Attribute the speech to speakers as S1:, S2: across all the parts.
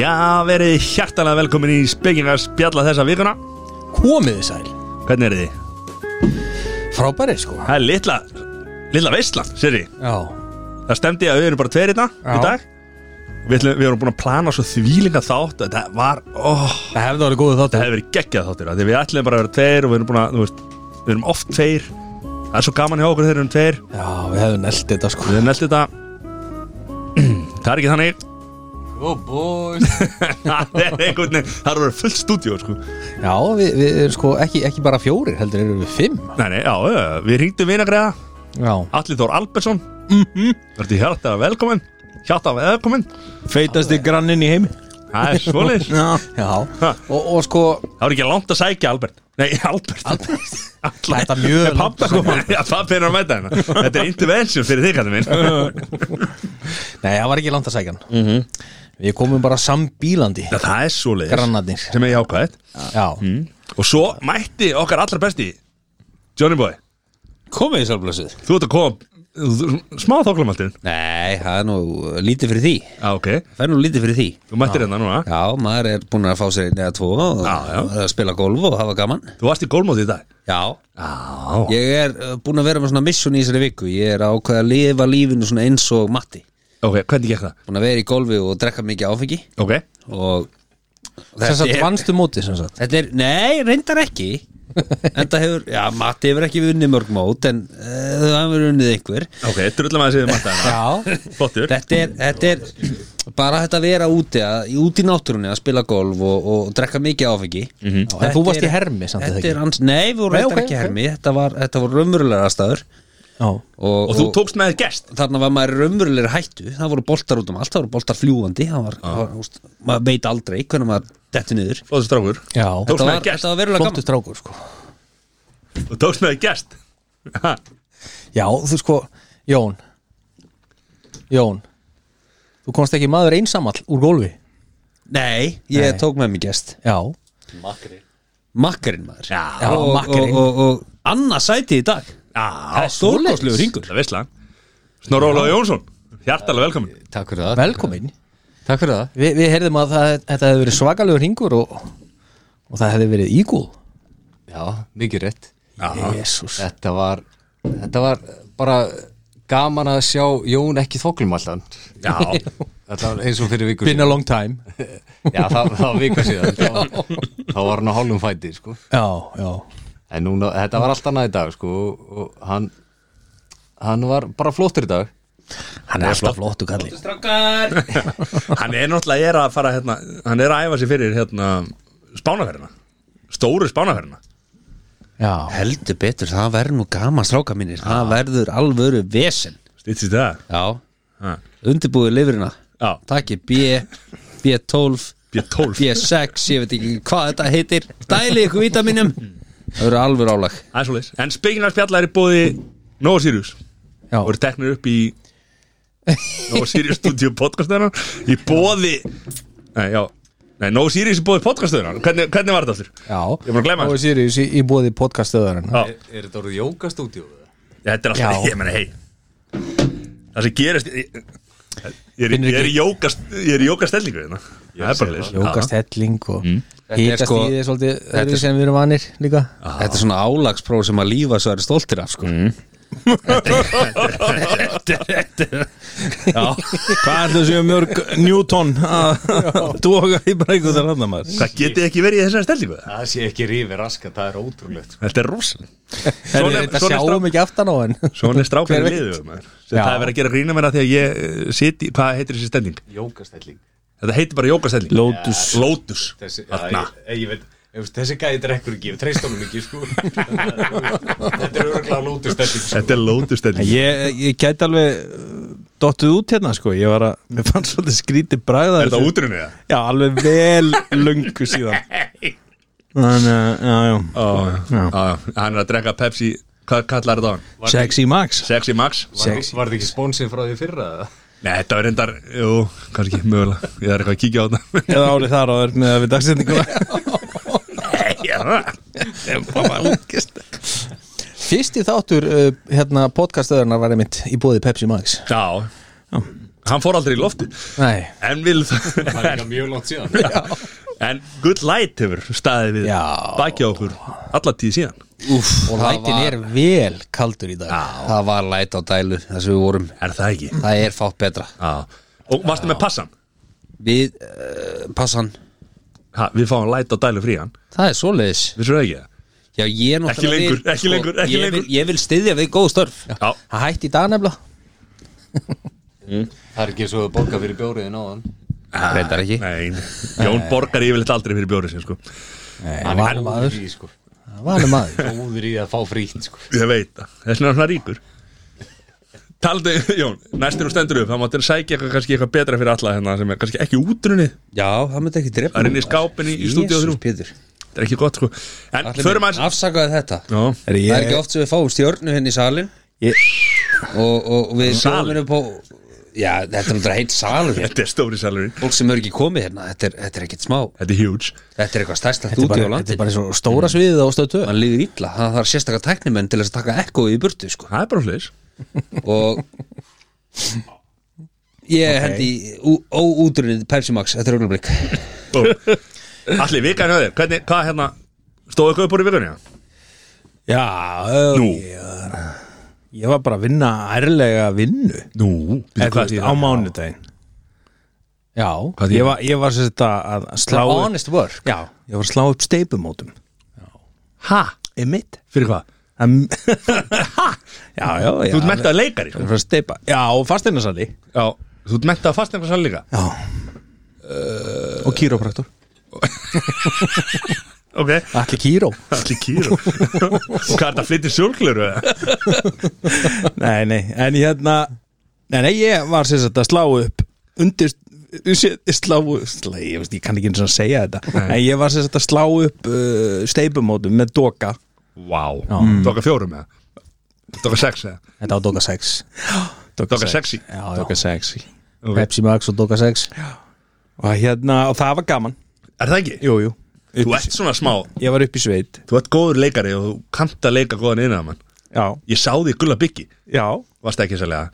S1: Já, verið hjartalega velkomin í spekina spjalla þessa vikuna
S2: komiði sæl
S1: Hvernig er þið?
S2: frábæri sko
S1: Það er litla, litla veistlan, sér ég
S2: já,
S1: Það stemdi að við erum bara tveir hérna í
S2: Já.
S1: dag Við, ætlum, við erum búin að plana svo þvílinga þátt Þetta var, óh,
S2: það hefði orðið góðu
S1: það
S2: þáttur
S1: hefur verið geggjað þáttir af Því við ætlum bara að vera tveir og við erum búin að, þú veist Við erum oft tveir Það er svo gaman hjá okkur þegar við erum tveir
S2: já, við hefðum nelt þetta sko
S1: Við erum nælt þetta Það er ekki þannig
S2: oh boy
S1: Það er einhvern veginn, það er verið fullt stúdíó sko.
S2: já, við, við erum sko ekki, ekki bara fjórir heldur erum við fimm
S1: Nei, nei, já, já, já, við ringdum vinagreða
S2: já,
S1: Alli Þór Mhm. Albersson Verður hjartalega velkominn Hjartalega velkominn
S3: Feitasti granninn í heimi
S1: Það er svoleiðis
S3: Já
S2: já. Og, og sko
S1: Það var ekki langt að sækja Albert Nei, Albert Alla-
S2: Þetta er mjög
S1: Nei, Pabbi kom Já, pabbi er að mæta hérna Þetta er intervention fyrir þig, kallið minn Já,
S2: nei, það var ekki langt að sækja hann
S3: Mhm.
S2: við komum bara sambílandi
S1: Það er svoleiðis
S2: grannarnir
S1: Sem er jákvæðið
S2: já,
S3: Mhm.
S1: Og svo mætti okkar allra besti Johnny Boy
S3: Komið í sálblössuð
S1: Þú ert að koma þú- Smá þóklamaltinn
S3: Nei, það er nú lítið fyrir því
S1: Já, ok
S3: Það er nú lítið fyrir því
S1: Þú mættir hérna núna
S3: Já, maður er búin að fá sér einn eða tvo og
S1: Já, já.
S3: og spila golf og hafa gaman
S1: Þú varst í gólmóti í dag
S3: Já,
S1: Já
S3: ég er uh, búin að vera með svona missun í þessari viku Ég er ákveð að lifa lífinu svona eins og matti
S1: Ok, hvernig gekk það?
S3: Búin að vera í golfi og drekka mikið áfengi
S1: Ok
S3: Og
S2: sem sagt
S3: er-
S2: vannstu móti sem sagt
S3: Þetta er, nei, reyndar ekki En það hefur, já, Matti hefur ekki vunnið mörg mót En uh, það hefur unnið einhver
S1: Ok, drullum að þessi mætta hérna
S2: já,
S1: Flottur
S3: þetta er, þetta er bara þetta að vera úti að, úti í náttúrunni að spila golf og, og drekka mikið áfengi mm
S2: Já, Mhm. en þú varst í hermi samt eða
S3: þetta
S2: ekki?
S3: er hans, nei við vorum
S2: Nei,
S3: reyndar
S2: ok,
S3: ekki
S2: ok.
S3: hermi þetta var, þetta var raumurulega aðstæður
S2: já.
S3: og,
S1: Og þú tókst með þér gest
S3: þarna var maður raumurulega hættu það voru boltar út um allt, það voru boltar fljúandi það var,
S2: Ah.
S3: það var, úst, maður veit aldrei hvernig maður dettu niður
S1: Flóður strákur
S2: já.
S1: Tókst
S3: þetta
S1: með
S3: var,
S1: gest.
S3: þetta var verulega
S2: flottu
S3: gaman
S2: strákur sko
S1: Þú tókst með þér gest Ha,
S2: Já, þú sko, Jón Jón Þú komst ekki maður einsamall úr gólfi
S3: nei, ég
S2: Nei.
S3: tók með mig gest
S2: Já,
S3: makkarinn maður
S1: Já.
S2: Já,
S3: og,
S2: makkarinn.
S3: og, og, og, og annað sæti í dag
S1: Já,
S3: stórkostlegur hringur.
S1: Það veist það Snorri Ólaður Jónsson Hjartalega velkomin
S4: Takk fyrir það
S2: velkomin
S4: Takk fyrir það
S2: Vi, Við heyrðum að það, þetta hefði verið svakalegur hingur og, og það hefði verið ígúl
S4: Já, mikið rétt
S2: Jésús
S4: Þetta var, þetta var bara gaman að sjá Jón ekki þoklum alltaf
S1: Já,
S4: Þetta var eins og fyrir viku
S2: Been a long time
S4: síðan Já, það, það var viku síðan Þá var, þá var hann á hálfum fæti sko.
S2: Já, já
S4: En núna, þetta var allt annað í dag sko, og- og hann, hann var bara flottur í dag
S2: Hann er alltaf flottu kalli
S3: strákar
S1: hann er náttúrulega er að fara hérna Hann er að æfa sig fyrir hérna Spánaferðina Stóru spánaferðina
S2: Já,
S3: Heldur betur, það verður nú gaman stráka mínir Það verður alvöru vesen
S1: Stýttist það
S3: Já,
S1: Ha,
S3: undirbúið lifurina
S1: Já,
S3: Takk B, B12
S1: B12
S3: B6, ég veit ekki hvað þetta heitir Dæli ykkur vítaminum Það verður alvöru álag
S1: Það er svoleiðis En spekinar spjalla er í bóði Nova Sirius
S2: já,
S1: og eru teknir upp í Nova Sirius Studio podcastöðunar í bóði Nei, já Nei, Nova Sirius í bóði podcastöðunar hvernig, hvernig var þetta allir? Ég er
S2: já
S1: búin að gleyma
S2: Og
S1: þessu.
S2: Sirius í, í bóði podcastöðarinn
S1: Já,
S4: Er þetta orðið jókastúdíu?
S1: þetta er alltaf,
S2: Já.
S1: ég meina, hei Það sem gerist Ég, ég, er, í-
S2: Finnur
S1: ég, er, í
S2: ekki-
S1: jóka, ég er í jókastellingu hérna Það er bara leis
S2: Jókast helling og mm.
S3: Þetta er
S2: Hítast
S3: sko-
S2: í því svolítið
S3: þetta er
S2: öðru sem við erum vanir líka
S3: Þetta er svona álagspróf sem að lífa svo er stoltir af sko.
S5: Hvað er það sem mörg Newton að doga í breikur þar hann maður?
S1: Það geti ekki verið í þessari stellingu það?
S4: Það sé ekki rífi raskat, það er ótrúlegt sko.
S1: Þetta er rosalega
S2: Herri, Þetta sjáum ekki aftan á henn
S1: Svona er strákar
S2: Hver
S1: í
S2: veit?
S1: liðu maður. Sem
S2: Já.
S1: Það er verið að gera grína mér að því að ég eh, sit í, Hvað heitir þessi stelling?
S4: Jókastelling
S1: Þetta heitir bara jókastelling Lotus Lotus
S4: þessi, já,
S1: Þarna.
S4: ég, ég, veit ég veist, þessi gæði drekkur ekki, ég treyst honum ekki sko. þetta er örgulega lótust sko.
S1: Þetta er Lotus stelling
S5: Ég, ég gæti alveg uh, dottið út hérna sko, ég var að, mér fannst svolítið skrítið bræða
S1: Er þetta útrunnið það?
S5: Já, alveg vel lungu síðan Þannig að, já, já
S1: Já, já, hann er að drekka Pepsi Hvað kallar þetta á hann?
S5: Sexy Max
S1: Sexy Max?
S4: var, var það ekki spónsinn frá því fyrra eða?
S1: Nei, þetta var reyndar, jú, kannski ekki mögulega Ég þarf eitthvað að kíkja á þetta
S5: Eða árið þar á þér með að við dagsendinguna
S1: Nei, já,
S2: Fyrsti þáttur uh, hérna, podcastöðurnar var einmitt í bóði Pepsi Max
S1: já hann fór aldrei í lofti
S2: Nei,
S1: en vil
S4: Það er líka mjög langt síðan
S1: en good light hefur staðið við
S2: Já.
S1: baki á okkur alla tíð síðan
S3: Úf,
S2: og lætin er vel kaldur í dag
S3: Það var læt á dælu þar sem við vorum
S1: er það ekki
S3: Það er fátt betra
S1: Já. og varstu með passan
S3: Við, uh, passan
S1: ha, við fáum light á dælu frían
S3: Það er svoleiðis
S1: við svo ekki það?
S3: Já, ég er náttúrulega
S1: lengur,
S3: vil- sko,
S1: ekki lengur, ekki
S3: ég
S1: lengur.
S3: vil, ég vil styðja við góð störf
S1: já,
S2: Það hætti í dag nefnilega
S4: Það er ekki svo að borga fyrir bjóriðin á hann
S3: Reyndar ekki
S1: nei, Jón borgar yfirleitt aldrei fyrir bjórið sér sko
S4: Hann er
S2: vanur
S4: góður
S2: maður.
S4: í sko
S2: Það var hann maður
S4: Góður í að fá frítt sko
S1: Ég veit það, þess vegna er hann svona ríkur Taldi, Jón, næstur og stendur upp Það máttir sækja eitthvað, kannski eitthvað betra fyrir alla hérna sem er kannski ekki útrunni
S3: Já, það myndi ekki drepa
S1: Það er inn í skápinni í stúdíu þrjú
S3: Pétur
S1: Það er ekki gott sko En förum aðeins
S3: Afsakaði þetta
S1: Já,
S5: Er
S3: Það er ekki
S5: ég
S3: oft sem við fáum stjórnu henni í salin
S5: Ég-
S3: og, og við
S1: Salinn?
S3: sjóðum upp á Já, þetta er náttúrulega heilt salur hér.
S1: þetta er stóri salurinn
S3: Fólk sem eru ekki komið hérna, þetta er, þetta er ekkit smá
S1: Þetta er huge
S3: Þetta er eitthvað stærsta
S2: Þetta er
S3: stúdíu á
S2: bara- þetta
S3: landin
S2: er bara eins og stóra sviðið á stöðtu
S3: mann líður illa, það þarf sérstakar tæknimenn til þess að taka ekkoðu í burtu sko.
S1: Það er bara hlis
S3: og ég okay. hendi óútrunnið Pepsi Max, þetta er augnablik
S1: Allir, vikan hjá þér, hvernig, hvað hérna Stóðu eitthvað upp úr í vikunni? eða?
S5: Já, ö,
S1: Nú.
S5: ég- Ég var bara að vinna ærlega vinnu
S1: Nú,
S5: Eða,
S1: býttu,
S5: þú
S1: hvað
S5: veist,
S1: þýðir
S5: Á
S1: það?
S5: mánudaginn
S2: Já,
S1: Hvað
S5: Ég
S1: þýðir það?
S5: var, ég var sér þetta að að slá upp-
S2: honest work
S5: Já, ég var að slá upp steipumótum
S1: Ha?
S5: Emmitt
S1: Fyrir hvað?
S5: Já, já, já
S1: Þú ert mentað leikari
S5: Ég
S1: sko.
S5: var að steipa Já, og fasteinasali
S1: Já, þú ert mentað fast einhver sal líka
S5: Já Og kýrópraktor
S1: Ok,
S2: Allir kýró
S1: allir kýr og hvað er þetta, flyttir sjólklur?
S5: Nei, nei, en hérna Nei, nei, ég var sér þetta að slá upp Undir slá upp slá, Ég veist, ég kann ekki eins og að segja þetta En ég var sér þetta að slá upp uh, steipumótum með doka
S1: Vá,
S5: Mm.
S1: wow. tóka fjórum eða Tóka sex eða
S2: Þetta á Doka 6
S1: Doka sexy.
S2: Já, já.
S5: Doka sexy
S2: Pepsi Max og Doka 6
S5: Og hérna, og það var gaman
S1: Er það ekki?
S5: Jú, jú
S1: Þú
S5: upp,
S1: ert svona smá,
S5: Ég var upp í sveit
S1: þú ert góður leikari og þú kannt að leika góðan innan mann
S5: Já,
S1: Ég sá því gulla byggi,
S5: já
S1: varst ekki sérlega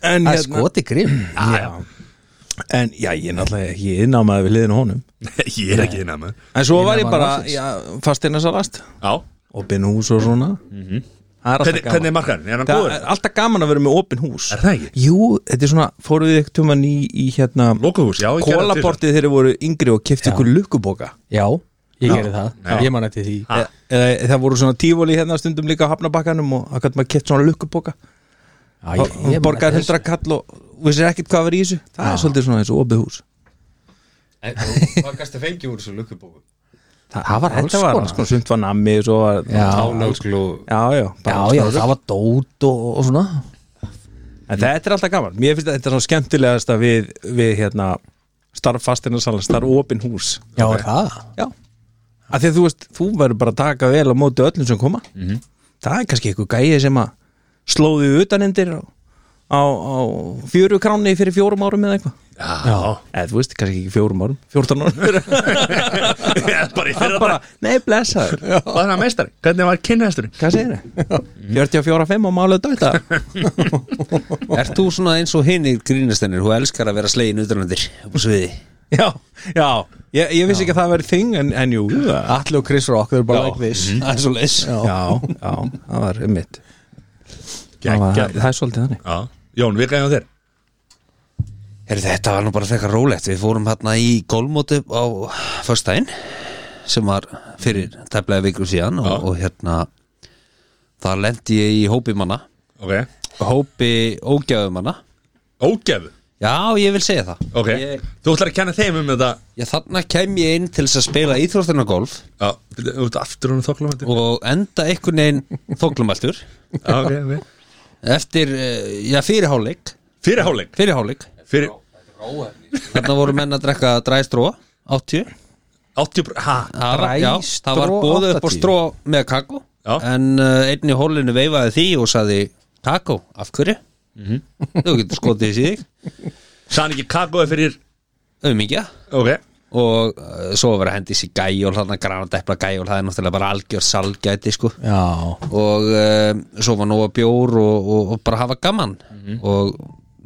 S5: En
S2: Það er skoti grimm
S5: já. En já, ég er náttúrulega ekki innámaði við hliðinu á honum
S1: Ég er ekki innan mann
S5: En svo var ég
S2: Innámaður
S5: bara
S2: ársins.
S5: fasteinarsalast
S1: Já,
S5: Opin hús og svona Það er alltaf
S1: Mhm. hvernig,
S5: gaman
S1: hvernig er markarinn? Er hann
S5: Það
S1: góður?
S5: er alltaf gaman að vera með opin hús
S1: Er það ekki?
S5: Jú, þetta er svona, fóruð þið ekkert tjóman í, í hérna
S1: Lokuhús, já, ég gerði það tvisvar.
S5: Kólaportið þegar þið voru yngri og kefti
S2: Já.
S5: ykkur lukkuboka
S2: Já, ég gerði það
S1: Já.
S2: Ég man eftir því
S1: Ha.
S5: e, eða, Það voru svona tífóli hérna stundum líka á hafnabakkanum og það gæti maður keft svona lukkuboka
S2: Já, ég- ég man
S5: og borgar
S2: eftir þessu.
S5: hundra kall og og vissir ekkert hvað var í þessu Það er svolítið svona eins og opið hús
S4: En hvað gæst að fengi úr þessu lukkubóku?
S2: Það var alls
S5: Þetta var alls
S2: konar
S5: konar, sumt var nammi og svo var
S2: Já.
S4: Ánögl og
S5: já, já, bara
S2: Já,
S5: alls
S2: já,
S5: konar
S2: það var dót og, og svona
S5: En þetta er alltaf gaman, mér finnst að þetta er svona skemmtilegasta við, við hérna starf fastinarsala, starf opin hús
S2: Já, okay. það
S5: Já að Því að þú veist, þú verður bara að taka vel á móti öllum sem koma
S2: Mhm.
S5: -hmm. Það er kannski einhver gæi sem að slóðu utanendir á, á, á fjöru kráni fyrir fjórum árum eða eitthvað
S1: Já,
S5: Eða þú veist, kannski ekki fjórum árum, fjórtán árum
S1: Ég er bara í
S5: Það
S1: fyrra
S5: er bara, nei blessaður
S1: Hvað er hann meistari? Hvernig var kynhesturinn?
S5: Hvað segir þið?
S2: Mhm.
S5: 44.5 á máluðu dæta
S3: Ert þú svona eins og hinir grínastennir hún elskar að vera slegin utanlandir upp á sviði
S5: Já, já, ég, ég vissi ekki að það verið þing en, en jú, það
S2: Alli og Chris Rock, þau eru bara
S3: Já.
S2: like this
S5: Mhm.
S3: Það er svo leis
S5: Já, já, það var ummitt það, var-
S1: Geggjað.
S5: það er svolítið þannig
S1: Já, Jón, við gæðum þér
S3: Heru, Þetta var nú bara frekar rólegt Við fórum hérna í golfmóti á föstudaginn sem var fyrir tæplega vikur síðan og,
S1: Já.
S3: og hérna þar lendi ég í hópi manna
S1: Ok,
S3: hópi ógjáðum manna
S1: ógefu
S3: Já, ég vil segja það
S1: Ok,
S3: ég,
S1: þú ætlar að kenna þeim um þetta
S3: ég, Þarna kem ég inn til þess að spila íþróttina golf
S1: Já, þú ert aftur hún þoklum
S3: og enda einhvern veginn þóklumæltur
S1: Ok, ok
S3: eftir, eh, já, fyrirháleik
S1: Fyrirháleik
S3: fyrirháleik,
S1: Fyrir
S3: þarna voru menn að drekka dræstró 80
S1: 80 br- Ha,
S3: það var, já, það var
S2: Dræstró
S3: bóðið upp á
S2: 80.
S3: stró með kakó
S1: Já.
S3: en uh, einn í hólinu veifaði því og saði kakó, af hverju? Mhm. þú getur skotið þessi þig
S1: sann ekki kakói fyrir
S3: um mikið
S1: Ok,
S3: og uh, svo að vera að hendi sér gæjól þarna granadepla gæjól, það er náttúrulega bara algjör salgæti sko
S2: Já,
S3: og um, svo var nóga bjór og, og, og bara hafa gaman og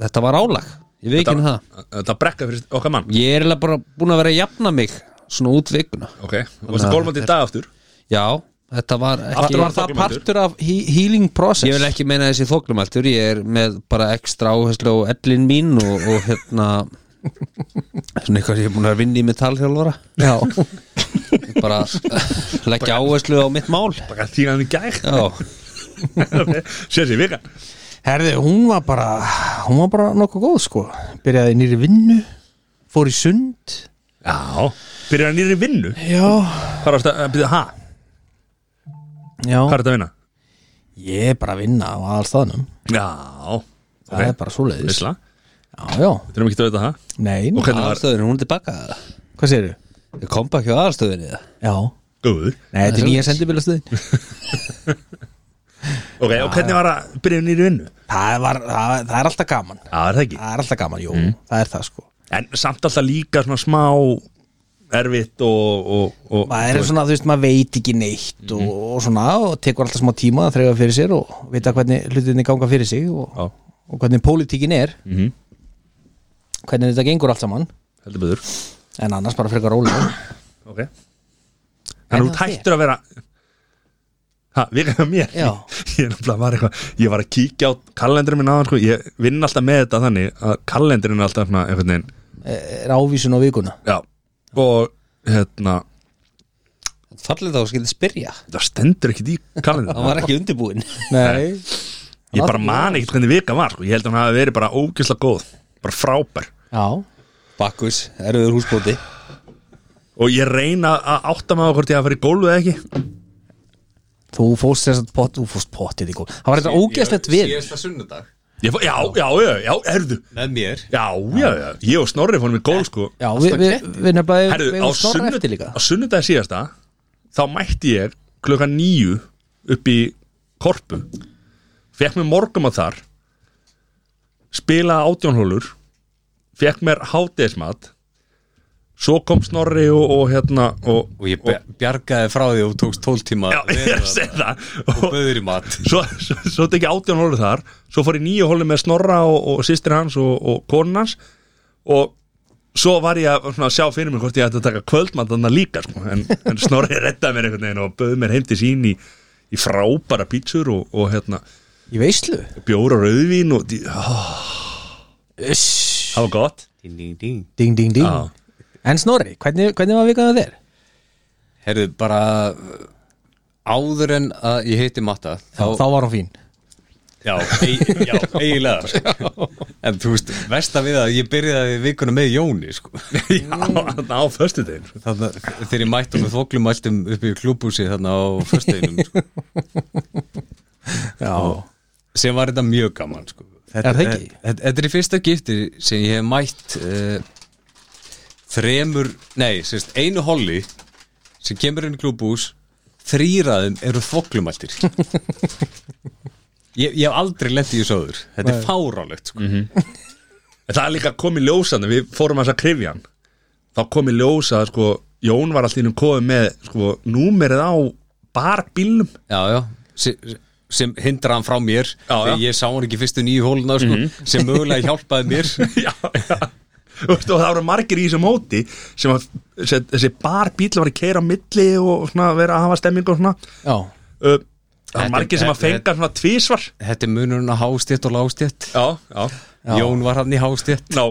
S3: þetta var álag, ég veit ekki það
S1: Þetta brekka fyrir okkar mann
S3: ég er eiginlega bara búin að vera að jafna mig svona út vikuna
S1: Ok, og varstu gólmandi í dag aftur
S3: já, þetta var ekki
S1: Aftur var
S2: það
S1: Þokumæltur.
S2: partur af he healing process
S3: ég vil ekki meina þessi þóklumaltur ég er með bara ekstra áherslu á ellin mín og, og hérna svona eitthvað sem ég er búin að vinna í metallhjálfara
S2: Já,
S3: bara leggja áherslu á mitt mál
S1: Bara þín hann í gær
S3: já,
S1: Sér sér vika
S2: herði, hún var bara hún var bara nokkuð góð sko byrjaði í nýri vinnu, fór í sund
S1: Já, byrjar hann nýri vinnu
S2: Já,
S1: Hvað er þetta, byrja, ha,
S2: já
S1: hvað er þetta að vinna?
S2: Ég er bara að vinna á aðalstaðnum
S1: Já,
S2: Það er bara svoleiðis
S1: Visla,
S2: Já, já,
S1: þetta er ekki döðið það
S2: nei,
S1: Og hvernig var,
S3: aðalstöðinu, hún er tilbaka
S2: hvað segirðu?
S3: ég kom bara ekki á aðalstöðinu það
S2: Já,
S1: góður
S2: nei, þetta er nýja sendibilastöðin
S1: Ok, og hvernig var að byrja nýri vinnu?
S2: það, var, það, það er alltaf gaman
S1: Já, er það ekki
S2: Það er alltaf gaman, jú, það er það sko
S1: En samt alltaf líka svona smá Erfitt og, og, og
S2: maður er svona, þú veist, maður veit ekki neitt og, og svona, og tekur alltaf smá tíma að þreyfa fyrir sér og vita hvernig hlutinni ganga fyrir sig
S1: Já.
S2: og, og hvernig pólitíkin er
S1: Mhm.
S2: hvernig þetta gengur allt saman
S1: Heldur byggður
S2: en annars bara frekar rólega
S1: Ok Þannig að þú
S2: það
S1: tættur að vera Ha, virka hjá mér
S2: Já.
S1: Ég er náttúrulega var eitthvað Ég var að kíkja á kalendurinn minn aðan sko. Ég vinn alltaf með þetta þannig að kalendurinn er alltaf svona einhvern veginn
S2: E, er ávísun á vikuna
S1: Já Og hérna
S3: fallið þá skilði spyrja
S1: Það stendur ekkit í
S3: hann
S1: kalendurinn
S3: var ekki undirbúin
S2: Nei,
S1: Ég bara man ekkit hvernig vika var sko. Ég held að hann hafi verið bara ógislega góð Bara frábær
S2: já,
S3: Bakkus, erfiður húsbóti
S1: Og ég reyna að átta mig á hvort ég að fara í gólfu eða ekki
S2: þú fórst þess að pott, þú fórst pottið í góð það var þetta ógeðslegt
S6: Ég-
S2: við
S6: Síðasta sunnudag
S1: ég, fó- Já, já, já, já, erðu
S6: með mér
S1: Já, já, já, ég og Snorri fórum í gólf sko
S2: já, við, við, við nefnilega við
S1: Herru, á,
S2: eigum snorra
S1: sunnud,
S2: eftir líka
S1: á sunnudag síðasta þá mætti ég klukkan nýju upp í korpu fekk mér morgum að þar spilaði átjónhólur fekk mér hátegismat svo kom Snorri og, og hérna og,
S6: og ég be- bjargaði frá því og þú tókst 12 tíma
S1: já,
S6: að
S1: ég
S6: vera
S1: er að
S6: þarna.
S1: segja það
S6: og
S1: og
S6: böður í mat
S1: svo, svo, svo tekið átján hólið þar svo fór ég nýju hólið með Snorra og, og sýstir hans og, og konun hans og svo var ég að svona, sjá fyrir mig hvort ég ætti að taka kvöldmann líka sko. en, en Snorri rettaði mér einhvern veginn og böði mér heim til sín í, í frábæra pítsur og, og hérna,
S2: í veislu
S1: bjóra rauðvín og dí- ó,
S2: Uss.
S1: það var gott
S6: ding, ding, ding.
S2: ding, ding, ding
S1: Já.
S2: en Snorri, hvernig, hvernig var vikaðan þér?
S6: herðu bara áður en að ég heiti matta
S2: Þá,
S6: þá,
S2: þá var hún fín
S6: já, e, já, eiginlega sko. en þú veist, versta við að ég byrjaði vikuna með Jóni sko.
S1: já,
S6: Mm.
S1: þarna á sko. föstudegin
S6: Þarna, þegar ég mætti með þoklum mæltum upp í klúbhúsi þarna á föstudeginum sko.
S2: já,
S6: sem var þetta mjög gaman sko.
S2: Er það ekki?
S6: Þetta, þetta er í fyrsta gifti sem ég hef mætt uh, þremur, nei, sérst, einu holli sem kemur inn í klúbhús þrýraðum eru þoklumæltir ég, ég hef aldrei lett í þessu áður þetta er fárálegt sko.
S1: en það er líka komið ljósan við fórum að þess að krifja hann þá komið ljósa sko, Jón var allir komið með sko, númerið á barbílum
S6: já, já sem, sem hindra hann frá mér
S1: Já, já. Mhm.
S6: þegar ég sá hann ekki fyrstu nýju hóluna sko, sem mögulega hjálpaði mér
S1: já, já Þú veist, og það voru margir í þessu móti sem að sem, þessi barbíl var að keira á milli og svona vera að hafa stemming og svona
S2: já,
S1: uh, það
S6: Þetta-
S1: var margir sem að fenga svona tvísvar
S6: þetta er munurinn á hástétt og lágstétt
S1: já, já,
S6: Jón var hann í hástétt
S1: ná,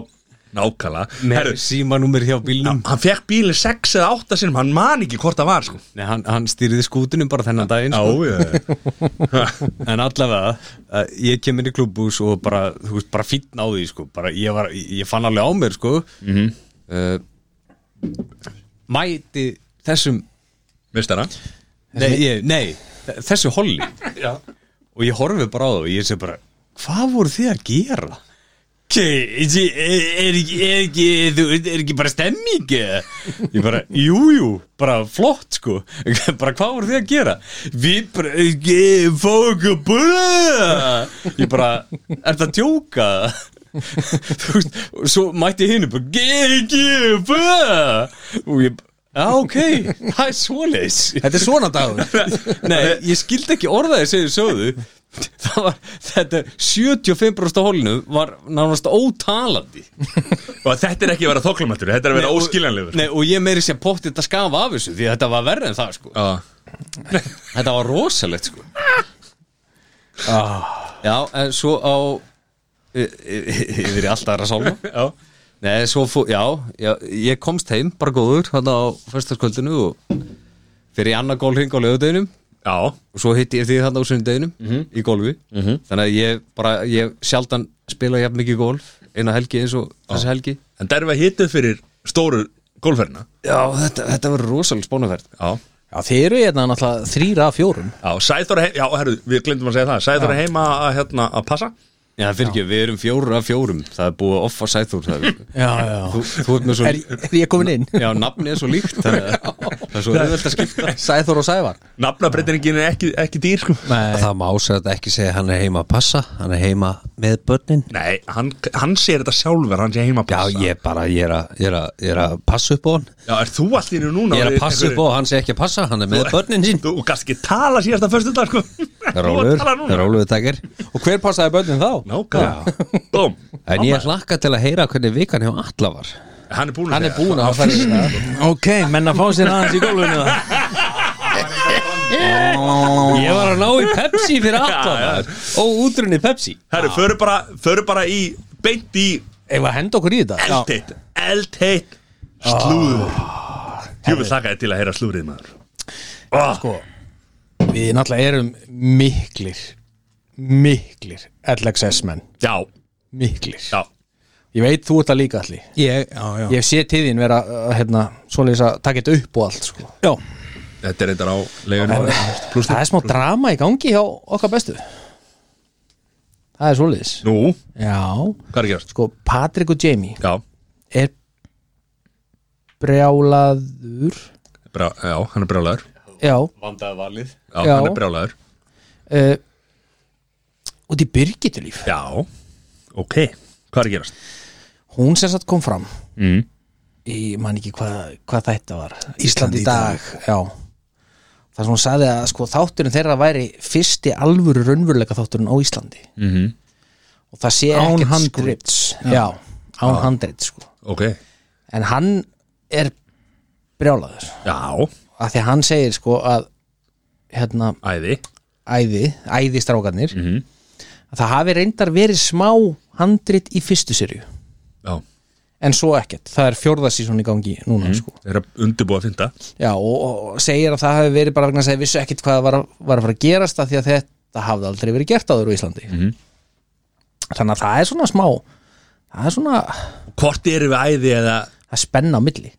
S1: nákvæmlega
S6: með
S1: Herru,
S6: símanúmer hjá bílnum
S1: hann fekk bílinn 6 eða 8 sinum, hann man ekki hvort það var sko.
S6: Nei, hann, hann stýriði skútunum bara þennan daginn sko.
S1: já,
S6: en allavega, uh, ég kem inn í klubbús og bara, þú veist, bara fýtn á því sko. bara, ég, var, ég fann alveg á mér sko. mm
S1: Mhm.
S6: mæti þessum
S1: mistara
S6: nei, ég, nei, þe- þessu holli
S1: já.
S6: og ég horfi bara á það og ég sé bara hvað voru þið að gera? Okay, er, er, ekki- er, ekki, þú- er ekki bara stemming eða? ég bara, jú, jú bara flott sko bara hvað voru þið að gera við bara, eh, fá okkur búða ég bara, er það að djóka Þú veist, og svo mætti hinn bara Gengi, bæ Og ég, já ok, það er svoleiðis
S2: Þetta er svona dagur
S6: Nei, ég skildi ekki orðaði segir sögðu Það var, þetta 75% af hólinu var nánast ótalandi
S1: Og þetta er ekki að vera þoklamættur, þetta er að vera
S6: Nei, og-
S1: óskiljanlegur
S6: Nei, og ég meiri sér pottið að skafa af þessu Því að þetta var verri en það, sko
S1: Já.
S6: Þetta var rosalegt, sko Já, en svo á e, Yfir í alltaf aðra sálma Já Nei, svo fó, já, já, ég komst heim bara góður, hann á föstaskvöldinu og fyrir í annar gólhring á lögudeginum
S1: Já,
S6: og svo hitti ég því þarna á sundeginum í golfi þannig að ég bara, ég sjaldan spila jafn mikið golf eina helgi eins og þessi helgi
S1: en það er við að hitið fyrir stóru golferina
S6: Já, þetta, þetta var rosalega spónaferð
S1: Já,
S2: Já, þeir eru hérna náttúrulega þrýra af fjórum
S1: já Sæþór er heima, já, herru, við glemdum að segja það Sæþór er heima að, hérna, að passa
S6: Já, fyrir ekki, við erum fjóra af fjórum það er búið að offa sæþúr það er,
S2: Já, já
S6: þú, þú ert með svo
S2: Er, er ég komin inn?
S6: Já, nafni er svo líkt það er, það er svo auðvelt að skipta
S2: Sæþór og Sævar
S1: Nafnabreytingin er ekki, ekki dýr, sko
S2: Nei
S3: Það má sér þetta ekki segja hann er heima að passa Hann er heima með börnin
S1: Nei, hann, hann sér þetta sjálfur, hann sé heima að
S3: Já,
S1: passa
S3: ég bara, ég er að, ég er að, ég er að passa upp á hann
S1: Já, er þú allt í hennu núna?
S3: Ég er
S1: orðið
S3: að passa upp á
S1: einhverju-
S3: hann sé ekki að passa Hann er með börnin sín
S1: Þú gast ekki tala síðasta fyrstu dag, sko Þú ert að
S3: Rólur,
S1: tala núna.
S3: rólur takkir
S2: Og hver passaði börnin þá?
S1: Nákvæm Bóm
S3: En ég hlakka til að heyra hvernig vikan hjá alla var
S1: Hann er búin
S2: Hann er búin að hafa færi
S5: Ok, menn að fá sér aðeins í gólfinu það
S3: Ég var að ná í Pepsi fyrir alla maður. Og útrunni Pepsi
S1: Herru, förum bara, förum bara í Beint í
S2: Eða henda okkur í þetta
S1: eldteitt Eldteitt Slúður
S3: Ah,
S1: Ég vil þakka þér til að heyra slúrið maður oh,
S2: Sko, við náttúrulega erum miklir Miklir LXS menn
S1: Já,
S2: Miklir
S1: já
S2: Ég veit þú ert það líka allir
S5: Ég, já, já
S2: Ég sé til þín vera, uh, hérna, svoleiðis að taka þetta upp og allt sko.
S5: Já,
S1: Þetta er reyndar á leigunum
S2: Það er smá drama í gangi hjá okkar bestu Það er svoleiðis
S1: Nú,
S2: Já,
S1: hvað er að gerast?
S2: sko, Patrick og Jamie
S1: Já,
S2: er brjálaður
S1: brá, já hann er brjálæður Já,
S2: Já,
S6: Vandaði valið
S2: Já.
S1: hann er brjálæður
S2: uh, út í Birgitulíf
S1: Já, ok Hvað er að gerast?
S2: Hún sem satt kom fram
S1: Mm.
S2: Ég man ekki hvað, hvað þetta var
S5: Ísland í dag.
S2: Já Það sem hún sagði að sko, þátturinn þeirra væri fyrsti alvöru raunveruleika þátturinn á Íslandi
S1: Mm
S2: og það sé
S5: Mhm. Án
S2: ekkert
S5: handrits.
S2: skrifts Já, án handrit sko.
S1: Ok
S2: en hann er brjálaður
S1: Já,
S2: af því að hann segir sko að hérna,
S1: æði
S2: æði, æði strákarnir að það hafi reyndar verið smá handrit í fyrstu serju
S1: Já,
S2: en svo ekkert, það er fjórðasísón í gangi núna sko,
S1: þeir eru að undirbúa að fynda
S2: já og, og segir að það hafi verið bara vegna að segja vissu ekkert hvað var, að- var að fara að gerast að því að þetta hafði aldrei verið gert áður á Íslandi þannig að það er svona smá það er svona,
S1: Hvort eru við æði eða
S2: það er spenna á milli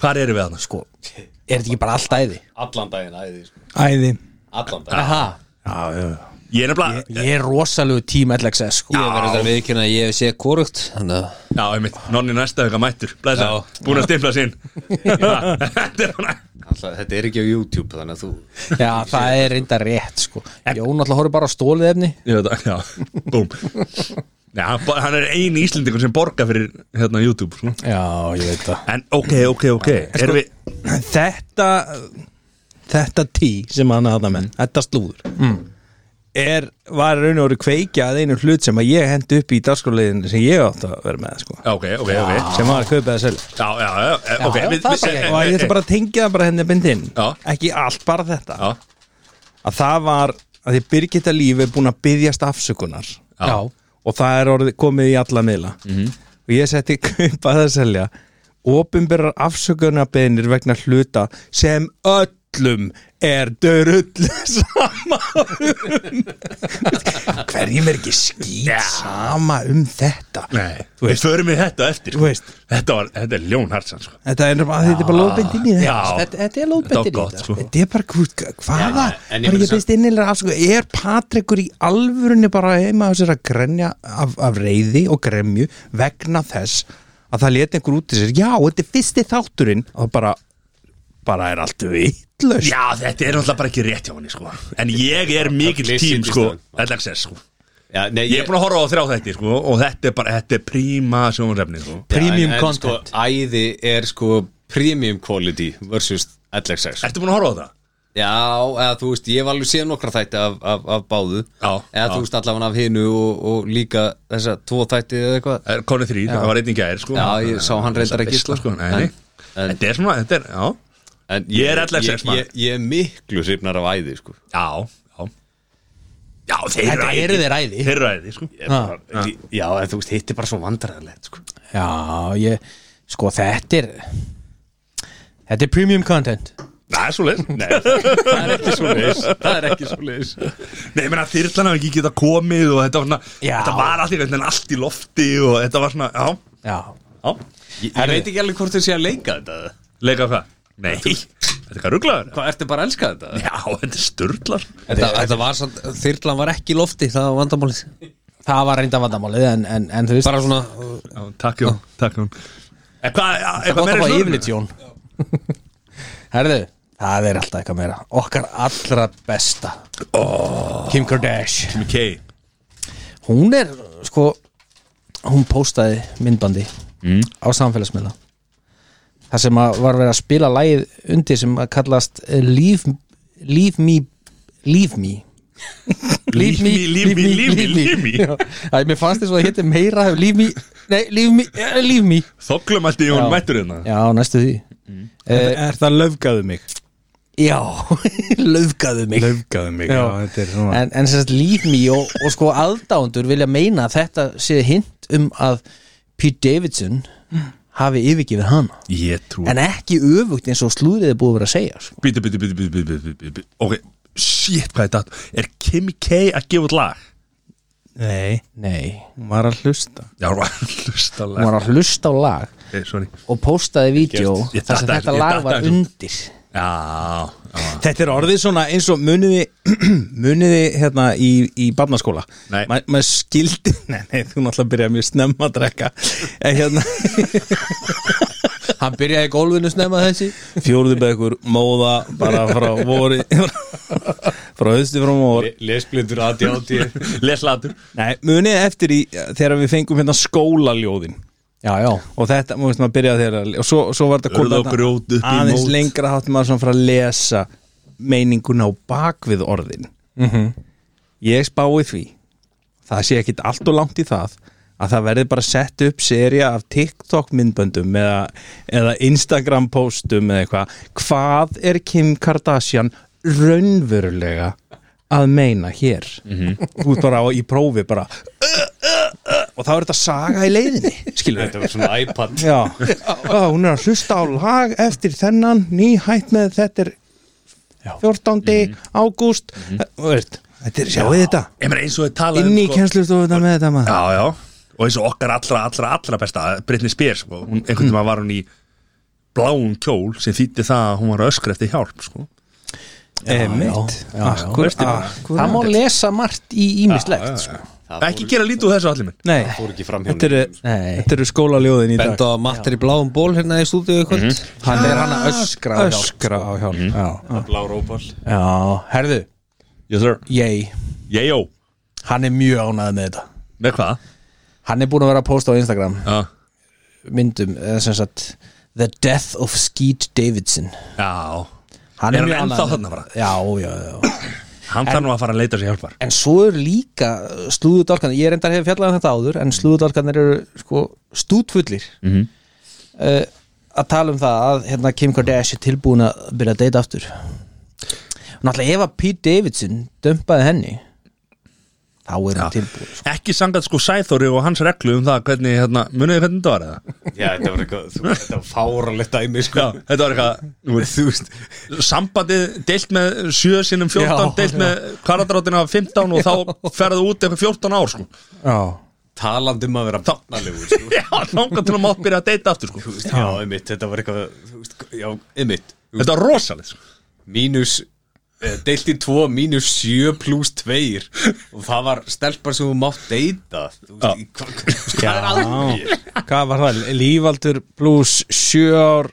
S1: Hvar eru við hann?
S2: sko, er þetta ekki bara allt æði
S6: Allan daginn æði, sko
S5: æði
S6: Allan daginn
S2: Aha,
S5: Já, já,
S1: Ég er nefnilega
S2: ég er rosalegu tím LXS
S6: Ah.
S2: sko.
S3: Ég verður þetta vikin að ég sé korugt Þannig að
S1: Já, einmitt, nonni næsta vega mættur Blæsa, búin að stifla sinn Þetta er bara
S6: Alltaf, Þetta er ekki á YouTube, þannig að þú
S2: já, það er reyndar rétt sko. Jón alltaf horfir bara á stólið efni
S1: Ég veit að, já, búm Já, hann bo- hann er eini Íslendingur sem borgar fyrir hérna YouTube sko.
S2: já, ég veit það
S1: En ok, ok, ok Erum við,
S5: þetta þetta tí sem hann aðna menn þetta slúður mm. er, var raun og veru kveikja að einu hlut sem að ég hendi upp í dagskóliðin sem ég átt að vera með sko.
S1: já, ok, ok, ok
S5: sem var að kaupa það selv
S1: Já, já, já, e, ok
S2: Já, já,
S1: við-
S2: það
S1: við-
S2: er bara
S1: e-
S2: gegn.
S1: e-
S5: og ég ætla bara að tengja það bara henni bindin
S1: Já.
S5: ekki allt, bara þetta
S1: Já,
S5: að það var, að því Birgitta Líf er búin að byggjast afsökunar
S1: já,
S2: já,
S5: og það er orðið komið í alla miðla
S1: Mhm.
S5: -hmm. og ég setti kaupa það selja opinberar afsökunarbeðinir vegna hluta sem öllum er dörull sama um hverjum er ekki skýt sama um þetta
S1: eh, Nei,
S5: Þú
S1: við
S5: veist.
S1: förum við þetta eftir sko.
S5: Þú veist.
S1: Þetta var, þetta er ljónhartsan sko.
S5: þetta er bara, þetta er bara lóðbind inn í þetta
S1: Já,
S2: þetta, þetta er
S1: þetta var
S2: lóðbettir
S1: gott sko.
S5: þetta er bara, hvort- hvaða
S6: en ég
S5: bara
S6: meina
S5: ég byrst innilega afsökun er Patrikur í alvörunni bara heima á sér að grenja af, af reyði og gremju vegna þess að það leti einhver út í sér já, þetta er fyrsti þátturinn og bara, bara er allt vitlaust
S1: Já, þetta er náttúrulega bara ekki rétt hjá henni sko. En ég er mikill
S6: Það er
S1: tím
S6: lýsing í
S1: sko,
S6: staðinn.
S1: LXS sko.
S4: Já, nei,
S1: Ég er búin að horfa á þrjá þætti sko, og þetta er bara, þetta er príma sjónrefni sko.
S3: premium
S4: en, en,
S3: content.
S4: sko, Æði er sko premium quality versus LXX
S1: Ertu búin að horfa á það?
S4: Já, eða þú veist, ég hef alveg séð nokkra þætti af, af, af báðu
S1: Já,
S4: Eða
S1: já.
S4: þú veist allavega af hinu og, og líka þessa tvo þætti eða eitthvað
S1: Er Konni þrýr, það var einnig gær sko.
S4: Já, ég sá hann reyndar ekki
S1: Veisla, sko. Nei,
S4: En-
S1: nei.
S4: en-
S1: Þetta er svona, þetta er, já
S4: en
S1: Ég er LXX
S4: ég,
S1: maður.
S4: ég, ég er miklu hrifnar af æði sko.
S1: Já, já Já, þeir
S2: Þetta
S1: ræði.
S2: eru þeir æði.
S1: Þeir ræði, sko
S4: Ég er bara- ég- Já, eða þú veist, hitt er bara svo vandræðilegt sko.
S2: Já, ég, sko þetta er Þetta er premium content
S1: Það er svo leið Nei,
S4: Það er ekki svo leis Það er ekki svo leis
S1: Nei, ég meina, þyrlan hafi ekki geta komið og þetta var svona
S2: Já.
S1: Þetta var allt í veginn allt í lofti og þetta var svona, já,
S2: Já,
S1: já
S4: Ég, ég veit ekki alveg hvort þau sé að leika þetta
S1: Leika hvað? Nei, þetta er hvað rugglaður
S4: Hvað ertu bara að elska þetta?
S1: Já, þetta er sturdlar
S3: Þetta, þetta var samt, þyrlan var ekki í lofti, það var vandamálið
S2: það var reynda vandamálið en, en, en þú veist
S3: Bara svona,
S1: Já, takk Jón, takk Jón En hvað, já,
S2: það er
S1: eitthvað
S2: gott að
S1: meira í
S2: fá
S1: sögunni?
S2: yfirlit Jón Herðu, það er alltaf eitthvað meira Okkar allra besta oh. Kim Kardashian
S1: Kim K
S2: Hún er, sko Hún postaði myndbandi
S1: Mm.
S2: á samfélagsmiðla Það sem að var verið að spila lagið undir sem að kallast eh, Leave, leave me Leave me Leave me,
S1: Leave me, leave me, leave me.
S2: Já, Æ, mér fannst þess að það hétti meira Leave me, nei, leave me, eh, leave me
S1: Þoglum alltaf
S2: Já.
S1: Jón mættur hérna Mm.
S2: Já, næstu því eh,
S5: Er það löfgaðu mig?
S2: Já, löfgaðu mig
S5: Löfgaðu mig, já, þetta er svona
S2: En, en sem sagt líf mér og, og sko aðdándur vilja meina að þetta sé hint um að Pete Davidson hafi yfirgefið hana
S1: Ég trú
S2: En ekki öfugt eins og slúðrið er búið að vera að segja sko.
S1: Bítu, bítu, bítu, bítu, bítu, bítu, bítu Ok, shit, hvað er þetta? Er Kim K að gefa út lag?
S5: Nei,
S2: Nei,
S5: hún var að hlusta
S1: Já, hún var að hlusta á
S2: hún
S1: lag
S2: var að hlusta á lag
S1: Ok, sorry
S2: og postaði vídeo
S1: Ég
S2: þar sem
S1: datta-
S2: þetta
S1: ég
S2: lag
S1: datta
S2: var
S1: þessu.
S2: undir
S1: Já, já
S5: Þetta er orðið svona eins og muniði muniði hérna í, í barnaskóla
S1: Nei.
S5: Ma, maður skildi nei, nei, þú náttúrulega byrjaði mjög snemma að drekka en hérna
S2: Hann byrjaði í gólfinu snemma þessi
S5: fjóruðu bekkur móða bara frá vori frá höstu frá móri
S4: Lesblindur ADHD
S1: Les latur
S5: Nei, muniði eftir í þegar við fengum hérna skólaljóðin
S2: Já, já,
S5: og þetta, maður veist maður byrjaði þegar og svo, svo var þetta
S1: Urðu
S5: komið
S1: og grjót upp í
S5: aðeins
S1: mót.
S5: lengra hátt maður svona frá að lesa meininguna á bakvið orðin
S1: Mhm.
S5: ég spái því það sé ekkit allt og langt í það að það verði bara sett upp seria af TikTok myndböndum eða, eða Instagram postum eða eitthvað hvað er Kim Kardashian raunverulega að meina hér
S1: Mhm.
S5: þú ert bara á, í prófi bara og þá er þetta saga í leiðinni skilur
S4: Þetta var svona iPad
S5: Já, Ó, hún er að hlusta á lag eftir þennan nýhætt með þetta er 14. ágúst Þú veist, Þetta er, sjáu þetta
S1: Ég meina eins og þið tala
S5: Inni í kennslustofuna með þetta maður
S1: Já, já Og eins og okkar allra, allra, allra besta Britney Spears, sko hún, Einhvern tíma var hún í bláum kjól sem þýtti það að hún var að öskra eftir hjálp, sko
S5: Emitt
S2: já, já. Ah,
S1: Veistu bara.
S2: Það má lesa margt
S1: Já,
S2: í
S5: Ah,
S1: já.
S2: ímislegt sko.
S1: Ekki gera lítið úr þessu allir minn
S5: Nei,
S4: fór ekki fram hjá
S5: þetta eru
S2: Nei,
S5: Þetta eru skólaljóðin í dag
S3: benda á að matter í bláum ból hérna í Ah, stúdíu eitthvað
S2: hann er hann að öskra á hjálp.
S5: Ah, Öskra á hjálp
S2: Já,
S4: blá róbal
S2: já, herðu,
S1: Yes, sir
S2: ég
S1: Ég, jó
S2: Hann er mjög ánægð með þetta
S1: Með hvað?
S2: Hann er búin að vera að posta á Instagram
S1: Já,
S2: myndum, eða sem sagt The Death of Skeet Davidson
S1: já
S2: Hann
S1: Er hann
S2: mjög
S1: ennþá
S2: ánægður
S1: þarna
S2: með-
S1: bara?
S2: Já, já, já
S1: Hann þarf nú að fara að leita sér hjálpar
S2: En svo eru líka slúðudálkarnir Ég reyndar hefur fjallað um þetta áður En slúðudálkarnir eru sko stútfullir mm
S1: Mhm.
S2: -hmm. Að tala um það að hérna, Kim Kardashian er tilbúin að byrja að deyta aftur Og náttúrulega ef að Pete Davidson dömpaði henni Þá er hann tilbúin sko.
S1: Ekki sangat sko Sæþóri og hans reglu um það hvernig, hérna, muniði hvernig þetta var eða?
S4: Já, þetta var eitthvað, þú- þetta var fáralegt dæmi sko.
S1: Já, þetta var eitthvað, nú veist,
S4: Þú veist,
S1: sambandið deilt með 7 sinum 14
S2: Já,
S1: deilt með kvaradrátina 15 og þá ferðu út eitthvað 14 ár sko.
S2: Já
S4: talandi um að vera barnalegur sko.
S1: já, langar til að maður byrja að deita aftur sko.
S4: Þú veist, Já, einmitt, þetta var eitthvað þú veist, Já, einmitt Þú veist,
S1: þetta er rosalegt sko.
S4: Mínus, eh, deilt í 2 mínus 7 pluss 2 og það var stelpar sem þú mátt deyta Þú veist, í- hva- hva- þú veist, hvað er að mér?
S5: Hvað var það? Lífaldur pluss sjö ár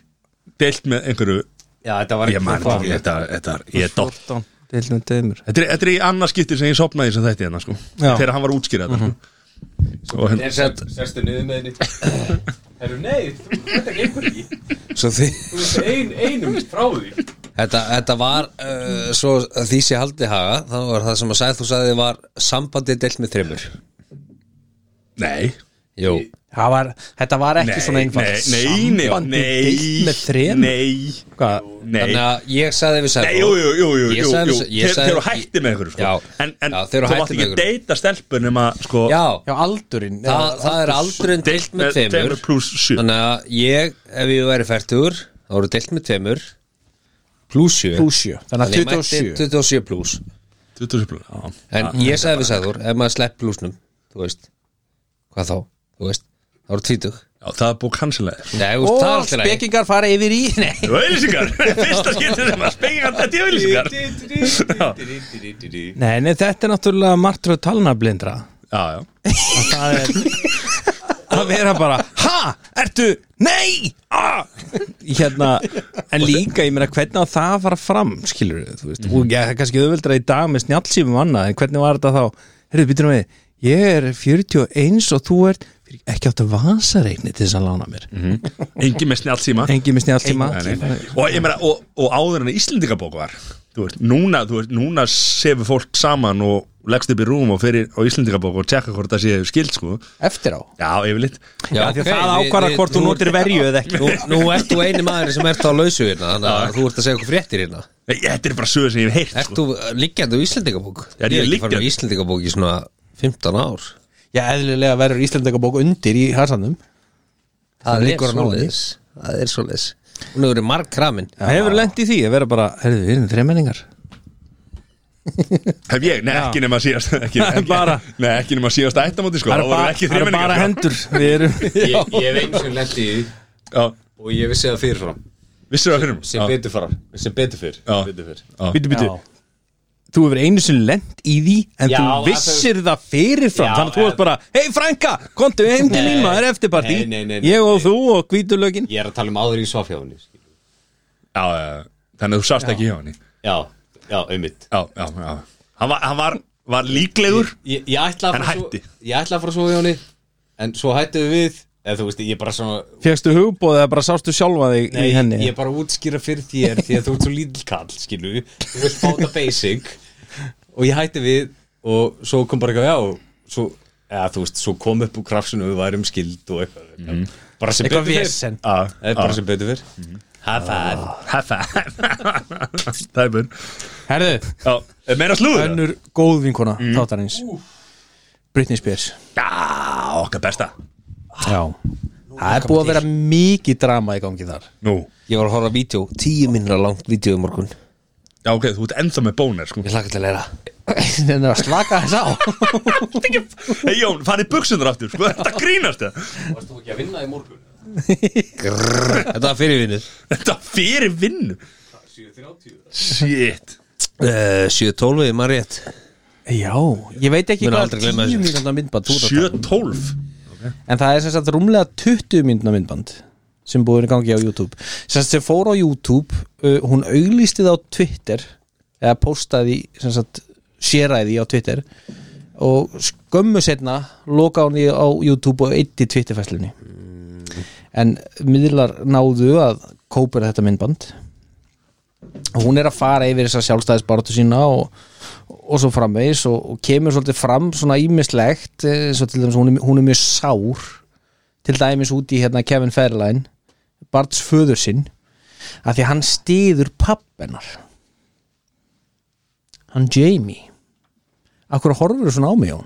S1: deilt með einhverju
S4: Já, þetta var
S1: ég man
S4: eitthvað
S1: ekki, þetta, þetta er ég er dott,
S5: 14 deildin deimur
S1: Þetta er, þetta er í annað skipti sem ég sopnaði sem þetta hérna sko
S5: Já.
S1: Þegar hann var útskýrað mm -hmm. sko. Og hérna,
S6: Sestu niður með henni Herru, nei, þú, þetta gengur ekki
S3: Svo þið
S6: Þú veist ein, einum frá því
S3: Þetta, þetta var, uh, svo að því sé haldið haga, þá var það sem að sagði, þú sagði var sambandið delt með þreymur.
S1: Nei
S3: Jú,
S2: Það var, þetta var ekki svona
S1: nei,
S2: einfalt
S1: nei, nei,
S2: Sambandi
S1: nei,
S2: deilt með þrem
S1: Nei,
S5: Hvað?
S1: nei
S3: þannig að ég sagði við
S1: Nei,
S3: sagði
S1: jú, jú, jú, jú,
S3: Ég
S1: jú,
S3: sagði-
S1: jú.
S3: ég
S1: Þeir
S3: sagði-
S1: þeir eru hætti með ykkur sko.
S3: Já.
S1: En, en
S3: Já, þeir
S1: þú
S3: eru hættir
S1: mátt
S3: með
S1: ekki
S3: ykkur.
S1: deyta stelpur nema sko,
S3: Já,
S2: Já, aldurinn
S3: það,
S2: Já,
S3: það er aldurinn delt með þreymur.
S1: pluss 7
S3: Þannig að ég, ef ég væri færtur, þá voru delt með þreymur, pluss 7.
S2: Plús sjö, þannig að 27
S3: 27 pluss.
S1: 20 pluss já.
S6: Ah,
S3: En ég sagði við sagði ef maður slepp plussnum, þú veist, hvað þá, þú veist, þá voru 20.
S1: já, það er búið kansilega
S3: Nei, þú veist, það er
S2: Og
S3: alltaf leið.
S2: spekingar fara yfir í Nei,
S1: Vöðlýsingar, fyrsta skipti sem að spengja þetta í vöðlýsingar
S5: Nei, nei, þetta er náttúrulega martröð talnablindra
S1: Já, já
S5: Það er að vera bara Ha, ertu, nei ah! Hérna, en líka ég meina hvernig á það að fara fram skilur þú veist, og ég er kannski auðveldra í dag með snjálfsýmum annað, en hvernig var þetta þá Herðu, býtum við, ég er 41 og þú ert fyrir- ekki átt að vasareikni til þess að lána mér
S1: Engi með snjálfsíma
S5: Engi með snjálfsýma
S1: og, ég meina, og, og áður en Íslendingabók var þú veist, núna, þú veist, núna sefur fólk saman og leggst upp í rúm og fyrir á Íslendingabók og tjekka hvort það séu skild sko.
S2: eftir á
S1: Já, yfirleitt
S3: Já,
S5: Því að
S3: ok,
S5: það
S3: við-
S5: ákvarða
S3: við-
S5: hvort þú
S3: nú-
S5: notir verju eða ekki
S3: Nú, nú ert þú eini maður sem ert á lausu hérna Þannig að þú ert að segja okkur fréttir hérna
S1: Nei, Þetta er bara sögur sem ég hef heyrt
S3: Ert
S1: sko.
S3: þú uh, liggjandi á Íslendingabók?
S1: Er ég
S3: er ekki farin á
S1: liggjandi?
S3: Íslendingabók í svona 15 ár
S2: Já, eðlilega verður Íslandingabók undir í hasanum
S3: Það
S2: liggur á nálinni.
S3: svoleiðis. Það er svoleiðis Hún hefur verið marg kramin
S5: Hefur lent í því að vera bara, herðu, við erum þremenningar
S1: Hef ég, nei, ekki nema síðast ekki, ekki,
S5: Bara-
S1: Nei, ekki nema síðast ættamóti sko. þá
S5: Það er
S1: vorum við
S5: bara,
S1: ekki sko.
S5: það eru bara
S1: þremenningar.
S5: hendur Við erum
S6: Ég, ég hef einu sem lendi í því
S1: Já,
S6: og ég vissi það fyrirfram
S1: vissir það fyrir
S6: sem betur fram, sem betur fyrr
S1: Já.
S6: sem betur fyrr.
S5: Býtu, býtu Þú hefur einu sinni lent í því En
S6: Já,
S5: þú
S6: að
S5: vissir það fyrirfram
S6: Já,
S5: Þannig að þú
S6: en-
S5: varst bara Hei frænka, komdu heim til mín maður eftir partí
S6: Nei, nei, nei, nei,
S5: Ég og
S6: nei.
S5: þú og hvítulögin
S6: Ég er að tala um áður í svafjáðunni
S1: Já, já, þannig að þú sást ekki hjá henni
S6: Já, já, einmitt
S1: Já, já, já Hann var, hann var, var líklegur
S6: Ég, ég ætla að
S1: En
S6: fara svo-
S1: hætti.
S6: Ég ætla að fara svo hjá henni En svo hættum við Eða þú veist, ég er bara svona
S5: Fjöxtu hugbóð eða bara sástu sjálfa þig
S6: Nei,
S5: í henni
S6: ég er bara að útskýra fyrir þér Því að þú ert svo lítill kall, skilu Þú vilt fá þetta basic Og ég hætti við Og svo kom bara eitthvað, já Svo, eða þú veist, svo kom upp úr krafsinu Við værum skild og eitthvað Bara sem
S2: Eitthvað
S6: betur fyrr
S2: vesen.
S1: Já,
S6: Það er bara sem betur fyrr High five
S1: heffa Það er búinn
S2: Herðu,
S1: Já, er meira slúður það?
S2: önnur góð vinkona þáttarins Britney Spears
S1: Já, okkar besta
S2: Já Það er búið að vera mikið drama í gangi þar
S1: Nú
S3: Ég var að horfa á vídeo, 10 minnra langt vídeo um morgun
S1: Já, ok, þú ert ennþá með bónir sko
S3: Ég hlakka til að læra
S2: Það er að Hérna, slaka þess á
S1: Hei Jón, farið buksundur aftur sko, þetta grínast það
S6: Varst þú ekki að vinna í morgun?
S3: Þetta var fyrirvinnið
S1: Þetta fyrir vinnu
S6: 7.30
S1: Shit
S3: uh, 7.12 í maður rétt
S2: Já, ég veit ekki
S3: Mun
S2: hvað
S3: aldrei
S2: er 10
S3: gleyma þessu.
S2: mínútna myndband þú ert að tala um.
S1: 7-12
S2: En það er sem sagt rúmlega 20 mínútna myndband sem búið er í gangi á YouTube sem, sagt, sem fór á YouTube uh, hún auglýsti það á Twitter eða postaði sem sagt séræði á Twitter og skömmu setna loka hún í á YouTube og eitt í Twitterfæslunni en miðlar náðu að kópa þetta myndband og hún er að fara yfir þessa sjálfstæðisbaratu sína og, og svo framvegis og, og kemur svolítið fram svona ímislegt eh, svo til dæmis hún er, hún er mjög sár til dæmis út í hérna Kevin Fairline Barts föður sinn að því að hann stiður pappennar hann Jamie Akkur horfur svona á mig Jón?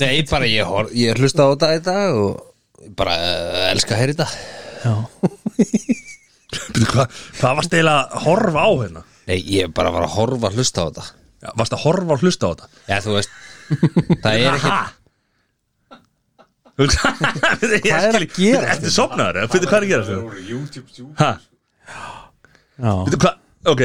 S3: Nei, bara ég, hor, ég hlusta á þetta í dag og bara uh, elska að heyra þetta
S1: Býtu, Hvað hva varst eiginlega að horfa á hérna?
S3: Nei, ég bara var að horfa að hlusta á þetta
S1: Já, Varst að horfa og hlusta á þetta?
S3: Já, þú veist Það er ekki
S1: Hvað er
S2: Hvað er að gera?
S1: Þetta er sopnaður, eða? Fyrir, hvað er að gera hérna? þetta?
S6: YouTube
S1: Hæ?
S2: Já.
S1: Fyrir, hvað? Ok,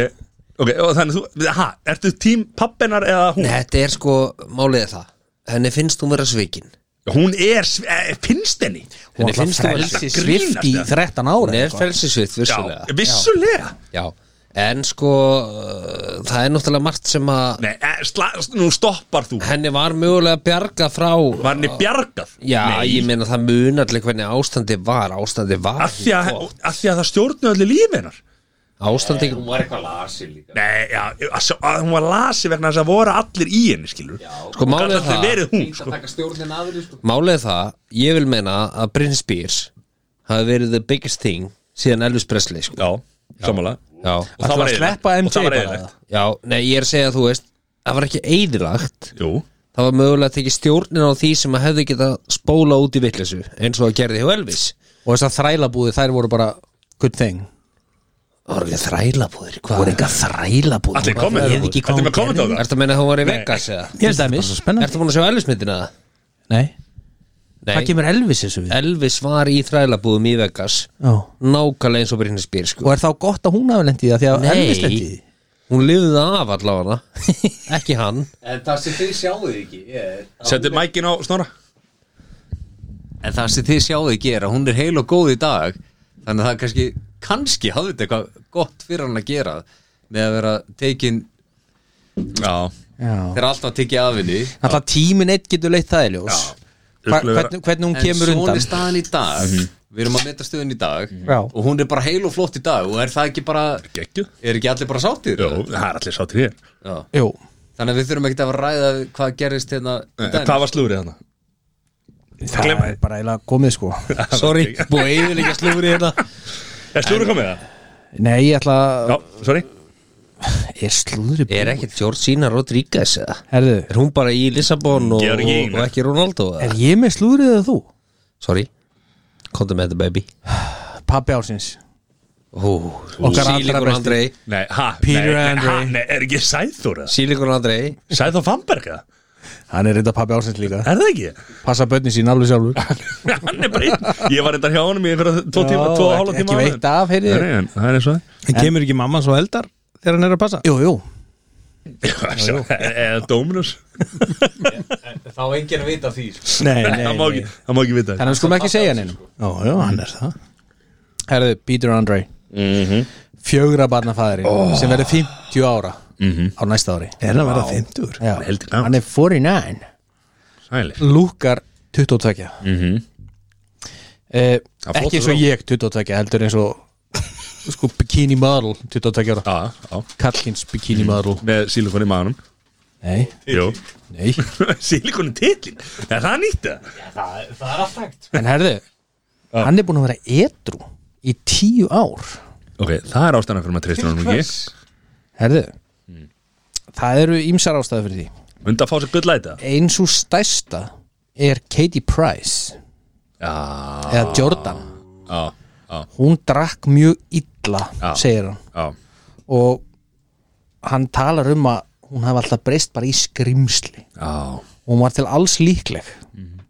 S1: ok, og þannig þú Hæ, ertu tím pappenar eða hún?
S3: Nei, þetta er sko málið er það Henni finnst hún vera svikin
S1: Hún er, sv- eh, finnst henni
S3: Henni finnst hún vera
S2: Frelsi
S1: þetta
S2: svift í
S1: grínast, eða?
S2: 13 ára
S3: Hún er felsisvitt, vissulega
S1: Já, vissulega
S3: Já, en sko uh, það er náttúrulega margt sem að
S1: Nei, eh, sla, nú stoppar þú
S3: henni var mögulega bjarga frá
S1: Var henni bjargað?
S3: já,
S1: Nei,
S3: ég meina það munalli hvernig ástandi var ástandi var sko.
S1: að því að, að því að það stjórnu öllu lífi hennar
S3: ástandi,
S6: Hún var eitthvað lasi líka
S1: Nei, já, að, sjá- að hún var lasi vegna þess að voru allir í henni, skilur Já,
S3: sko málið er
S1: það
S3: það
S1: verið hún,
S6: Fínt
S1: sko
S6: að taka stjórnin aðri sko
S3: málið er það, ég vil meina að Bryn Spears hafi verið the biggest thing síðan Elvis Presley sko.
S1: Já, samanlega
S3: já.
S1: Og það var
S5: sleppa
S1: eyðilegt.
S5: MJ
S1: Og það var
S5: bara?
S1: eðlilegt
S3: já, nei, ég er að segja að þú veist það var ekki eðilagt
S1: Jú,
S3: það var mögulega að tekið stjórnin á því sem að hefði getað spóla út í vitleysu eins og að gerði hjá Elvis
S2: og þess að þrælabúði þær voru bara good thing
S3: Það voru ekki þrælabúðir, hvað? voru ekki þrælabúðir
S1: allir komið
S2: veit ekki
S1: Þetta
S2: hvað hún
S1: með komið á
S2: gerði.
S1: það
S3: Ertu að meina að hún var í Vegas eða?
S2: ég held að mér svo spennandi
S3: Ertu búin að sjá Elvis myndina það?
S2: nei
S3: Nei,
S2: það kemur Elvis þessu við
S3: Elvis var í þrælabúðum í Vegas
S2: Já.
S3: Nákvæmlega eins og Brynni Spyr sko
S2: og er þá gott að hún hafi lendið það því að
S3: Nei.
S2: Elvis lendið
S3: Hún lifði af allavega Ekki hann
S6: En það sem þið sjáðu ekki er að
S1: Settu
S6: hún er-
S1: mækin á snorra
S6: En það sem þið sjáðu ekki er að hún er heil og góð í dag Þannig að það kannski Kannski hafði þetta eitthvað gott fyrir hann að gera Með að vera tekin Já
S2: Já.
S6: Þegar alltaf tekið af henni
S2: alltaf tímin eitt getur leitt það í ljós Hva,
S1: Upplifa-
S2: hvernig, hvernig hún
S6: En
S2: kemur
S6: svona
S2: undan Mhm.
S6: er staðan í dag Við erum að meta stöðun í dag
S2: Já.
S6: Og hún er bara heil og flott í dag Og er það ekki bara
S1: Gekkjuð
S6: Er ekki allir bara sáttir?
S1: Jú, það er allir sáttir hér
S6: Já.
S2: Jú.
S6: Þannig að við þurfum ekkert að fara að ræða hvað gerist hérna í dag.
S1: Hvað var slúrið þarna?
S2: það
S1: Gleyma-
S2: er bara eiginlega komið sko
S3: Sorry, búið að yfirleika slúri hérna
S1: Er slúrið komið það?
S2: nei ég ætla að
S1: Já, sorry
S2: er slúðri
S3: Er ekkert Georgina Rodríguez eða?
S2: herðu
S3: Er hún bara í Lissabon og, og,
S1: Georgina.
S3: og ekki Ronaldo eða?
S2: er ég með slúðrið eða þú
S3: Sorry, kontum með þetta baby
S2: pappi ásins
S3: Hú,
S2: Okkar allra
S3: Sílingur
S2: besti.
S3: Andrei
S1: Nei, ha,
S2: Peter
S1: nei, nei,
S2: Andre.
S1: ha, nei, er ekki Sæþór eða?
S3: Sílingur Andrei
S1: Sæþór Fannberg eða?
S2: hann er reynda pappi ásins líka
S1: Er það ekki?
S2: passa bönni sín alveg sjálfur
S1: Hann er bara einn Ég var reyndar hjá honum í einhverja tvo
S2: Já,
S1: tíma, tvo og hálfa
S2: ekki-
S1: tíma
S2: ekki
S1: áður.
S2: veitt af, heyrðu.
S1: Nei, nei, en Það er eins og það
S5: En kemur ekki mamma svo eldar þegar hann er að passa?
S2: jú jú
S1: Já, sjá, e- Eða Dominus
S6: Þá enginn að vita því sko.
S5: Nei,
S1: Það má ekki- það má ekki vita
S2: þannig að við skulum ekki segja hann einum
S5: Já, já, hann er það
S2: herðu Peter Andre fjögra barnafæðurinn sem verður 50 ára á næsta ári
S5: Er hann að vera 50?
S2: Já,
S1: Heldur gaman.
S2: hann er 49
S1: Sælir
S2: lúkar 22 mm
S1: Það er flottur
S2: Eh, ekki eins og
S1: róm.
S2: ég 22 heldur eins og sko bikini model 22 ára
S1: Já, já
S2: kallkins bikini model
S1: Með sílikon í maðanum
S2: nei,
S1: Jú
S2: nei
S1: Sílikon í titlin Er það nýtt það?
S6: það, það er alltaf hægt
S2: en herðu, hann er búin að vera edru í 10 ár
S1: Ok, það er ástæðan fyrir maður treystur honum ekki
S2: herðu það eru ýmsar ástæði fyrir því
S1: Undi að fá sér gull læta
S2: eins og stærsta er Katie Price
S1: Já,
S2: eða Jordan
S1: já,
S2: hún drakk mjög illa segir hann
S1: já
S2: og hann talar um að hún hefði alltaf breyst bara í skrimsli
S1: Já,
S2: og hún var til alls líkleg
S5: Mhm.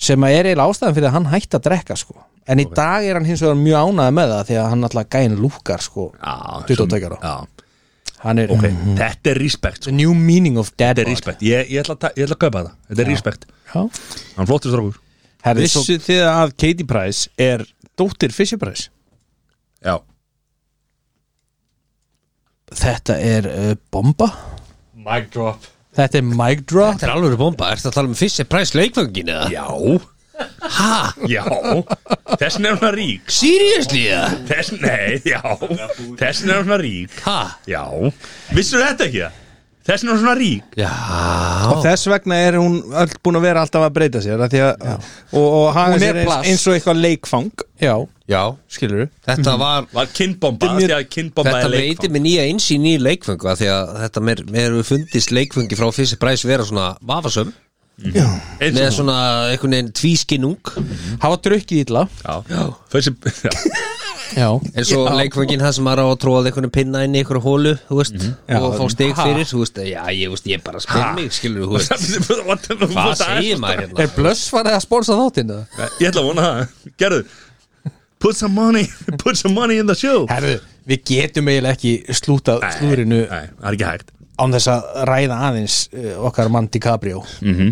S2: sem að er eiginlega ástæðan fyrir að hann hætti að drekka sko en í dag er hann hins vegar mjög ánæði með það því að hann alltaf gæn lúkar sko
S1: já
S2: 22 ára.
S1: Já,
S2: hann er
S1: ok Þetta er respect
S2: the
S1: sko.
S2: new meaning of dad
S1: Þetta er
S2: bod.
S1: respect Ég, ég, ætla, að ta- ég ætla að kaupa það Þetta er respect
S2: Já.
S1: Hann flottur strókur
S2: Herði, svo,
S5: Vissu þið að Katie Price er dóttir Fisher Price?
S1: Já
S2: þetta er uh, bomba
S6: Mic drop
S2: þetta er mic drop
S3: Þetta er alveg bomba, ertu að tala um fyrst er præs leikvöngin eða?
S1: Já Ha? Já Þess nefna rík
S3: Seriously eða?
S1: Þess, nei, já Þess nefna rík
S3: Ha?
S1: Já Vissur þetta ekki það? Þess nefna svona rík
S3: Já
S5: Og þess vegna er hún öll búin að vera alltaf að breyta sér að að, og, og haga
S2: Hún er
S5: sér eins,
S2: plast.
S5: eins og eitthvað leikfang
S2: já,
S3: Já,
S5: skilur við
S3: þetta var
S1: Var kinnbomba af Því að kinnbomba
S3: Þetta
S1: er leikfang.
S3: veitir mér nýja einsýn í leikfengu af Því að þetta mér, mér hefur fundist leikfengi frá fyrst er præs vera svona vafasöm
S1: Eins
S3: Með
S1: og-
S3: svona einhvern veginn tvískinung
S2: hafa drukkið illa
S1: Já Þessi Já
S2: já,
S3: En svo leikfengin það sem maður á að tróða einhvern pinna inn í einhverju hólu, þú veist Og fá stig fyrir, þú veist Já, ég, veist, ég bara spil mig, skilur þú veist Hvað segir maður hérna?
S2: er blössfarið að sponsa þáttinn eða?
S1: Ég ætla að vona það Gerðu Put some money Put some money in the show
S2: Herðu, við getum eiginlega ekki slúta
S1: Nei,
S2: slúrinu
S1: Nei, það er ekki hægt
S2: án þess að ræða aðeins eh, okkar mann DiCaprio mm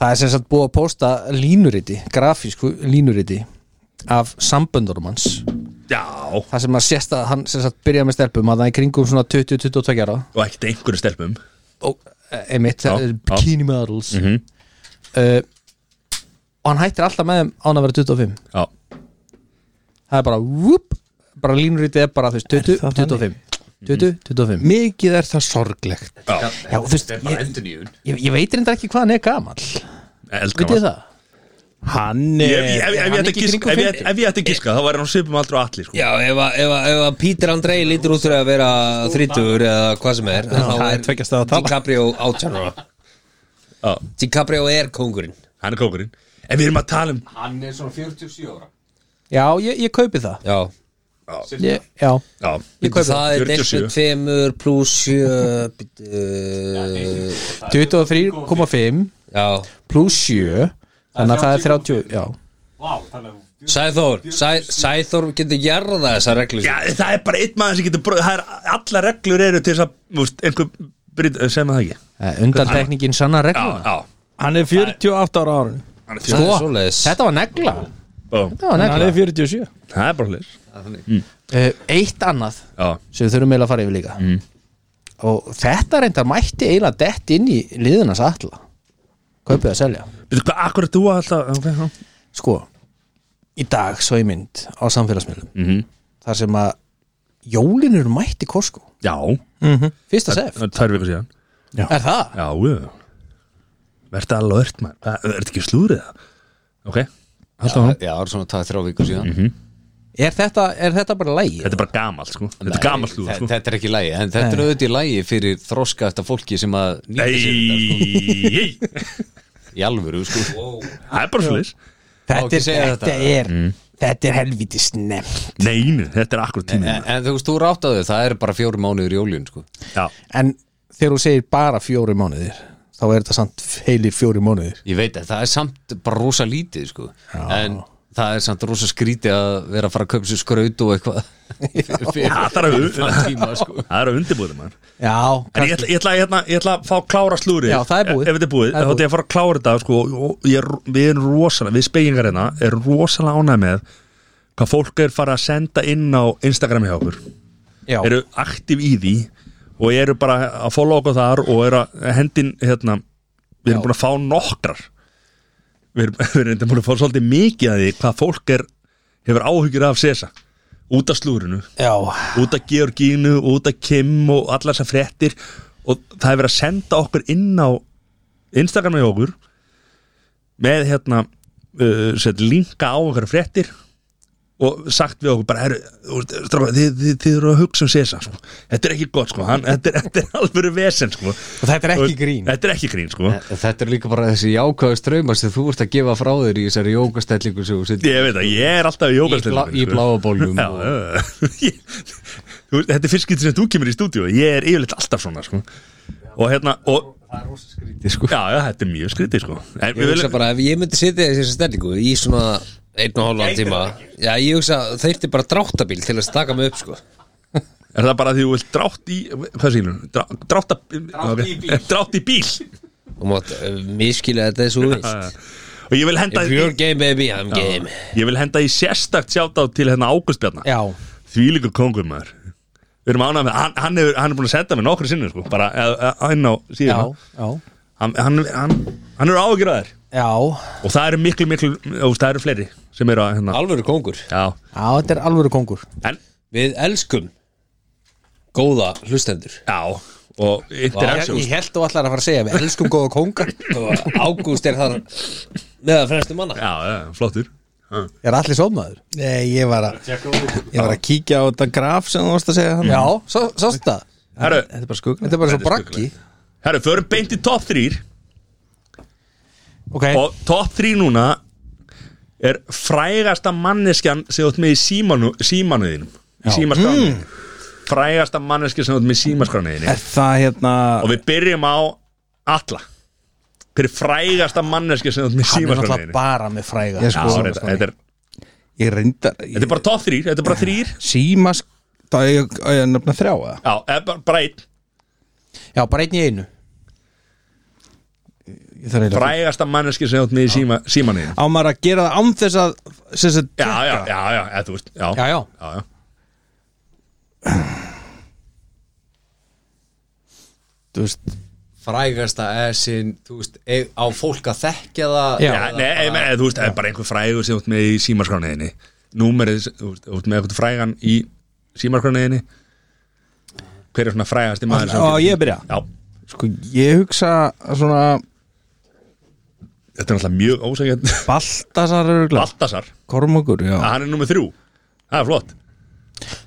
S2: það er sem sagt búið að posta línuriti, grafísku línuriti af samböndunum hans
S1: Já,
S2: það sem að sést að hann sem sagt byrjaði með stelpum að það í kringum svona 20-22 ára
S1: og ekkert einhverju stelpum
S2: og eh, einmitt, það
S1: Já,
S2: er
S1: já.
S2: bikini models uh, og hann hættir alltaf með þeim án að vera 25
S1: Já,
S2: það er bara, whoop, bara línurítið er bara þú veist, 20, 25 20, 25
S5: Mikið er það sorglegt
S2: Já, þú veist, ég, ég, ég veit reyndar ekki hvað hann er gamall
S1: eldgamall.
S2: veit ég það?
S5: Hann
S1: Ég-
S5: er
S1: ég- Ef ef ég ætti að giska- ef ég- ef ég ætti að giska þá væri hann svipum aldrei og allir sko.
S3: Já, ef að- ef að ef að Peter Andrei lítur út fyrir að vera 30 eða hvað sem er þá
S5: það er tveggja staða tala.
S3: DiCaprio átjánara
S1: Já,
S3: DiCaprio er kóngurinn
S1: Hann er kókurinn En við erum að tala um
S6: Hann er svona 47 ára
S2: Já, ég, ég kaupi það
S3: Já,
S2: ég, Já,
S1: Já,
S2: ég kaupi það
S3: það er
S1: 47.
S3: deilt tveimur pluss sjö bíddu, uh,
S2: 23,5
S3: Já,
S2: pluss 7 þannig að það er 30 já.
S3: Sæþór Sæ- Sæþór getur jarða þessa reglu
S1: Já, það er bara einn maður sem getur bröð er, Alla reglur eru til þess að þú veist, einhver bryt, sem það ekki
S2: Eh, undantekningin sanna
S1: Já,
S2: regluna
S1: já
S5: Hann er 48 ára árun
S1: Hann er
S3: Það
S1: fjó-
S3: er svoleiðis
S2: Sko, Þetta var negla,
S1: Bó.
S2: þetta var
S5: Hann
S2: negla.
S5: er 47
S1: Það er bara hlir
S2: Uh, Eitt annað
S1: Já,
S2: sem við þurfum eiginlega að fara yfir líka
S3: Mm.
S2: og þetta reyndar mætti eiginlega dett inn í liðunas alla kaupið að selja
S1: veitu hvað, akkur er þú alltaf okay, já.
S2: sko, í dag svo ég mynd á samfélagsmiðlum
S1: Mhm.
S2: þar sem að jólin eru mætt í Costco
S1: já,
S2: fyrsta sef,
S1: það er tvær vikur síðan
S2: er það?
S1: Já, já Vertu alveg ört maður Hvað, Ertu ekki slúrið það? Ok, alltaf hann
S6: Já, það er svona tæð þrjá vikur síðan
S1: Mhm.
S2: Er þetta, er þetta bara lægi?
S1: Þetta er bara gamalt sko Þetta er gamalt slúr
S6: Þe-
S1: sko
S6: Þetta er ekki lægi, en þetta er auðvitað í lægi fyrir þroska þetta fólki sem að nýta sér þetta sko,
S1: Nei,
S6: í alvöru sko.
S1: það er bara slúrið
S6: Má
S2: Þetta
S6: ekki
S2: er,
S6: segja
S2: þetta
S6: þetta.
S2: er, þetta er helviti snemt
S1: Nei, nei, þetta er akkur tími
S6: en, en þú veist, þú ráttaðu, það er bara fjórum mánuður í jólun sko.
S1: Já,
S2: En þegar þú segir bara fjóri mánuðir þá er þetta samt heilir fjóri mánuðir
S6: Ég veit að það er samt bara rosa lítið sko. en það er samt rosa skrítið að vera að fara að köpa sér skraut og eitthvað fyrir
S1: Já, það er að-
S6: þann tíma sko.
S1: það er að undirbúða maður
S2: Já,
S1: En ég ætla, ég, ætla, ég, ætla, ég ætla að fá að klára slúrið
S2: Já, það er búið.
S1: Ef þetta er búið,
S2: Það er
S1: þá ætla ég að fara að klára þetta sko, og ég, er- Við erum rosalega, við speyingar hérna erum rosalega ánægð með hvað fólk er farið að senda inn á Instagram hjá okkur
S2: já.
S1: eru aktiv í því og eru bara að follow okkur þar og eru að hendin hérna, við erum búin að fá nokkrar við erum, við erum reyndar búin að fá svolítið mikið að því hvað fólk er, hefur áhyggjur af Sesa út af slúrinu,
S2: já.
S1: út af Georgínu út af Kim og allar þessar fréttir og það hefur verið að senda okkur inn á Instagram með okkur með hérna uh, set, linka á okkar fréttir og sagt við okkur bara heru, stráka, þið, þið, þið eru að hugsa um Sesa sko. þetta er ekki gott sko Hann, þetta, er, þetta er alveg vesen sko
S2: Og þetta er ekki grín
S1: þetta er ekki grín sko
S6: En Þetta er líka bara þessi jákvæðu ströymar sem þú ert að gefa frá þér í þessari jókastellingu sem þú
S1: ég
S6: setur
S1: veit að ég er alltaf í
S6: í, bla,
S1: jókastöldum
S6: í bláa bólnum
S1: Já,
S6: og,
S1: já, já. Þú veist, þetta er fyrst getur sem þú kemur í stúdíu ég er yfirleitt alltaf svona sko. og hérna og,
S6: sko.
S1: já, já, þetta er mjög skrítið sko. En
S3: Ég
S1: við
S3: hugsa
S1: viljum-
S3: bara ef ég myndi sitja í þessu stellingu í svona einn og hálfan tíma Já, ég hugsa þeirti bara dráttabíl til að taka mig upp sko
S1: er það bara því þú vilt drátt í hvað sýnum, Drá, drátt, drátt, okay. drátt í bíl
S3: og mátt miskilja þetta þessu vilt
S1: og ég vil henda
S3: If you're game baby, I'm game
S1: ég vil henda í sérstakt sjátt á til hérna águstbjarna
S2: Já,
S1: því líka kongur maður við erum ánægð með, hann, hann, hefur, hann er búin að senda mig nokkru sinni sko, bara eh, eh, inn á
S2: já,
S1: síðan
S2: já
S1: hann, hann, hann, hann er áhyggjur að þér
S2: Já,
S1: og það eru miklu, miklu, þú veist, það eru fleiri sem eru að, hérna,
S3: Alvöru kóngur
S1: já,
S2: já, þetta er alvöru kongur
S1: en,
S3: Við elskum góða hlustendur
S1: já og
S2: Ég,
S1: interaction,
S2: ég held þú allar að fara að segja við elskum góða kongar
S3: og Ágúst er þar meðal fremstu manna
S1: já, já, flottur
S2: Er allir sómaður?
S5: Nei, ég var að Ég var að kíkja á þetta graf sem þú varst að segja hann
S2: Já, svo, sást það
S1: herru,
S5: Þetta er bara skugglegt
S2: Þetta er bara svo braggi
S1: herru, förum beint í top 3
S2: Ok,
S1: og top 3 núna er frægasta manneskjan sem þú ert með í símanu, símanuðinum í símaskránuðinu frægasta manneskja sem þú ert með í símaskránuðinu
S5: Er það hérna
S1: og við byrjum á alla hver er frægasta manneskja sem þú ert með í
S2: hann er náttúrulega
S1: símaskránuðinu
S2: bara með fræga
S5: Ég
S1: Já,
S5: sko-
S1: þetta þetta er,
S5: Ég reyndar
S1: þetta er bara top 3 þetta er bara 3 já,
S5: Símas Það er ég að nefna þrjá eða sko-
S1: eða bara- bara einn
S2: Já, bara einn í einu
S5: ég þarf eiginlega-
S1: frægasta manneski sem átt með í síma, símaninu
S5: Á maður að gera það án þess að sem sagt,
S1: já, já, já, já, eða þú veist já,
S2: Já, já,
S1: já, já.
S5: þú veist,
S6: frægasta essin, þú veist, e, á fólk að þekkja það
S2: Já.
S1: Já, nei, eða, eða, þú veist, eða bara einhver frægur sem þú ert með í símarskrániðinni Númerið, þú veist, þú ert með eitthvað frægan í símarskrániðinni Hver er svona frægasti maður sem þú
S5: á
S1: getur-
S5: ég að byrja
S1: Já,
S5: Sko, ég hugsa svona
S1: þetta er náttúrulega mjög ósækjönd
S5: Baltasar örgla
S1: Baltasar,
S5: Kormokur, já
S1: að hann er númer þrjú Það er flott,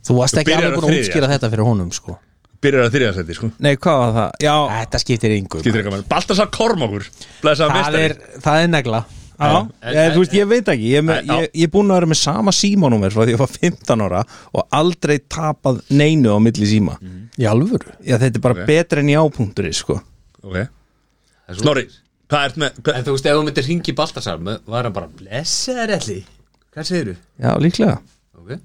S2: þú varst
S1: Þú
S2: ekki
S1: byrjar
S2: alveg
S1: á
S2: búin að
S1: þriðja.
S2: útskýra þetta fyrir honum sko.
S1: byrjar að þriða sæti, sko
S5: Nei, hvað var það? Já,
S2: Þetta skiptir yngur
S1: Getur eitthvað með, Baltasar Kormokur Blessaða
S2: það,
S1: mestari
S2: er- það er negla
S5: já ég, Þú veist, ég veit ekki Ég, er með- ég, ég er búin að vera með sama símanúmer frá því ég var 15 ára og aldrei tapað neinu á milli síma
S2: Í alvöru
S5: Já, þetta er bara
S1: Ok.
S5: betra en jápunktur sko.
S1: okay. Snorri, hvað ert með hvað,
S6: En þú veist, ef þú myndir ringi Baltasar mö- var hann bara, blessaður ætli Hvað segirðu?
S5: Já, líklega
S6: Ok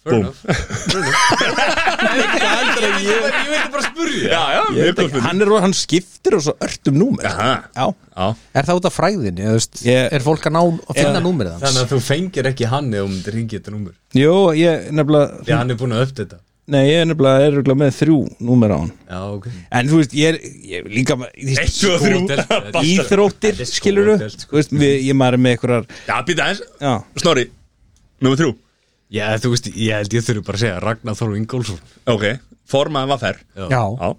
S6: Fair enough. Fair enough Ég veit- ég vildi bara spurja
S1: Já, já,
S5: Ég
S1: mjög góð
S5: veit ekki,
S1: spurning.
S5: hann, er, hann skiptir og svo örtum númer
S1: Aha.
S5: Já,
S1: Já,
S2: Er það út af fræðinni? eða, þú veist,
S5: Ég-
S2: Er fólk að ná að finna númerið hans?
S6: Þannig að þú fengir ekki hann ef þú myndir ringi þetta númur
S5: jú, ég nefnilega
S6: Því að hann er búin að öfta þetta
S5: Nei, ég er nefnilega er örugglega með þrjú númer á hann
S6: Já, ok
S5: En þú veist, ég er, ég er líka með- þú
S1: Eitt,
S5: veist,
S1: tvö, þrjú
S6: Skótel.
S1: Baltasar.
S5: Íþróttir,
S6: Þetta er
S5: skilur
S6: skótel,
S5: þú veist, við- Ég maður er með einhverjar
S1: Já, býta eins
S5: Já,
S1: Snorri, númer þrjú
S6: Já, þú veist, ég held ég þurfi bara að segja Ragnar Þóru Ingólfsson
S1: Ok, formaðan var fær
S2: Já,
S1: Já,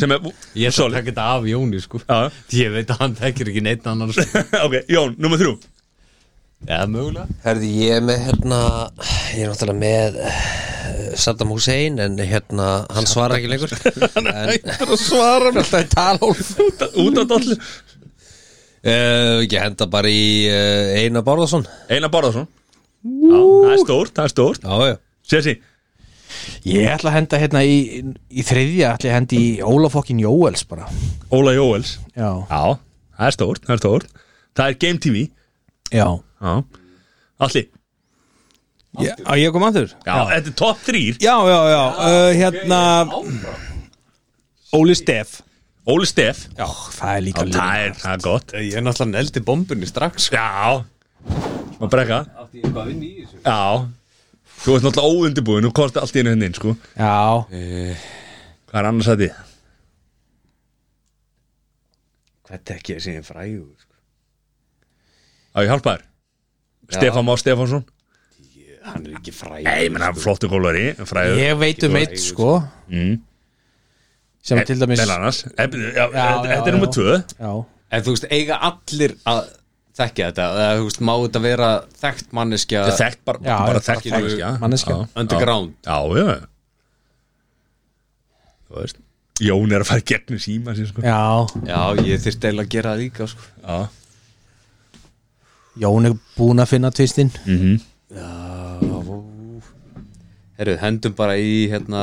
S1: sem er
S6: Ég ætla að
S1: Solid.
S6: taka þetta af Jóni, sko
S1: Já,
S6: Því ég veit að hann tekir ekki neitt annar sko.
S1: ok, Jón, nummer þrjú
S6: Já, mögulega
S3: Herði, ég er með hérna Ég er náttúrulega með eh, Saddam Hussein En hérna, hann svarar ekki lengur en,
S2: Það svarar mér alltaf í talhólf
S1: Út á dollu
S3: uh, Ég henda bara í uh, Einar Bárðarsson
S1: Einar Bárðarsson Já, það er stórt, það er stórt
S3: Já, já
S1: Sessi,
S2: Ég ætla að henda hérna í, í þriðja ætla að henda í Ólafokkin Jóels bara
S1: Óla Jóels
S2: Já,
S1: Já, það er stórt, það er stórt Það er Game TV
S2: já
S1: Já Alli,
S5: ég, á, ég kom að þur
S1: já, þetta er top 3
S5: Já, já, já,
S2: Eh,
S5: uh, hérna Óli Steff
S1: Óli Steff
S2: Já, það er líka
S1: Það er, það er gott
S6: Ég er náttúrulega neldi bombunni strax sko.
S1: Já Má brekka
S6: Átti ég eitthvað að vinna í þessu
S1: Já Þú ert náttúrulega óundibúin, þú komst allt í einu henni inn, sko
S2: Já,
S1: Hvað er annars að því?
S6: Hvað tekja ég sem frægur sko.
S1: Á ég hjálpa þér Stefán Már Stefánsson
S6: Hann er ekki frægur
S1: Nei, menn, hann er flottu kólari Fræður
S2: ég veit um eitt sko sem er til dæmis
S1: Meðal
S2: Já,
S1: annars Eh, byrju, já,
S2: Já,
S1: Þetta
S2: já,
S1: þetta er
S2: já.
S1: nummer 2
S6: En þú veist, eiga allir að þekkja þetta eða, Þú veist, má þetta vera þekkt manneskja
S1: Þetta er þekkt bara,
S2: Já,
S1: bara
S2: já,
S1: þekkt
S6: bara
S1: manneskja
S2: manneskja.
S1: Já,
S6: Underground.
S1: Já, já, já Þú veist Jón er að fara í gegnum síma sér sko
S2: já
S6: Já, ég þyrfti eiginlega að gera það líka sko.
S1: Já,
S2: Jón er búin að finna tvistinn
S6: Herru, hendum bara í hérna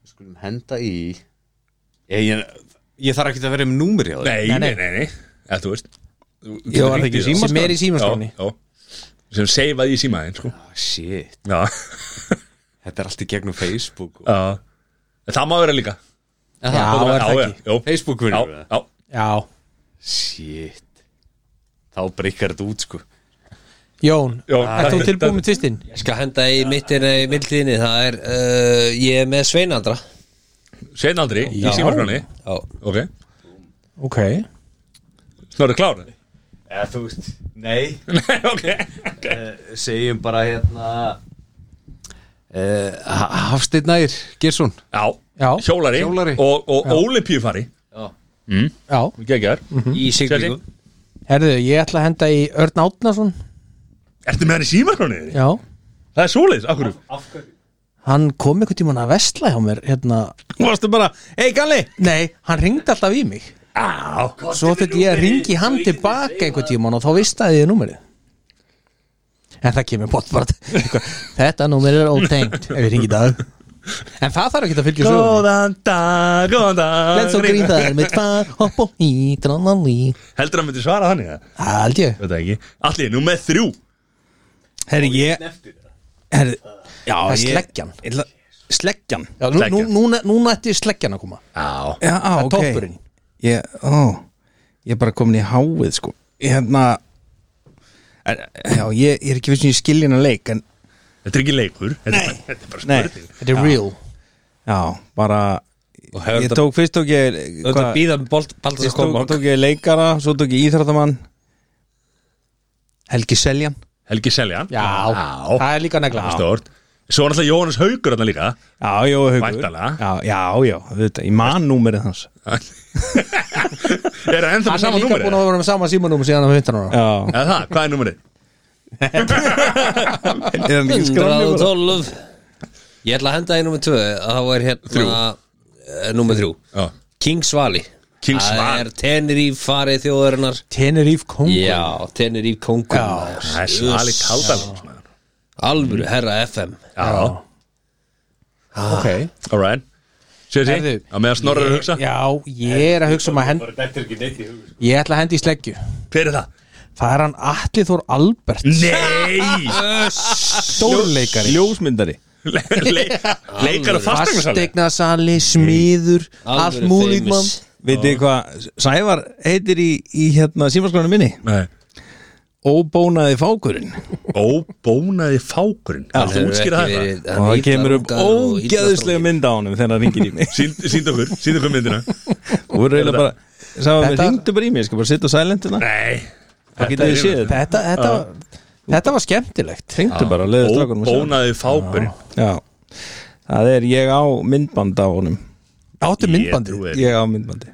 S6: Við skulum henda í Ég, ég, ég þarf ekki að vera um númur hjá þér
S1: Nei, nei, nei, nei Eða þú veist
S2: Já, var það ekki síma sem er í símaskráni
S1: Já, já Sem seifaði í símaðinn sko
S6: Ah, Shit,
S1: Já,
S6: þetta er allt í gegnum Facebook og...
S1: já En Það má vera líka
S2: Já, það er það ekki
S1: ekki
S6: Facebook
S1: Já,
S6: vinnur
S1: já
S2: Já,
S6: Shit Þá breykar þetta út sko
S2: Jón,
S1: Jón,
S2: ert þú
S1: það-
S2: tilbúin með tvistinn?
S3: Ég skal henda í mittina í mildinni Það er, uh, ég er með Sveinandra
S1: Sveinaldri í símaskráni
S3: Já,
S1: Ok
S2: Ok
S1: Snorri klár
S6: Eða þú veist, nei
S1: Nei, ok
S6: Eh, segjum bara hérna uh, Hafsteinn Nær Gersson
S1: Já
S2: Já.
S1: Hjólari
S6: Hjólari.
S1: Og, og olimpíufari
S2: Já,
S1: Gengjar
S3: Hmm?
S6: í
S1: Sérðu?
S6: siglingu
S2: herðu, ég ætla að henda í Örn Átnason
S1: Ertu með hann í símaskrániðinni?
S2: Já,
S1: Það er svoleiðis, af hverju?
S2: hann kom einhvern tímann að vesla hjá mér hérna
S5: Varstu bara, hei Galli
S2: Nei, hann ringdi alltaf í mig
S1: Á,
S2: Svo þetta ég að ringi hann tilbaka einhvern tímann og þá vistaði ég númerið En það kemur bótt bara eitthvað, Þetta númerið er ótengt ef ég ringi í dag En það þarf ekki að fylgja sögum
S1: góðan dag, góðan dag
S2: Let's go grín það er mitt far Hopp og í, drannan í
S1: Heldur hann myndi svara þannig það?
S2: Hald ég
S1: Veit það ekki Allir, nú með þrjú
S5: Herri, ég Herri, já,
S2: Það er
S5: ég-
S2: sleggjan.
S5: ég ætla- Sleggjan
S2: Já, nú, nú, núna, núna ætti sleggjan að koma
S1: Já
S5: Já,
S2: Það er
S5: ok
S2: toppurinn
S5: ég, ó, ég er bara komin í háið sko hérna en, já, ég, ég er ekki vissin í skiljina leik en
S1: Þetta er ekki leikur Þetta er bara, þetta er bara
S5: Nei.
S1: spurning
S2: Þetta er real
S5: já, bara
S3: hefur
S5: ég
S3: þetta-
S5: tók fyrst tók ég
S3: Þetta
S5: hvað-
S3: býða með bolt,
S5: Ég
S3: Baldur
S5: tók,
S3: Skómorg
S5: tók ég leikara, svo tók ég íþrættamann Helgi Seljan
S1: Helgi Seljan
S2: Já, það er líka negla
S1: Stort Svo var alltaf Jóhannes Haugur þarna líka
S5: Já, já, haugur
S1: Væntanlega.
S5: Já, já, já, þetta, ég man númerið hans
S1: Er það ennþá með
S2: Hann er
S1: sama
S2: líka
S1: númerið?
S2: búin að vera með sama símanúmer síðan á 15 ára
S5: Já,
S1: Eða það, hvað er númerið?
S5: er hann ekki skráður?
S3: 112 Ég ætla að henda í nummer 2 að það var hérna eh, þrjú. nummer 3
S1: Já.
S3: King Svali
S1: King Svali.
S3: Það er Tenerife farið þjóðarinnar
S2: Tenerife Kongo
S3: Já, Tenerife kongur
S1: Það er svali kaldal
S3: Alvöru herra FM
S1: Já,
S2: Ok
S1: alright Sér því,
S2: Herðu,
S1: á meðan snorrið að hugsa
S2: Já, ég er að hugsa um að hend Ég ætla að hendi í sleggju
S1: Hver er það?
S2: Það er hann Atli Þór Albert
S1: Nei!
S2: Stórleikari
S5: Ljósmyndari
S1: Le- le- Leikar að fastegna
S2: Fastegnasali, smiður Allt
S3: Alvöru
S2: múlík mann
S3: famous.
S5: Vitið þið hvað, Sævar heitir í, í hérna símaskránu minni
S1: Nei
S5: Óbónaði fákurinn
S1: Óbónaði fákurinn Það er útskýra það hérna. eitthvað
S3: verið-
S5: Og
S3: hann
S5: það
S3: illa
S5: kemur upp
S3: rungaður og illa
S5: ógeðslega
S3: strókin.
S5: mynd á honum þegar hann ringir í mig
S1: Sýnd- Sýnd okkur, sýnd okkur myndina
S5: Og við reyla bara, Sævar,
S2: Þetta-
S5: ringdu bara í mig, ég skal bara sitta á silentina
S1: Nei
S5: Það getur þið séð þetta
S2: Þetta, þetta, var, þetta var skemmtilegt
S5: Ringdu bara og leiðu strákunum að sjá.
S1: Óbónaði fákurinn
S5: Já, það er ég á myndband á honum
S2: Áttu
S1: Ég
S2: myndbandi
S1: trúi
S5: Ég á myndbandi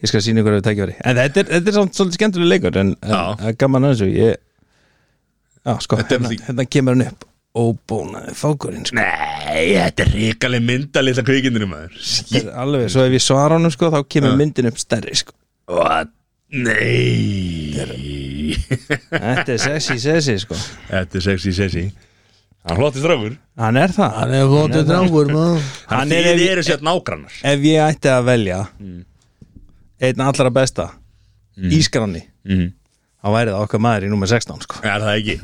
S5: Ég skal sína ykkur að við tækja En þetta er, þetta er samt svolítið skemmtilega leikur En en
S1: Já.
S5: það er gaman að þessu ég... Já, sko,
S1: Þetta er
S5: hérna,
S1: því-
S5: hérna kemur hann upp Óbónaði fákurinn sko.
S1: Nei, þetta er ríkaleg mynda litla kvikindinu maður Shit.
S5: Þetta er Alveg, svo ef ég svara honum sko, Þá kemur myndin upp stærri sko.
S1: What? Nei
S5: Þetta er sexy, sexy sko.
S1: Þetta er sexy, sexy Hann hlótti strákur
S5: Hann er það
S2: Hann er hóttu drangur maður
S1: Hann er þið eru sér nágrannar
S5: Ef ég ætti að velja
S1: Mm.
S5: Einn allra besta Ískranni
S1: Mhm.
S5: Þá væri það okkar maður í númer 16 sko.
S1: Er það ekki?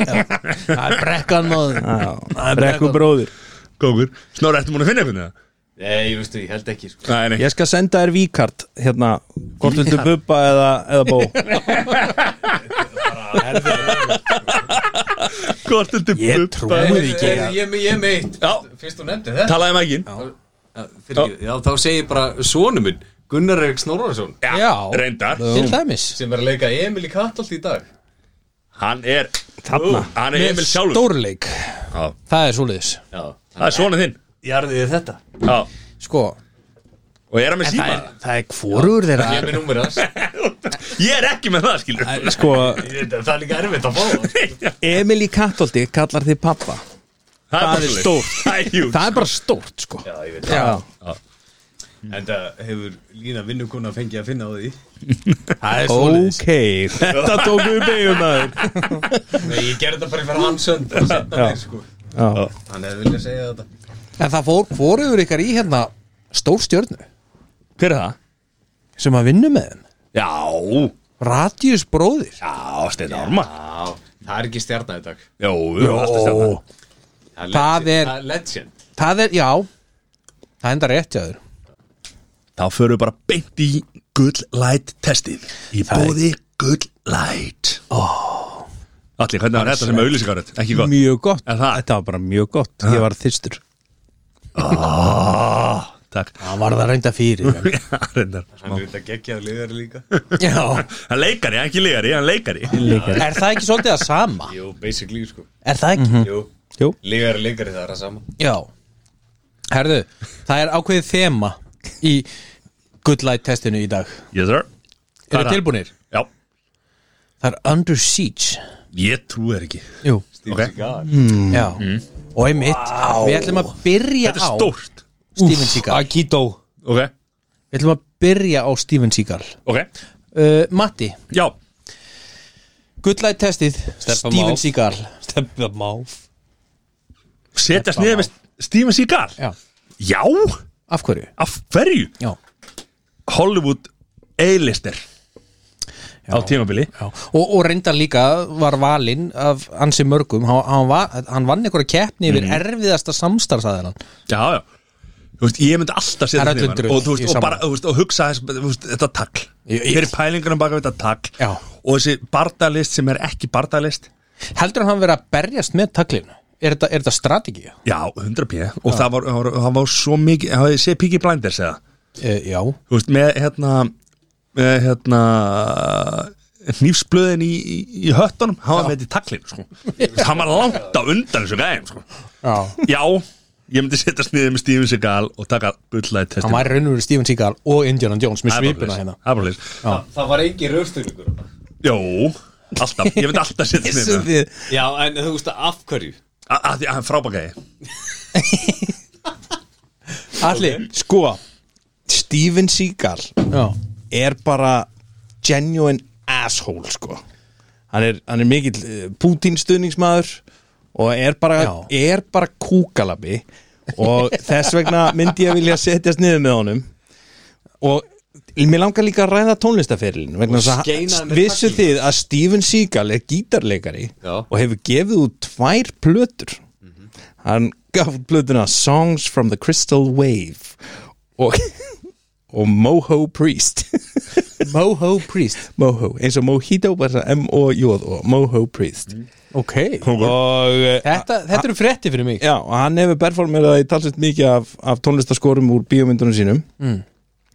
S2: Það er brekkan maður
S5: Brekku bróður
S1: Kókur Snorri, ertu múin að finna eitthvað það?
S6: Nei, ég veistu, ég held ekki sko.
S1: Nei, nei
S5: Ég skal senda þér víkart hérna, hvort viltu bubba eða, eða bó
S1: Hvort þetta
S2: Ég trúi því
S6: Ég,
S2: ekki
S6: ég, ég, ég meitt,
S1: Já.
S6: fyrst þú nefndi þetta
S1: Talaði maður ekki
S6: Fyrir, já, þá segi ég bara sonu minn Gunnar Erik Snorrason
S2: Já,
S1: Reyndar
S2: til dæmis
S6: sem er að leika Emil í Kattolt í dag
S1: Hann er
S5: Þarna.
S1: Hann er Emil sjálfur
S2: Stórleik
S1: Já.
S2: Það er svoleiðis
S6: Já,
S1: Það er svona þinn
S6: jarðið þetta
S1: Já
S2: Sko,
S1: Og ég er hann með síma
S2: það er hvorur þeirra
S6: Ég er með númur hans
S1: Ég er ekki með það, skilur
S5: Sko,
S6: Það er líka erfitt að fá það
S5: Emil í Kattolti kallar þig pappa það er stórt.
S1: Það er hjúl
S5: Það er bara stórt sko
S6: Já, ég veit
S2: Já,
S6: það En það hefur lína vinnukona fengið að finna á því
S2: það er svoleiðis
S5: Ok, þetta tók við beigum maður
S6: Nei, ég gerði þetta bara fyrir hans sönd og senda mér sko
S5: Já.
S6: Hann hefði viljað segja þetta
S2: En það fór hvorur ykkar í hérna Stórstjörnu
S1: Hver er það?
S2: sem að vinna með þeim
S1: Já
S2: Radius bróðir
S1: Já, Steinn Ármann
S6: Já, það er ekki stjarnar í dag
S1: Jó, við erum alltaf stjarnan
S6: Það er
S2: Það er-
S6: legend- það er legend
S2: Það er, já Það enda rétt hjá þér
S1: Þá förum við bara beint í Good Light testið Í bóði Good Light oh. Allir, hvernig var þetta sem auðlýsingaröð? Ekki gott
S5: Mjög gott,
S1: Er það?
S5: þetta var bara mjög gott Ég var þyrstur
S1: Takk
S2: Það var það reynda fyrir
S1: Já, reyndar.
S6: Hann er þetta geggjað liðar líka
S2: Já
S1: Hann leikari, hann ekki leikari, hann leikari
S2: Er það ekki svolítið að sama?
S6: Jú, basically sko
S2: Er það ekki?
S6: Jú,
S5: Jú.
S6: liðar leikari það er að sama
S2: Já Herðu, það er ákveðið þema í Good Light testinu í dag
S1: Yes sir Hvað er
S2: Eru
S1: það?
S2: tilbúinir?
S1: Já,
S2: Það er Under Siege Mm.
S1: ég trúi þér ekki
S2: Jú
S1: Ok,
S6: God.
S2: Já Og einmitt Við ætlum að byrja
S1: þetta er
S2: á
S1: stórt
S2: Steven Seagal Akito
S1: Ok,
S2: Við ætlum að byrja á Steven Seagal
S1: ok,
S2: uh, Matti
S1: já
S2: Gullæð testið
S3: Steppa
S2: Steven
S3: Mál.
S2: Seagal
S3: Steppa máf
S1: Setjast niður með Steven Seagal
S2: Já
S1: Já,
S2: Af hverju?
S1: af hverju?
S2: Já,
S1: Hollywood A-lister Á tímabili
S2: já. Og, og reyndar líka var valinn af ansi mörgum hann, hann, var, hann vann einhverja keppni yfir erfiðasta samstarfsaðilan
S1: Já, já Þú veist, ég myndi alltaf setja
S2: Það er
S1: mig
S2: öllum
S1: niður
S2: drull,
S1: og, þú veist,
S2: ég
S1: og,
S2: sammála.
S1: bara, þú veist, og hugsa þess, þú veist, þetta tagl
S2: Ég- ég-
S1: Hver er pælingunum baka við þetta tagl
S2: Já.
S1: og þessi bardalist sem er ekki bardalist
S2: heldur hann að vera að berjast með taglinu er þetta, er þetta strategið?
S1: já, 100 p og það var, það var, það var svo mikið hafið þið séð Piggy Blinders eða
S2: E, já,
S1: þú veist, með hérna með hérna hnífsblöðin í, í, í höttunum hann var með þetta í taglinu sko. hann var langt á undan þessu gæðum sko.
S2: já.
S1: já, ég myndi setja sniðið með Steven Seagal og taka bullæði
S2: hann
S1: testin
S2: væri raunverið Steven Seagal og Indiana Jones með svipuna hérna
S1: Abrúlis
S6: Það var engin rauðstöðningur
S1: Jó, alltaf, ég myndi alltaf setja mig með
S5: Þið-
S6: Já, en þú veist af hverju
S1: Að að því að hann frábakaði
S2: Alli,
S5: Sko, Steven Seagal
S2: já,
S5: er bara genuine asshole sko. hann, er, hann er mikill eh, Putin stuðningsmaður og er bara, er bara kúkalabi og þess vegna myndi ég vilja setjast niður með honum og mér langar líka að ræða tónlistaferilin vegna þess
S6: skeina
S5: að
S6: með
S5: vissu
S6: taglinu.
S5: þið að Steven Seagal er gítarleikari
S6: Já.
S5: og hefur gefið út tvær plötur hann gaf út plötuna Songs from the Crystal Wave og, og Moho Priest
S2: Moho Priest
S5: Moho, eins og Mojito bara M-O-J-O, Moho Priest
S2: Ok,
S5: og eh,
S2: þetta, þetta eru frétti fyrir mig
S5: já, og hann hefur performerað í talsett mikið af, af tónlistaskorum úr bíómyndunum sínum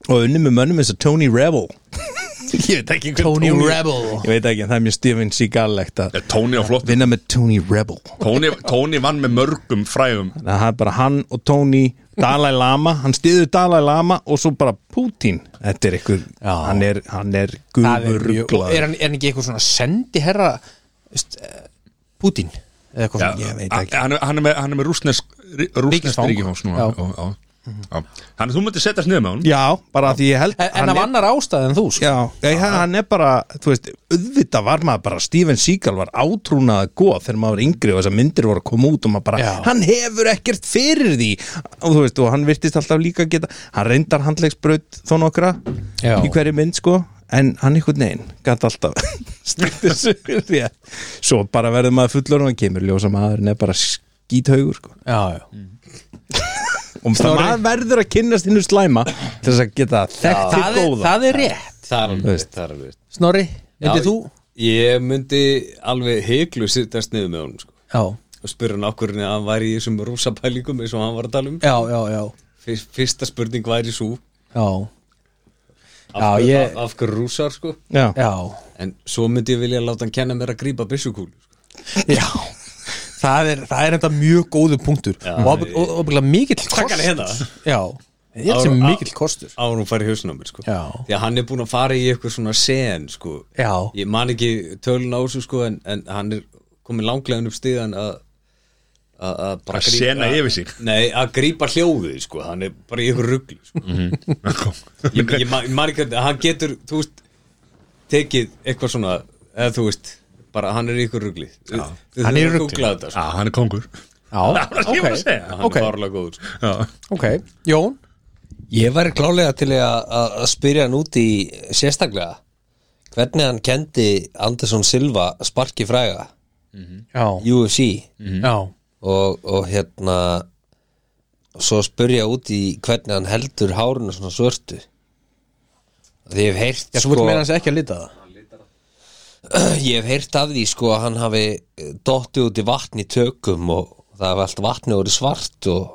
S5: og unni með mönnum eins og Tony Rebel ég veit ekki hver
S2: Tony Rebel.
S5: ég veit ekki, en það er mjög Steven Seagal-legt að
S1: Tóni á flott
S5: vinna með Tony Rebel
S1: Tóni, tóni vann með mörgum frægum
S5: Þannig að það er bara hann og Tony Dalai Lama, hann stiður Dalai Lama og svo bara Putin þetta er eitthvað,
S2: Já.
S5: hann er, hann er
S2: Það er, mjög-
S5: gufuruglaður.
S2: er, hann, er hann ekki eitthvað svona sendi herra Putin eh, eða eitthvað
S1: Já,
S2: svona Ah,
S5: ég veit
S1: a-
S5: ekki.
S1: Hann, er- hann, er með, hann er með rúsnesk rúsnesk
S2: Ríkisfang.
S1: ríkifáns núna
S2: Já.
S1: sko. Já, já, já. Þannig að þú myndir setjast niður með hún
S5: Já, bara því ég held
S2: En, en
S5: hann
S2: af
S5: er-
S2: annar ástæð en þú sko.
S5: Já, ég, hann er bara, þú veist, auðvitað var maður bara, Steven Seagal var átrúnað að góð þegar maður var yngri og þessar myndir voru að koma út og maður bara,
S2: Já.
S5: hann hefur ekkert fyrir því og þú veist, og hann virtist alltaf líka að geta, hann reyndar handlegsbraut þó nokkra
S2: Já.
S5: í hverju mynd sko, en hann einhvern veginn gæti alltaf stíkt þessu rétt. svo bara verður maður fullur og hann kemur ljósa maðurinn er bara skíthaugur sko
S2: já, já.
S5: og það maður verður að kynnast innu slæma til þess að geta þekkt til
S2: Það, er,
S5: góða
S2: það er rétt
S6: Það er alveg, það er alveg
S2: Snorri,
S6: Já,
S2: myndið þú?
S6: Ég myndi alveg heiklu sittast niður með honum sko.
S2: Já,
S6: og spyrja hann okkur en hann væri í þessum rúsa pælingum eins og hann var að tala um
S2: já, já, já,
S6: Fyrst, Fyrsta spurning væri svo
S2: já,
S6: af,
S2: Já,
S6: hverju-
S2: ég-
S6: af, af hverju rúsar sko
S5: Já.
S2: já.
S6: En svo myndi ég vilja láta hann kenna mér að grípa byssukúlu sko.
S2: Já, það er, það er enda mjög góðu punktur já, og ábygg- og ábygglega mikill kostur
S6: hérna.
S2: Já, ég held sem
S6: Ára-
S2: mikill kostur
S6: Áður hún færi hausinn á mér sko
S2: Já.
S6: Því að hann er búin að fara í eitthvað svona sen sko
S2: Já,
S6: Ég man ekki tölun á þessu sko en, en hann er komin langlegin upp stíðan að að- að bara
S1: Að
S6: grípa-
S1: sena yfir sig.
S6: Nei, að grípa hljóðið sko Hann er bara í eitthvað rugli sko ég, ég, ma- ég man ekki að hann getur þú veist, tekið eitthvað svona eða þú veist, bara hann er í ykkur rugli
S2: Hann
S6: hann
S2: er í rugli.
S6: þetta,
S1: Já, hann er kongur
S2: já,
S1: Það var það sem ég var að
S2: ok,
S1: segja.
S6: sko. hann
S2: Ok.
S6: er farlega góður sko.
S1: Já.
S2: ok Jón,
S3: Ég væri klálega til í að- að að spyrja hann út í sérstaklega hvernig hann kendi Anderson Silva sparki fræga
S2: já,
S3: UFC
S2: já
S3: og, og hérna svo spyrja út í hvernig hann heldur hárinu svona svörtu Af Því ég hef heyrt sko-
S2: Já, svo vill meina hans ekki að lita það
S3: ég hef heyrt af því sko að hann hafi eh, dottið út í vatn í tökum og það hafi allt vatni orðið svart og,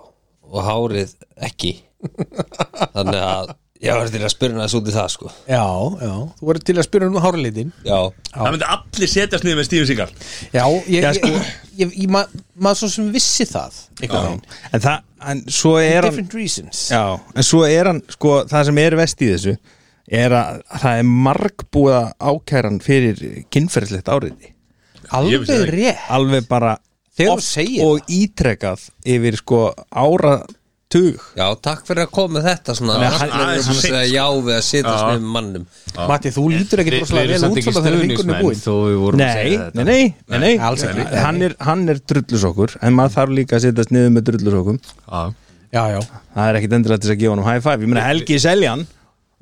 S3: og hárið ekki þannig að ég var til að spyrna þessu út í það sko
S2: Já, já, þú verður til að spyrja um háralitin
S3: já,
S1: Það myndi allir setjast niður með Steven Seagal
S2: Já, ég, ég, ég, ég, ma, maður svo sem vissi það einhvern veginn.
S5: en það, en svo er hann
S2: Different reasons
S5: Já, en svo er hann, sko, það sem er vest í þessu er að það er margbúða ákæran fyrir kynferðislegt áriði
S1: Ég vissi
S2: Alveg
S1: það ekki.
S2: rétt
S5: alveg bara
S2: Þegar þú
S5: oft
S2: segir
S5: og ítrekað yfir sko áratug
S3: já, takk fyrir að koma með þetta svona
S1: Nei,
S3: Allt
S1: hann-
S3: verður
S1: aðeins
S3: að
S1: of
S3: segja já við að sitja svona með mannum
S2: Matti, þú lítur ekki rosalega vel út svona þegar vingunni er búin
S6: þó við vorum að
S5: Nei,
S6: segja þetta.
S5: nei, nei, nei, nei.
S2: alls ekki.
S5: Hann, er, hann er drullusokkur en maður þarf líka að setjast niður með drullusokkum
S1: Já.
S2: Já, já
S5: það er ekkit endilega til þess að gefa honum high five ég meina Helgi Seljan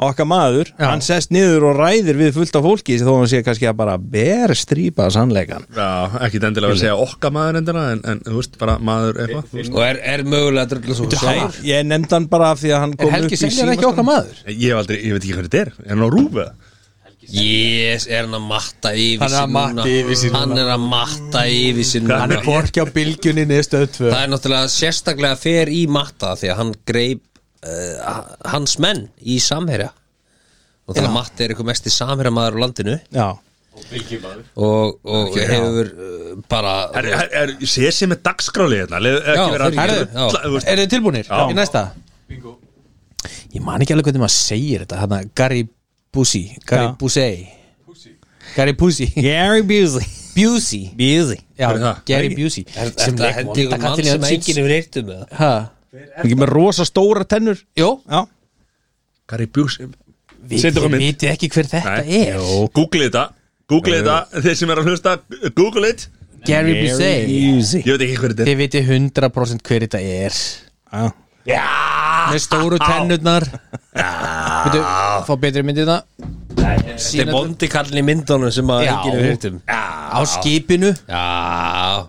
S5: okkar maður,
S2: Já.
S5: hann sest niður og ræðir við fullt af fólki þó hann sé kannski að bara berstrýpa sannleikan
S1: Já, ekki endilega að segja okka maður endina en, en þú veist, bara maður eitthvað þú veist.
S3: Og er, er mögulega að drölla svo
S5: Hæ, ég nefndi hann bara af því að hann
S2: Er
S5: kom upp
S2: Helgi
S5: í
S2: Seljan ekki
S5: símaskránni.
S2: okkar maður?
S1: Ég hef aldrei, ég veit ekki hvernig þetta er Er hann á rúfu?
S3: Yes, er hann að matta yfir
S2: Hann er að
S3: sig
S2: matta
S3: núna
S2: yfir sig
S3: Hann er að matta yfir sig núna
S2: Hann er borki á bylgjunni neðstöð 2
S3: Það er náttúrulega sérstaklega fer í matta því að hann greip uh, hans menn í samherja og það matta er ykkur mesti samherja maður á landinu
S5: Já,
S3: og, og hefur uh, bara
S1: Er, er, er, sé sem er dagskráli hérna leið- ekki vera að-
S3: þeir-
S1: Þú
S3: já.
S1: veist,
S2: Er þið tilbúinir? Í næsta? Ég man ekki alveg hvernig maður segir þetta Hanna Gary Busey Gary
S5: Já.
S2: Busey Gary Busey
S5: Gary Busey
S2: Busey
S5: Busey
S2: Já,
S1: Hver er það?
S2: Gary Busey
S3: sem
S2: leik-
S3: hendi
S2: vonda
S3: ykkur mann
S2: kallinn í
S3: sem
S2: Hutchins.
S3: enginn hefur eitt um með
S2: Ha?
S5: Ekki með rosa stóra tennur
S2: Jó,
S5: Já,
S1: Gary Busey
S2: við
S1: Setjum á mynd.
S2: veitum ekki hver þetta er
S1: Jó, Google þetta Google þetta, þeir sem er að hlusta Google it,
S2: Gary Busey
S5: Busey
S1: ég veit ekki hvernig þetta
S2: Þið veitir 100% hver þetta er
S5: Já,
S2: Með stóru tennurnar Veitu, fá betri myndið það
S3: Þetta er bondi kallin í myndunum sem að
S2: Já.
S3: enginn hefur eitt um
S2: Á skipinu
S3: Já,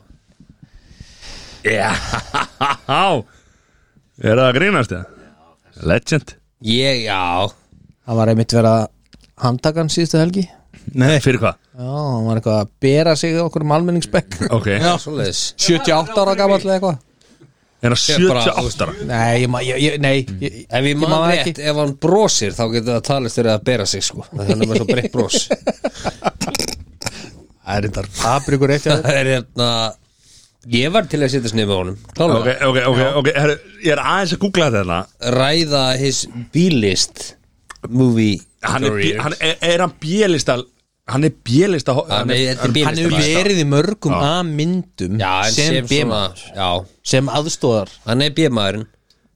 S1: er Já, er það að grínast það? Legend
S3: ég, já
S2: Það var einmitt verið að handtaka hann síðustu helgi
S5: nei
S1: Fyrir hvað?
S2: Já, hann var eitthvað að bera sig okkur um almenningsbekk
S1: Ok, er
S3: Svoleiðis
S2: 78 ára gamall eða eitthvað
S1: hann
S3: Ég bara-
S1: 78 ára?
S2: Nei, ég, ma- ég, ég, nei ég,
S3: Ef ég
S2: ég
S3: man
S2: man
S3: rétt,
S2: ekki.
S3: ef hann brosir þá getur það talist þegar að bera sig sko Þannig að með svo breytt bros
S2: Það er þetta Fabrikur eitt
S3: Það er hérna Ég var til að setja snið með honum
S1: Ok,
S3: Klálega
S1: ok, ok, ok, herru, ég er aðeins að googla þetta hérna
S3: Ræða his B-list Movie
S1: Hann er,
S3: career.
S1: hann er, er hann bjelista Hann er bjelista
S3: Hann er- Ah, þetta
S2: Hann
S3: er
S2: hefur
S3: B-listamaður.
S2: verið í mörgum A-myndum
S3: Já, en
S2: sem
S3: sem svona
S2: B-maður
S3: Já,
S2: sem aðstóðar
S3: hann er B-maðurinn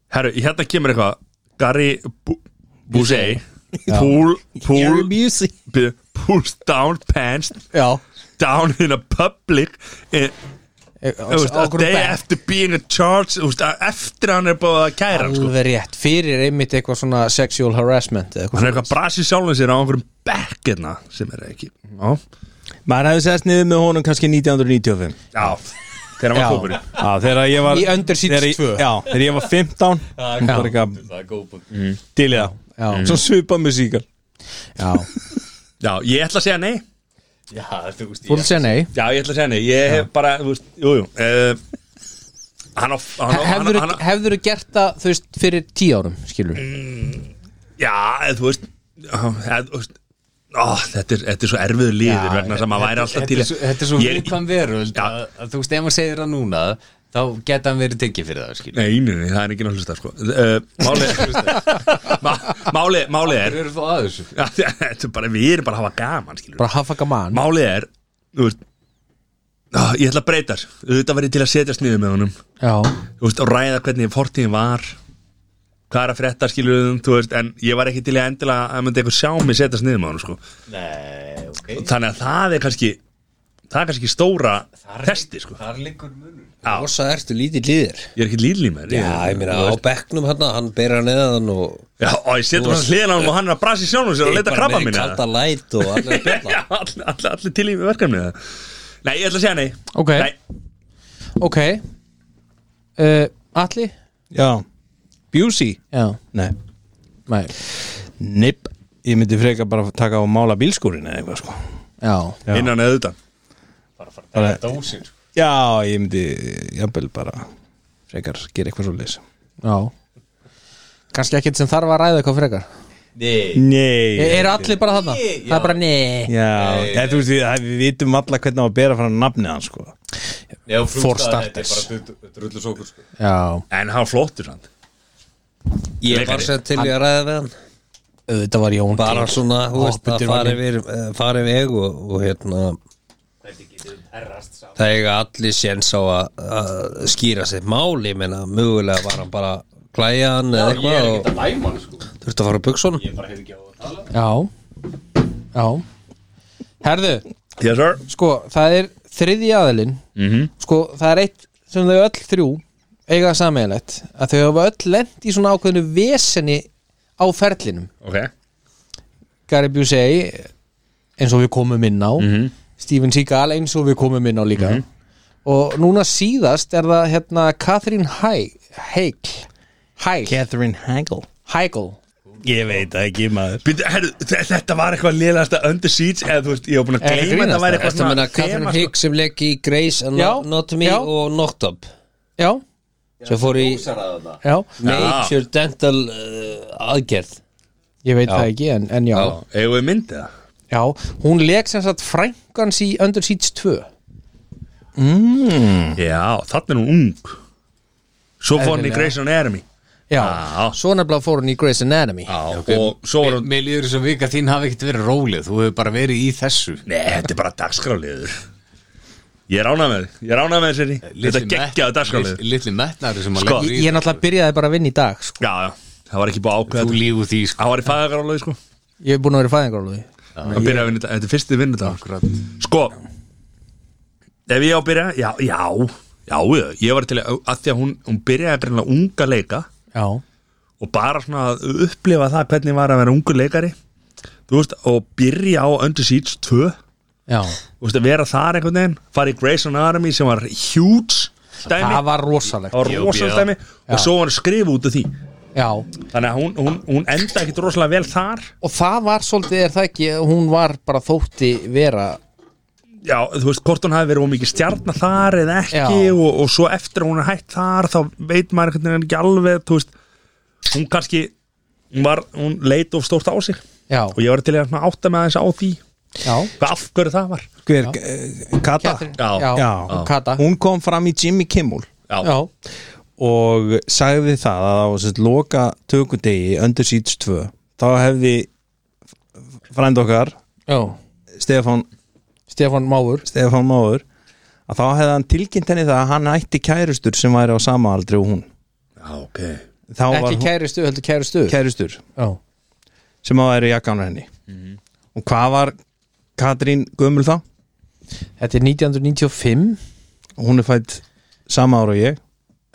S1: Herru, hérna kemur eitthvað Gary Bu- Busey Pull, pull,
S2: Busey
S1: byrju, pulls down pants
S2: Já,
S1: Down in a public in,
S2: eh,
S1: þú veist,
S2: á
S1: A
S2: okkur
S1: day
S2: bekk
S1: after being a charge þú veist, að Eftir að hann er búið að kæra hann sko.
S2: Alveg rétt, fyrir einmitt eitthvað svona sexual harassment
S1: Hann
S2: eða eitthvað
S1: er eitthvað brasið sjálfum sér á einhverjum bekk hérna Sem er ekki Já,
S5: Maður hefði sest niður með honum kannski 1995
S1: já Þegar hann
S2: Já.
S1: var kópurinn
S5: Já, þegar ég var
S2: Í Underseats
S5: þegar ég-
S2: 2.
S5: Já, þegar ég var 15 Það var eitthvað Til í
S2: Já.
S5: það Svo svipað musíkal
S2: Já,
S1: Já, ég ætla að segja nei
S2: fólk segja nei
S1: Já, ég ætla að segja nei Ég hef bara, þú veist, jú, jú uh, Hann á, hann á, hann á, hann Mm. á
S2: Hefður þú gert það, þú veist, fyrir tíu árum, skilur
S1: Já, eða þú veist já, eða, þú veist, Ó, þetta, er, þetta er svo erfiður líður vegna sem að væri alltaf til
S6: Þetta er svo- þetta er svo
S1: Ég-
S6: viðkvæm veröld
S1: Já.
S6: að, að þú veist, ef maður segir það núna þá geta hann verið tekið fyrir það, skilur
S1: Nei, nei, nei, það er ekki náttúrulega sko. uh, Máli má- Máli, máli er
S6: Þeir eru þó að þessu
S1: Já, þetta er bara, Við erum bara að hafa gaman skilur.
S2: Bara hafa gaman
S1: Málið er þú veist, á, Ég ætla að breyta þér. Þetta verið til að setjast niður með honum
S2: Já,
S1: Þú veist, og ræða hvernig fortíðin var Hvað er að frétta skilurðum veist, En ég var ekki til í að endilega að myndi eitthvað sjá mig setjast niður með honum sko.
S6: Nei, ok
S1: Þannig að það er kannski Það er kannski stóra testi sko.
S6: Þar liggur munur
S1: Já.
S3: Rosa ertu lítið líður
S1: Ég er ekki líðlímar
S3: Já, ég meina á bekknum hann Hann bera neðan og
S1: Já, og ég setur hann hliðan á hann og hann er að brasi sjálfum sér og leita
S3: Bara
S1: krabba
S3: með
S1: mín
S3: Kalda læt og allir að bjalla
S1: Já, allir all, all til í verkefnið það. Nei, ég ætla að segja nei
S2: Ok.
S1: Nei,
S2: ok uh, Atli?
S5: Já Busey
S2: Já,
S5: Nei
S2: nei,
S5: Nip Ég myndi freka bara að taka á mála bílskúrin eða eitthvað sko
S2: já
S5: Já.
S1: innan eða utan
S5: bara,
S6: Dósin
S5: Já, ég myndi Jafnvel bara Frekar gera eitthvað svo leys
S2: Já Kannski ekkert sem þarf að ræða eitthvað frekar
S6: Nei
S5: Nei
S2: Ég, Eru allir bara þarna? Það er bara nei
S5: Já, eða, þú veist, við, við vitum alla hvernig á að bera fram nafnið hans sko
S6: Já,
S2: For
S6: þetta
S2: starters.
S6: er bara drullu sókur sko
S2: Já,
S1: En hann var flottur hann
S3: Ég var
S1: Leikari.
S3: sem til í að ræða við hann
S2: auðvitað var Jón
S3: Bara
S2: Geir.
S3: svona, hú veist, að
S2: Hoppindur var
S3: fara
S2: ég.
S3: yfir eh, fara yfir veg og, og hérna Það eiga allir séns á að að skýra sér máli menna, mögulega var hann bara klæjan eða eitthvað og
S6: Læman sko
S3: þurfti að fara að buksunum
S6: Ég bara hef ekki á að tala
S2: Já, já Herðu,
S1: Yes sir
S2: sko, það er þriðji aðilinn -hmm. Sko, það er eitt sem þau öll þrjú eiga sameiginlegt að þau hafa öll lent í svona ákveðinu veseni á ferlinum
S1: Ok
S2: Gary Busey eins og við komum inn á Steven Seagal eins og við komum inn á líka og núna síðast er það hérna Catherine Hei- Heigl Heigl
S5: Catherine Hagel
S2: Heigl
S5: Ég veit það ekki maður
S1: Býtu, herru, þe- þetta var eitthvað liðasta Under Siege eða þú veist, ég var búin að
S2: Er það
S1: gleyma
S2: grínast
S1: þetta væri
S2: það?
S1: eitthvað
S3: Þetta meina Catherine
S1: þema, sko.
S3: Hicks sem leiki í Grace
S2: Já,
S3: Anatomy
S2: já.
S3: og Knocked Up
S2: já,
S3: sem fór í
S2: já,
S3: Major Dental uh, aðgerð
S2: ég veit það ekki en, en já.
S1: Já, eigum við myndið það
S2: já, hún leik sem sagt frængans í Under Siege 2
S1: Já, þarna er hún ung Svo fór hann í
S2: Eðlilega.
S1: Grey's Anatomy
S2: já,
S1: Já.
S2: svo nefnilega fór hún í Grey's Anatomy
S1: Já, og svo var hann
S6: Mér líður þess að vika þín hafi ekkert verið rólið Þú hefur bara verið í þessu
S1: Nei, þetta er bara dagskráliður Ég er ánað með þig, ég er ánað með þessari Þetta
S6: Litli
S1: geggjaðu
S6: met-
S1: dagskráliður
S6: lit- Litli metnari sem að
S1: Sko,
S6: leggur
S2: ég, ég náttúrulega byrjaði bara að vinna í dag sko.
S1: Já, já, það var ekki búið að ákveða
S6: Þú
S1: þetta.
S6: lífu því sko
S1: Hann var í fæðagarálaði, sko
S2: ég hef búin að vera í fæðingarálóði
S1: Hann byrjaði að vinna þetta, þetta er fyrsti vinnudag Sko Ef ég á að byrja, já, já Já, já, ég var til að, að því að hún, hún byrjaði að greina unga leika
S2: já,
S1: og bara svona að upplifa það hvernig var að vera ungur leikari þú veist, og byrja á Under Siege 2 þú
S2: já,
S1: veist, að vera þar einhvern veginn fara í Grey's Anatomy sem var huge dæmi,
S2: það var rosalegt
S1: það var rosalega dæmi og svo var hann skrifa út af því
S2: já,
S1: þannig að hún, hún, hún enda ekkit rosalega vel þar
S2: og það var svolítið er það ekki hún var bara þótti vera
S1: já, þú veist, hvort hún hafi verið of mikið stjarnar þar eða ekki
S2: Já.
S1: og, og svo eftir að hún er hætt þar þá veit maður einhvern veginn ekki alveg þú veist, hún kannski hún, var, hún leit of stórt á sig
S2: já,
S1: og ég var til í að svona átta með aðeins á því
S2: já,
S1: hvað af hverju það var
S5: Hver, eh, Kata
S2: Catherine-
S1: Já.
S2: já,
S5: Já.
S2: og Kata
S5: Hún kom fram í Jimmy Kimmel
S2: já,
S5: og sagði það að á sett, loka tökudegi Under Siege 2 þá hefði frænd okkar
S2: já,
S5: Stefán,
S2: Stefán Máur
S5: Stefán Máður að þá hefði hann tilkynnt henni það að hann ætti kærustur sem væri á sama aldri og hún
S1: Já, ok
S5: þá var
S2: ekki
S5: hún
S2: kæristu, heldur kæristu
S5: kærustur
S2: já,
S5: sem að væri jakkan henni
S2: Mhm.
S5: og hvað var Katrín Gömul þá?
S2: þetta er 1995
S5: Hún er fætt sama ára og ég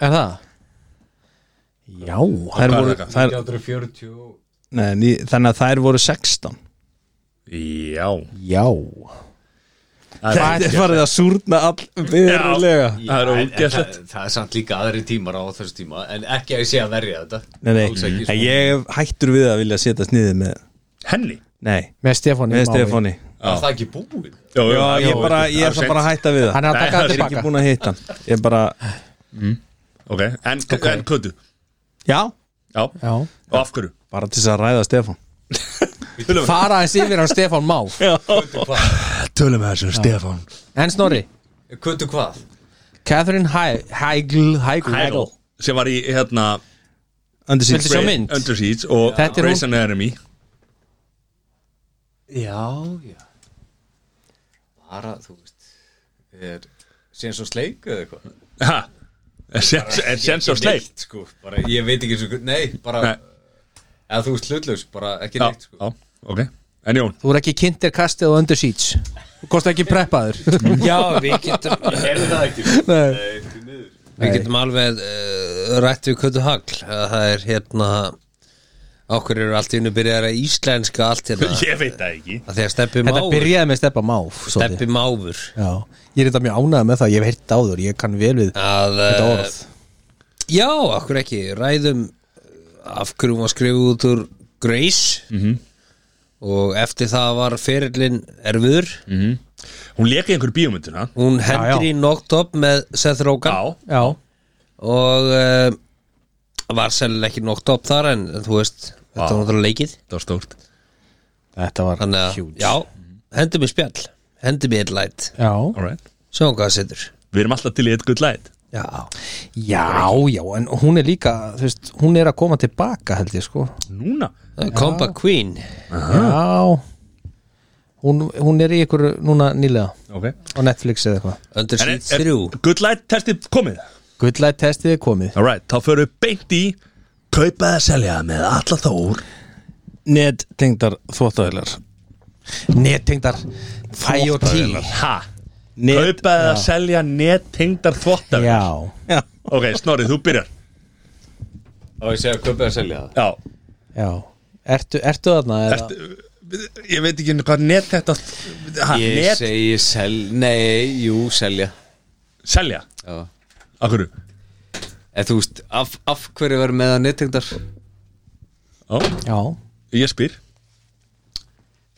S2: er það? já,
S5: Þær voru, þær,
S6: 1940 og-
S5: nei, ný- þannig að þær voru 16
S1: Já
S2: já
S5: Þetta er farið að súrna all verulega
S1: Það er
S6: En- en
S1: ógeðslegt.
S6: það- Það er samt líka aðri tímar á þessu tíma En ekki að ég sé að verja þetta
S5: Nei, nei,
S6: Alls ekki,
S5: en
S6: sko.
S5: ég hef hættur við að vilja setja sniðið með
S1: Henni?
S5: Nei,
S2: með Stefáni
S5: með
S2: Máur.
S5: Stefáni
S6: Er það ekki búið?
S1: Já,
S5: Já, ég bara, ég ætla bara að hætta við það
S2: hann er að taka
S1: Nei,
S2: það
S5: Ég er ekki
S2: tilbaka
S5: búin að hitta hann Ég bara,
S1: Ok, en, en köttu
S5: já,
S1: Já,
S2: já.
S1: og af hverju?
S5: bara til þess að ræða Stefán
S2: fara aðeins yfir á Stefán Má
S1: Tölum með þessu, Stefán
S2: en Snorri,
S6: Kvötu hvað?
S2: Catherine Hei- Heigl Heigl,
S1: Hægl Sem var í, hérna
S5: Undir
S2: viltu sjá
S5: síðan
S2: mynd?
S1: Under Siege og
S2: Þetta er
S1: Grey's Anatomy
S6: Já, já Bara, þú veist Er síðan svo sleik eða eitthvað
S1: Ha, er sens- er sens á
S6: Ekki
S1: sleik
S6: neitt, sko. bara, Ég veit ekki eins og Nei, bara
S1: Nei.
S6: Eða þú veist hlutlaus, bara ekki
S1: Já,
S6: neitt sko.
S1: já, ok En Jón,
S2: þú er ekki kynntir kastið og undir seats þú kost ekki preppaður
S3: Já, við getum,
S6: Er það ekki? sko?
S2: Nei.
S6: Nei, því miður.
S3: við getum alveg uh, rætt við Kötu Hagl að það er hérna okkur eru allt í unni byrjar að íslenska allt hérna
S1: ég veit það ekki
S3: að því að steppi
S2: þetta
S3: máfur
S2: byrjaði með Stefán Má svolítið.
S3: steppi máfur
S2: Já, ég er þetta mjög ánægð með það, ég hef heilt áður, ég kann vel við
S3: að
S2: þetta
S3: uh,
S2: orð
S3: já, okkur ekki, ræðum uh, af hverju hún var skrifuð út úr Grace -hmm. og eftir það var ferillin erfiður
S1: Hún leka í einhverju bíómyndina
S3: hún hendur í Knocked Up með Seth Rogen
S1: Já,
S2: Já,
S3: og uh, var sennilega ekki Knocked Up þar en þú veist, þetta var náttúrulega leikið
S1: það var stórt
S2: þetta var
S3: þannig að,
S2: huge
S3: já, hendur mér spjall hendur mér eitt læt,
S2: Já,
S1: Alright
S3: sjáum hvað það setur
S1: Við erum alltaf til í eitt gull læt
S3: já,
S2: já, já, en hún er líka, þú veist, hún er að koma tilbaka held ég sko
S1: Núna
S3: það er Comeback Queen
S2: Já Hún, hún er í ykkur núna nýlega
S1: Ok
S2: á Netflix eða eitthvað
S3: Under
S1: En
S3: Seat
S1: er, er
S3: 3
S1: gull læt testið komið?
S2: Gullæt testið er komið
S1: Alright, þá förum við beint í Kaupa eða selja með alla þór
S5: Net tengdar þvóttæðilar
S2: Nettengdar IoT
S3: hérna.
S1: Ha?
S5: Net,
S1: Kaupa eða selja nettengdar þvottar
S2: Já,
S5: já,
S1: Ok, Snorri, þú byrjar
S6: Á ég segja að köpa að selja það
S1: Já,
S2: já Ertu, ertu þarna? eða-
S1: ert, ég veit ekki hvað net þetta ha,
S6: Ég
S1: net,
S6: segi sel, nei, jú, selja
S1: selja,
S6: Já
S1: af hverju
S6: En þú veist, af, af hverju verður með að nettengdar?
S1: Já,
S2: Já,
S1: ég spyr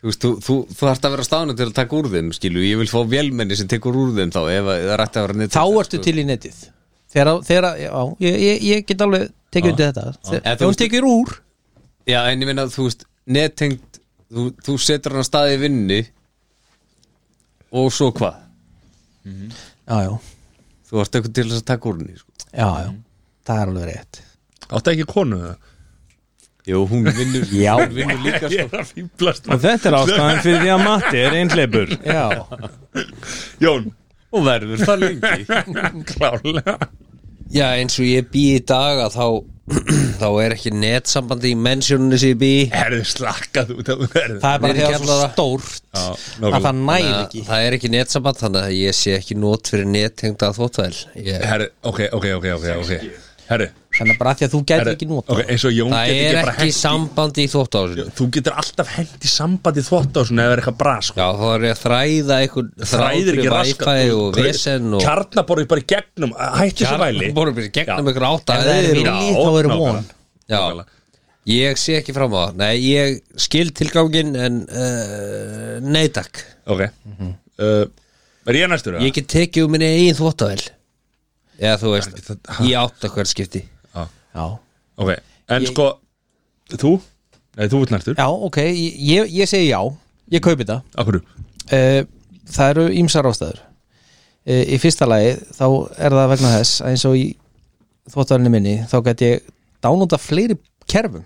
S6: Þú veist, þú, þú, þú þarft að vera stáðan til að taka úr þeim, skilu Ég vil fá vélmenni sem tekur úr þeim þá ef að- það er rætt að vera
S2: þá
S6: nettengdar
S2: ertu til í netið Þegar, þegar já, ég, ég, ég get alveg tekið undir þetta Þegar
S6: En
S2: ef
S6: þú
S2: hún tekir úr
S6: Já, en ég meina, þú veist, nettengd þú, þú setur hann að staði í vinnu og svo hvað?
S2: Já, já,
S6: Þú ert eitthvað til þess að taka úr henni sko.
S2: já, já, það er alveg rétt
S1: áttu ekki konu það
S6: Jú, hún vinnur,
S2: Já.
S6: hún vinnur líka
S1: ég
S6: sko.
S1: er að fýblast
S5: Og þetta er ástæðan fyrir því að Matti er einhleipur
S2: Já,
S1: Jón,
S6: Hún verður það lengi
S1: klálega
S3: Já, eins og ég bý í dag að þá, þá er ekki netsambandi í mennsjónunni sem ég bý í.
S1: herðu slakað út af herðu
S2: það er bara
S3: Niður í
S2: þegar það er svo
S3: kjallara.
S2: stórt
S1: Já,
S2: að
S1: nákvæmlega.
S2: það næri
S3: Þannig að
S2: ekki
S3: Það er ekki netsamband þannig að ég sé ekki nót fyrir nettengda þóttvæl ég,
S1: herðu, ok, ok, ok, ok, ok herðu,
S2: Þannig að bara af því að þú gætir
S1: herðu
S2: ekki nota
S1: ok, eins og Jón
S3: Það
S1: getur
S3: er
S1: ekki bara
S3: ekki
S1: hent
S3: sambandi í þóttásinu
S1: Já, þú getur alltaf hent í sambandi þvott á svona ef það er eitthvað bra sko
S3: Já, þá er ég að þræða einhvern
S1: þræðir ekki raskat
S3: Wi-Fi og vesen og
S1: kjarnaborðið bara í gegnum hætti þessu væli
S3: Kjarnaborðið bara í gegnum
S1: Já.
S3: einhver átta
S1: Ef
S3: eða
S1: það er
S3: vilji,
S1: vilji,
S2: þá er von.
S1: nákvæmlega.
S3: Já.
S1: Nákvæmlega.
S3: Ég sé ekki fram á það Nei, ég skil tilgangin en uh, nei takk
S1: ok Uh, er ég næstur
S3: Ég get tekið um minni eigin þvóttavel Eða þú veist,
S1: Ekki það-
S3: ég átta hvert skipti
S2: Já,
S1: ok, en sko þú, nei þú ert næstur
S2: já ok, ég, ég- ég segi já Ég kaupi það
S1: akkur,
S2: Eh, það eru ýmsar ástæður uh, í fyrsta lagi þá er það vegna þess að eins og í þvóttvælinni minni þá get ég dánúta fleiri kerfum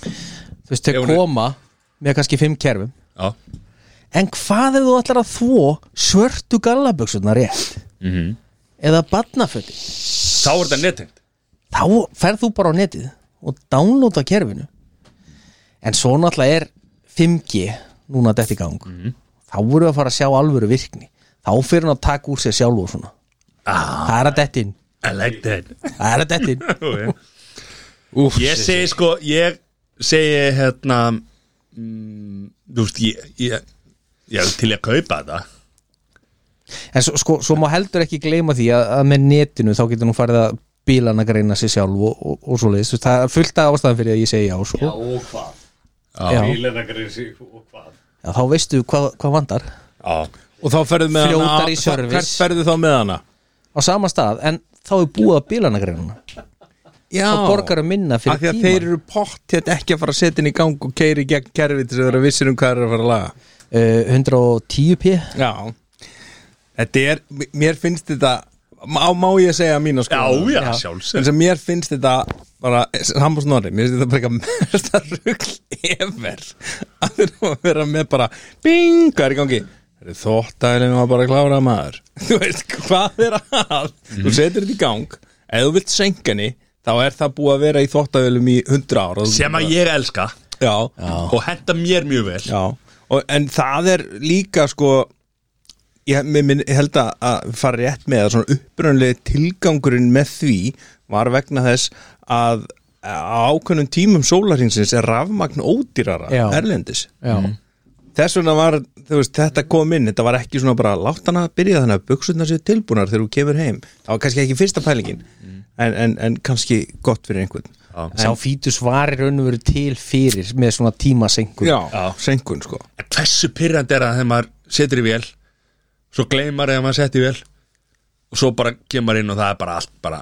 S2: þú veist,
S1: Ef
S2: þau
S1: hún er-
S2: koma með kannski fimm kerfum
S1: já,
S2: en hvað ef þú ætlar að þvó svörtu gallaböksuna rétt -hmm. eða barnaföti
S1: þá er þetta nettengt
S2: þá ferð þú bara á netið og downloada kerfinu en svo náttúrulega er 5G núna dætt í gang þá voru að fara að sjá alvöru virkni þá fyrir hann að taka úr sér sjálf og svona ah. það er að dætt inn
S1: I like that
S2: það er að dætt inn
S1: Ok. ég segi sko ég segi hérna mm, þú veist ég, ég, ég er til að kaupa þetta
S2: en svo, sko, svo má heldur ekki gleyma því að, að með netinu þá getur nú farið að bílan að greina sér sjálf og, og, og svo leiðis það er fullt af ástæðan fyrir að ég segi já sko. já og hvað já. Já, þá veistu hvað, hvað vandar
S1: já,
S5: Og þá ferðu með
S2: Fljótar í
S5: hana
S2: service.
S5: Hvert ferðu þá með hana?
S2: á sama stað en þá er búið að bílan að greina
S5: Já
S2: og borgar að minna
S5: Af
S2: fyrir
S5: því að
S2: tímann.
S5: þeir eru pott hérna ekki að fara að setja inn í gang og keiri gegn kerfi til þess að vera vissir um hvað er að fara að laga
S2: uh, 110p
S5: Já Þetta er, mér finnst þetta má, má ég segja mína sko
S1: já, já,
S2: Já.
S1: sjálfsög
S5: Þess að mér finnst þetta bara, Sambos Norri, mér finnst þetta bara eitthvað mesta rugl efer að þurfa að vera með bara bing, hvað er í gangi? Þóttælinn var bara að klára maður Þú veist, hvað er að?
S1: Mhm.
S5: Þú setur þetta í gang, ef þú vilt senka henni þá er það búið að vera í þóttælum í 100 ára
S1: sem að ég elska
S5: Já,
S2: Ah.
S1: og henda mér mjög vel
S5: já. Og, En það er líka sko ég, mér, mér held að- að fara rétt með að svona upprunalegi tilgangurinn með því var vegna þess að á ákveðnum tímum sólarhinsins er rafmagn ódýrara
S2: Já.
S5: erlendis
S2: já.
S5: þess vegna var, þú veist, þetta kom inn þetta var ekki svona bara, látt hana að byrja þannig að buksurnar séu tilbúnar þegar þú kemur heim það var kannski ekki fyrsta pælingin en, en, en kannski gott fyrir einhvern
S2: sá fítus var í raun og veru til fyrir með svona tímasengur
S5: já. senkun sko
S1: En hversu pyrrandi er það þegar maður setur í vél svo gleymar eða maður setur í vél og svo bara kemur inn og það er bara allt bara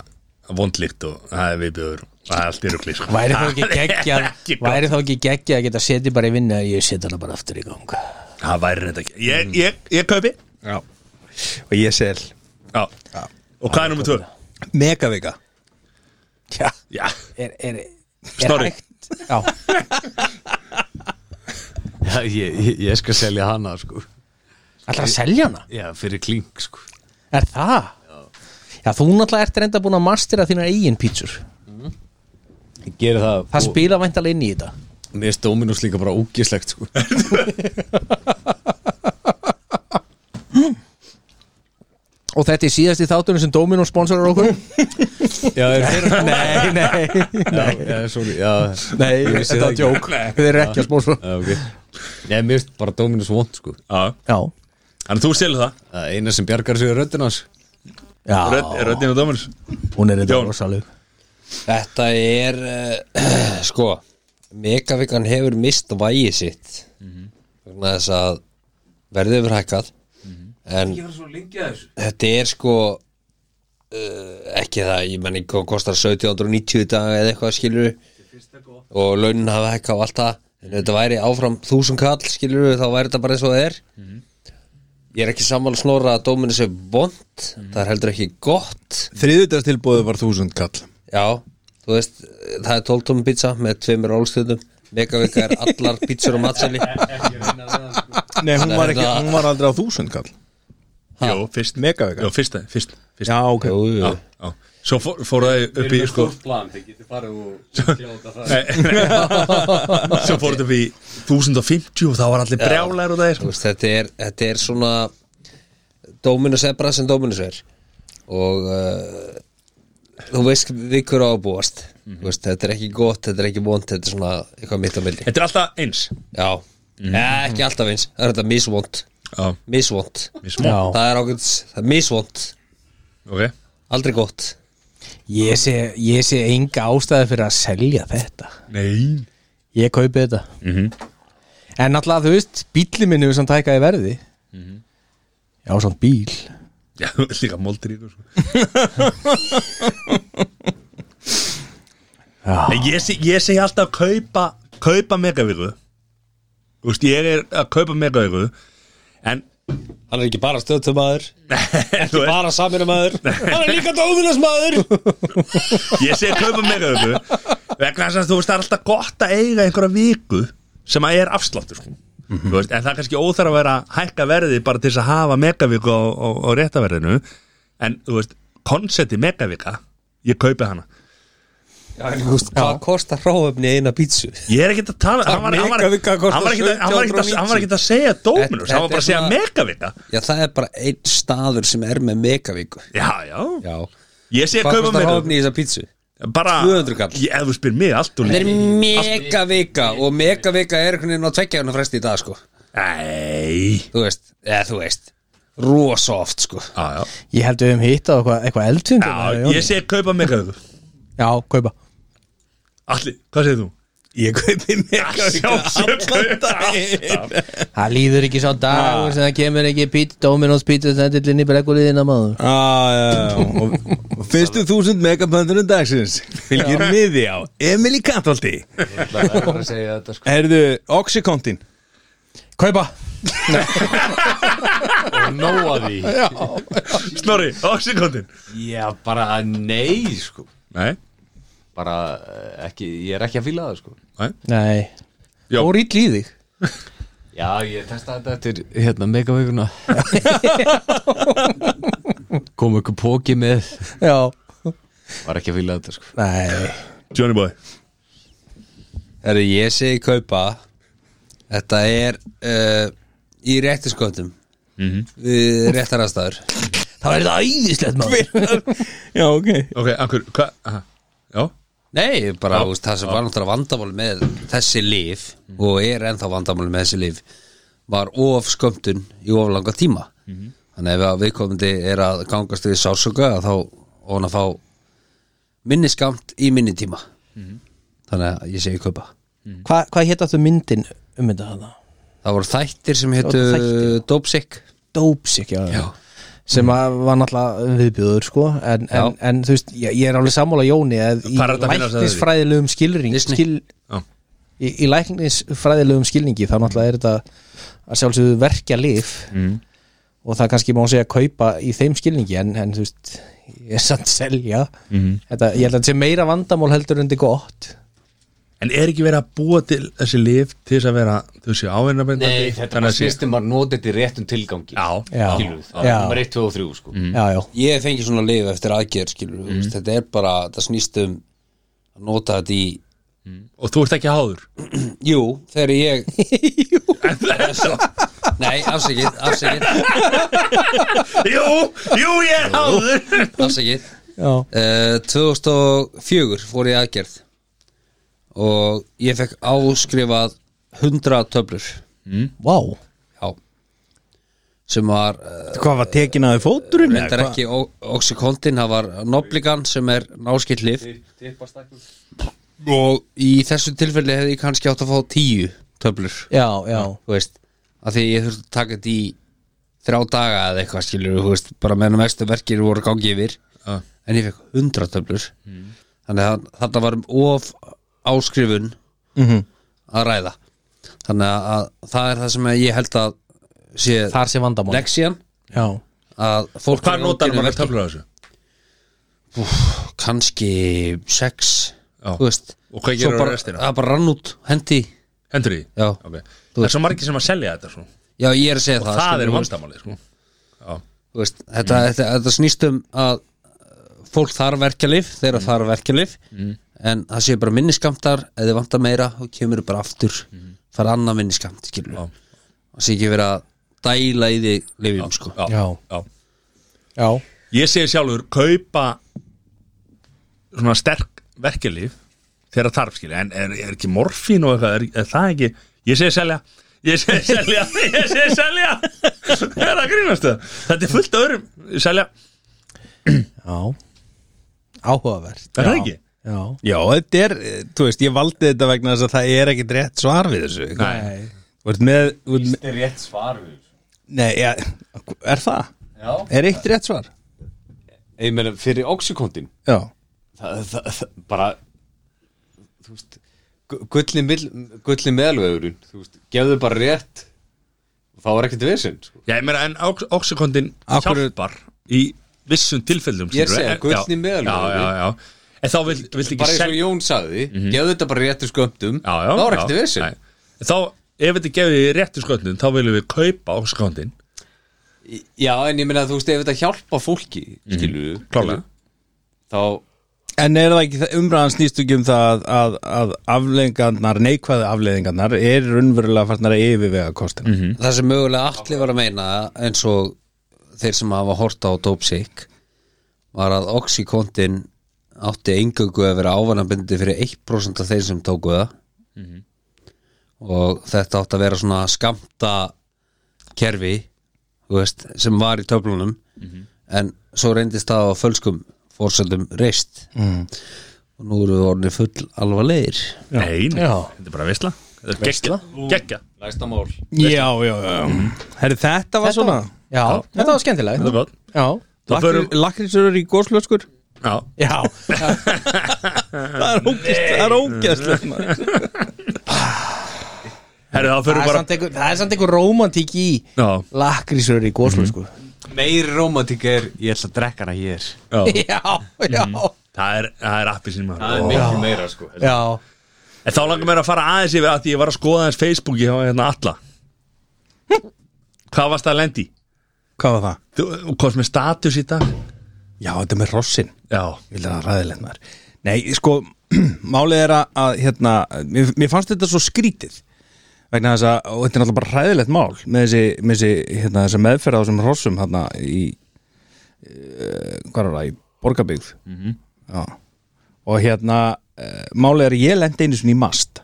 S1: vondlíkt og það er viðbjöður og það er allt í rugli sko.
S2: væri þá ekki
S1: Það er
S2: geggjað
S1: ekki gott.
S2: væri þá ekki geggjað að geta setið bara í vinnu að ég setja hana bara aftur í gang
S1: það væri þetta ekki ég, ég, ég kaupi
S5: já. og ég sel
S1: Já. og hvað er nummer tvö?
S5: megavika
S2: já,
S1: Já,
S2: er, er, er
S1: Snorri.
S2: hægt já,
S6: Já, ég, ég, ég skal selja hana sko
S2: allra að selja hana
S6: Já, fyrir klink sko
S2: er það? já, þú náttúrulega ert reynda búin að mastera þínar eigin pítsur
S6: Ég geri það
S2: það spila væntalega inn í þetta
S6: og mér er Dominus líka bara ógislegt sko
S2: Og þetta er síðasti þáttunum sem Dominó sponsorar okkur
S6: Já, er þeirra
S2: Nei, nei,
S6: Já, sorry, já
S2: nei,
S6: Ég vissi
S2: þetta er
S6: það ekki.
S2: djók Þeir eru ekki að sponsora
S6: Já, ok Nei, mér finnst bara Dominus vond, sko
S1: Já,
S2: Já,
S1: þannig að þú selur það
S6: Það eina sem bjargar sig er röddinn hans
S2: já,
S1: Rödd- Röddin og Dóminus
S2: hún er þetta
S1: Jón.
S2: rosaleg
S3: Þetta er uh, sko Megavikan hefur mist vægið sitt vegna þess að verðið hefur hækkað en þetta er sko uh, ekki það, ég menn ekki kostar 1790 í dag eða eitthvað skilur og launin hafa hækkað og allt það en ef þetta væri áfram 1000 kall skilur þá væri þetta bara eins og það er ég er ekki sammála snora að dóminu sé vond, það er heldur ekki gott
S5: Þriðutastilbóðu var þúsund kall
S3: Já, þú veist, það er 12 tómum pizza með tveimur rólstjöndum Megavika er allar pizzur og matseli
S5: Nei, hún var, ekki,
S3: Þetta-
S5: hún var aldrei á þúsund kall
S1: Jó, fyrst
S5: Megavika
S1: Jó, fyrst, fyrst, fyrst.
S5: Já, ok
S1: Já, já. Svo fór, fór það upp í sko,
S6: plan, þið getur farið og kljóta það
S1: Nei, nei. Svo fór þetta upp í 1050 og þá var allir brjálæður og það er
S3: Þú veist, þetta er, þetta er svona Dominus er bara sem Dominus er og uh, þú veist við hverju á að búast Þú veist, þetta er ekki gott, þetta er ekki vond þetta er svona eitthvað mitt á milli
S1: Þetta er alltaf eins
S3: Já, eh, ekki alltaf eins það er þetta misvond,
S1: Já,
S3: misvond
S1: við smá
S3: það er ákveðs, það er misvond
S1: Ok,
S3: aldrei gott
S2: Ég sé, ég sé enga ástæði fyrir að selja þetta
S1: nei
S2: Ég kaupi þetta
S1: Mhm.
S2: -hmm. En alltaf þú veist, bíllinn minn hefur samt hækkað í verði
S1: Mhm.
S2: Já, samt bíl
S1: Já, líka moldir í sko. Nei, ég, seg, ég segi alltaf að kaupa kaupa megavíru Þú veist, ég er að kaupa megavíru en
S3: Hann er ekki bara stöðtumæður
S1: þú veist,
S3: bara saminumæður Hann er líka dóðunasmæður
S1: ég segi að kaupa megavíru vegna þess að þú veist, það er alltaf gott að eiga einhverja viku sem að er afsláttur sko. Þú veist, en það er kannski óþar að vera að hækka verði bara til þess að hafa megavíku á, á, á réttaverðinu en þú veist, konsepti megavíka ég kaupi hana
S3: Hvað kostar hráöfni eina pítsu?
S1: Ég er ekkert að tala Hann var, hann var,
S5: Megavika kostar
S1: hann var ekkert að- hann var ekkert að- hann var ekkert að segja Dóminus,
S3: Þetta-
S1: hann var bara að segja
S3: þetta er
S1: Megavika
S3: Já, það er bara einn staður sem er með megavíku
S1: Já, já,
S3: Já
S1: ég sé að
S3: Hvað
S1: kaupa
S3: kostar
S1: Megavika
S3: hráöfni í þessa pítsu?
S1: Bara,
S3: 200 kall.
S1: Ég- ef þú spyr mig, allt og
S3: Það er
S1: lítið
S3: megavika og megavika er einhvern veginn á tveggjarna fresti í dag, sko
S1: Nei,
S3: Þú veist, eða þú veist Rosa oft, sko
S1: já, já,
S2: Ég held við hefum hittað eitthvað, eitthvað eldfindum
S1: já Ég sé að kaupa Megavika
S2: Já, kaupa
S1: Allir, hvað segir þú?
S5: Ég kaupi Megavika
S1: Sjálfsög kaupa alltaf.
S2: Það líður ekki sá dagur sem það kemur ekki pít, Dominos pítsu sendillinn í brekkuliðina maður
S5: ah, já, já, já. Og, og fyrstu þúsund megapöndunum dagsins fylgir miði á Emil í Katolti
S6: Það er sko bara að segja þetta,
S5: Herðu, Oxycontin
S2: Kaupa
S6: sko Nóa því
S1: Snorri, oxykontin
S6: Já, bara nei, sko
S1: Nei,
S6: Bara eh, ekki, ég er ekki að fíla það, sko
S2: Nei
S1: Já.
S2: Og rýll í þig
S6: Já, ég testa þetta eftir hérna megaveikuna Kom ykkur póki með
S2: Já
S6: Var ekki að fíla þetta, sko
S2: Nei
S1: Johnny boy
S3: Herru, ég segi kaupa Þetta er uh, í réttiskotum
S2: Mhm.
S3: Við réttarastæður
S2: Það verður það æðislegt maður
S5: Já, ok
S1: Ok, akkur, hvað, aha, já
S3: Nei, bara þú veist, það sem var náttúrulega vandamál með þessi líf og er ennþá vandamál með þessi líf var of skömmtun í of langa tíma þannig ef að viðkomandi er að gangast við sársöka þá á hann að fá minni skamt í minni tíma þannig að ég segi kaupa
S2: Hva, Hvað hétt áttu myndin um þetta hana?
S3: Það voru þættir sem hétu
S2: þættir.
S3: Dópsik
S2: Dópsik, já, já. sem að var náttúrulega viðbjöður sko en, en,
S3: Já.
S2: en þú veist, ég, ég er alveg sammála Jóni að í
S1: Hvar er þetta að finna þessa
S2: læknisfræðilegum skilring
S3: Disney.
S2: skil,
S1: Já.
S2: í, í læknisfræðilegum skilningi þá náttúrulega er þetta að sjálfsögðu verkja lif mm. og það kannski má segja kaupa í þeim skilningi en, en þú veist, ég er samt selja
S1: Mhm.
S2: mm. þetta, ég held að þetta sé meira vandamál heldur en þetta er gott
S1: En er ekki verið að búa til þessi lif til þess að vera, þú séu ávinnabendandi
S6: Nei, þetta var sýstum að nota þetta í réttum tilgangi
S1: Já,
S2: Já,
S6: Skilur við,
S2: já, Mm.
S6: það var nummer 1, 2 og 3, sko
S2: já, já,
S3: Ég fengi svona lif eftir aðgerð skilur, mm -hmm. þetta er bara, það snýst um að nota þetta í
S1: og þú ert ekki háður
S3: Jú, þegar ég Nei, afsækið, afsækið,
S1: Jú, jú, ég er áður
S3: afsækið
S2: Já.
S3: uh, 2004 fór ég í aðgerð og ég fekk áskrifað 100 töflur
S2: Vá
S3: Já sem var uh,
S5: Hvað var tekin að þið fóturinn?
S3: þetta er ekki Oxycontin, það var Nobligan sem er náskilt lif og í þessu tilfelli hefði ég kannski átt að fá 10 töflur
S2: Já, já
S3: þú veist, að því ég þurfti að taka þetta í þrjá daga eða eitthvað skilur, þú veist, bara meðan mestu verkir voru gangi yfir, en ég fekk 100 töflur,
S1: Mm.
S3: þannig að þetta var um of áskrifun
S1: Mhm.
S3: að ræða þannig að það er það sem ég held að sé
S2: Þar sé vandamál
S3: leksian
S2: Já
S3: að fólk
S1: Hvað
S3: er
S1: notar
S3: ódýru
S1: maður
S3: verki.
S1: töflur af þessu?
S3: kannski 6
S1: Já.
S3: þú veist,
S1: Og hvað
S3: svo
S1: gerir
S3: bara,
S1: restina?
S3: það bara rann út hendi,
S1: Hendur því?
S3: já,
S1: Okay. Það er svo margir sem að selja þetta sko.
S3: já ég er að segja það
S1: Það
S3: skilur,
S1: er
S3: þú veist.
S1: vandamálið sko.
S3: Þú veist, þetta,
S1: Mm.
S3: þetta, þetta snýst um að uh, fólk þarf verkjalif þeirra
S1: Mm.
S3: þarf verkjalif en það séu bara minniskamtar eða vantar meira og kemur bara aftur mm. fara annað minniskamt skilur
S1: Já.
S3: og sé ekki vera að dæla í þig lifjum sko
S1: Já.
S2: Já.
S1: Já.
S2: Já
S1: Ég segi sjálfur kaupa svona sterk verkelíf þegar þarf skilja en er, er ekki morfín og eitthvað er, er það ekki ég segi selja ég segi selja ég segi selja það er að grínast það þetta er fullt af öðrum selja
S2: Já Áhugavert
S1: er það ekki
S2: Já
S5: Já, þetta er, eh, þú veist, ég valdi þetta vegna þess að það er ekkit rétt svar við þessu Nei Þú ert með, þú ert með
S6: Þetta er rétt svar við
S5: Nei, ja, er það?
S6: Já.
S5: Er eitt rétt svar?
S6: Ég meina, fyrir oxykontin
S5: Já
S6: það, það, það, bara þú veist gu- gullni, mill- gullni meðalvegurinn þú veist, gefðu bara rétt og þá er ekkert vesinn sko.
S1: já ég meira en Ox- oxykontin
S5: Akkur-
S1: hjálpar í vissum tilfellum
S6: Ég
S1: skilurðu,
S6: segi,
S1: en-
S6: gullni
S1: já.
S6: meðalvegur.
S1: já já já en þá vil, viltu
S6: bara
S1: ekki
S6: eins og
S1: selja
S6: Jón sagði, gefðu þetta bara réttu skömmtum
S1: já, já,
S6: þá er
S1: já.
S6: ekkert vesinn
S1: Nei. En þá ef þetta gefið í réttu sköndin þá viljum við kaupa oxykontin
S6: já, en ég meina, þú veist, ef þetta hjálpa fólki
S5: Mhm.
S6: skilu, mm
S1: klálega
S6: þá
S5: En er það ekki, það- umræðan snýst ekki um það að, að afleðingarnar, neikvæðu afleðingarnar er raunverulega farnar að yfirvega kostina mm -hmm.
S3: það sem mögulega allir var að meina eins og þeir sem hafa horta á Dope Sick var að oxykontin átti engöngu að vera ávanabindi fyrir 1% af þeir sem tóku það og þetta átti að vera svona skamta kerfi þú veist, sem var í töflunum en svo reyndist það á fölskum fórsöldum reist og nú eru við orðinni full alvarlegir
S1: Nei, nei,
S2: Já.
S1: þetta er bara veistla Þetta er geggja, geggja
S6: næsta mál
S5: Já, já, já Herri, þetta var svona
S2: Já, þetta var skemmtilegt
S1: Þetta er gott
S2: Já
S1: Þá förum-
S5: Lakrísur í góslöskur
S1: Já,
S2: Já
S5: Það er ógæst, það er ógæst maður.
S1: herri þá
S2: Það
S1: fyrir
S2: er
S1: bara
S2: samt einhver- það er samt einhver rómantík í
S1: Já, Mhm.
S2: Lakrísur í góslu sko
S6: meiri romantík er, ég ætla að drekka hana hér
S1: já
S2: Já, já
S1: Það er, það er appi sín maður
S6: það er
S1: Ó.
S6: miklu meira, sko
S2: Já
S1: En þá langar mér að fara aðeins yfir að því ég var að skoða aðeins Facebooki hjá hérna alla Hvað varst það að lendi?
S5: Hvað var það?
S1: Þú þú komst með status í dag
S5: Já, þetta er með rossin
S1: Já,
S5: Ég vil að ræðilegt maður Nei, sko, málið er að- að hérna, mér, mér fannst þetta svo skrítið vegna þess að, og þetta er náttúrulega bara ræðilegt mál með þessi, með þessi hérna, þessa meðferð á þessum hrossum hérna í uh, hvað er það, í Borgabyggð
S1: Mhm.
S5: Já og hérna, uh, málið er að ég lendi einu svona í mast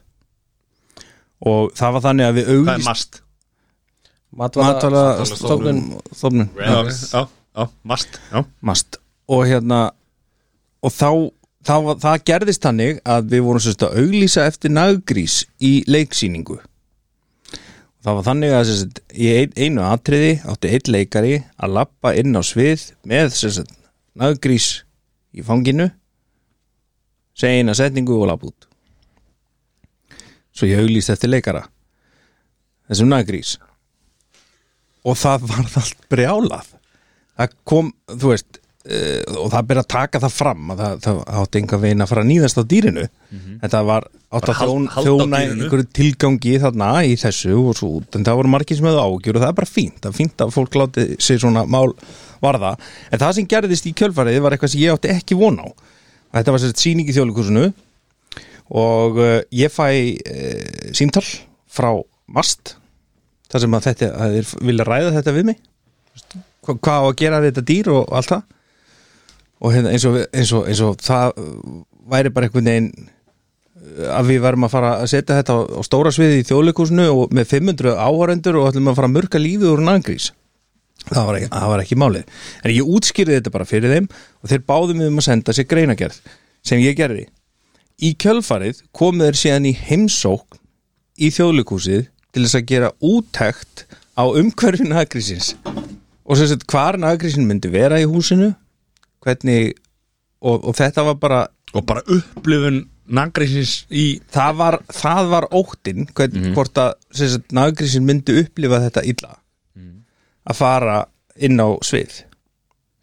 S5: og það var þannig að við
S1: hvað er
S5: auglýst
S1: mast?
S5: matvala
S6: Matvælastofnun.
S5: stofnun
S1: Já, já, já, mast Já,
S5: mast og hérna og þá, þá var- það gerðist þannig að við vorum sérst að auglýsa eftir naggrís í leiksýningu það var þannig að sérst, í ein- einu atriði átti einn leikari að lappa inn á svið með sérst, naggrís í fanginu segja eina setningu og lappa út svo ég auglýst eftir leikara þessum naggrís og það var allt brjálað það kom, þú veist uh, og það byrja að taka það fram að það, það átti enga veginn að fara að nýðast á dýrinu þetta var átti
S1: Mhm. Bara
S5: að
S1: hald-
S5: þjón,
S1: halda á
S5: þjóna
S1: dýrinu.
S5: einhverju tilgangi þarna í þessu og svo út en það voru margir sem hefðu ágjur og það er bara fínt það er fínt að fólk láti sig svona mál varða en það sem gerðist í kjölfarið var eitthvað sem ég átti ekki von á þetta var sérst sýning í eh, þjóðlíkursunu og uh, ég fæ uh, símtal frá eh, Mast þar sem að þetta, að þeir vilja ræða þetta við mig Þú veist, hva- hvað á að gera við þetta dýr og og allt það og hérna, eins, og, við- eins, og, eins og það uh, væri bara einhvern veginn uh, að við verðum að fara að setja þetta á, á stóra sviði í þjóðleikúsinu og með 500 áhórendur og ætlum að fara að murka lífið úr nangrís það var, ekki, það var ekki málið en ég útskýrði þetta bara fyrir þeim og þeir báðu mig um að senda sér greinagerð sem ég gerði í kjölfarið komu þeir síðan í heimsókn í þjóðleikúsið til þess að gera úttekt á umhverfi nagrísins og sem sagt hvar nagrísin myndi vera í húsinu hvernig og, og þetta var bara
S1: og bara upplifun nangriðsins í
S5: það var, það var óttin hvern, hvort að sem sagt, nagrísin myndi upplifa þetta illa að fara inn á svið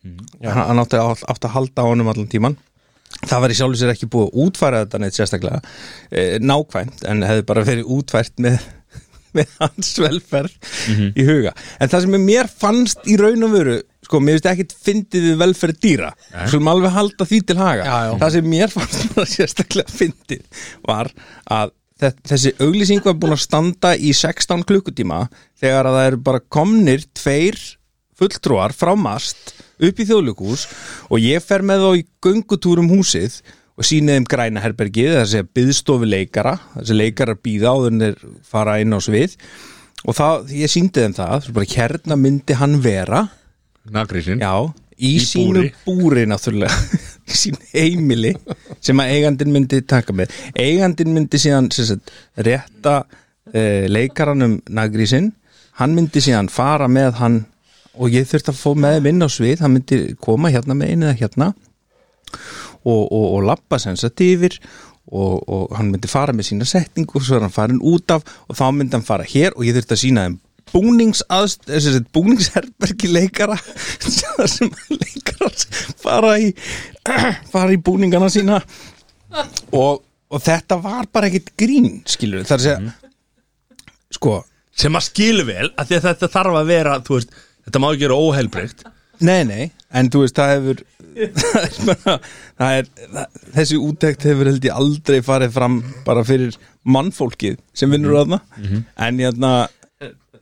S5: hann, hann átti, að- átti að halda á honum allan tíman það var í sjálfu sér ekki búið að útfæra þetta neitt sérstaklega e, nákvæmt en hefði bara verið útfært með, með hans velferð
S2: Mhm.
S5: í huga en það sem mér fannst í raun og veru sko, mér finnst ekkit fyndið við velferð dýra skulum alveg halda því til haga
S2: Já, já.
S5: það sem mér fannst bara sérstaklega fyndið var að þe- þessi auglýsing var búin að standa í 16 klukkutíma þegar að það eru bara komnir tveir fulltrúar frá mast upp í þjóðlugús og ég fer með þá í göngutúr um húsið og sína þeim græna herbergið þessi byðstofi leikara þessi leikara býða áður en þeir fara inn á svið og það, ég síndi þeim það svo bara hérna myndi hann vera
S1: nangriðsin
S5: já, í,
S1: Í
S5: sínu
S1: búri.
S5: búri, náttúrulega í sínu heimili sem að eigandin myndi taka með eigandin myndi síðan sem sagt, rétta uh, leikaranum nagrísinn, hann myndi síðan fara með hann og ég þurfti að fó með þeim inn á svið, hann myndi koma hérna með einu eða hérna og, og, og lappa sem sagt yfir og, og hann myndi fara með sína setningu og svo er hann farin út af og þá myndi hann fara hér og ég þurfti að sína þeim búningsaðst, þessi sett búningsherbergi leikara þar sem leikarar fara í fara í búningana sína og, og þetta var bara ekkit grín skilur þar að segja sko,
S1: sem að skilu vel að því að þetta þarf að vera þú veist, þetta má ekki vera óheilbreykt
S5: nei nei en þú veist það hefur það er bara, það er, það, þessi úttekt hefur held ég aldrei farið fram bara fyrir mannfólkið sem vinnur mm en hérna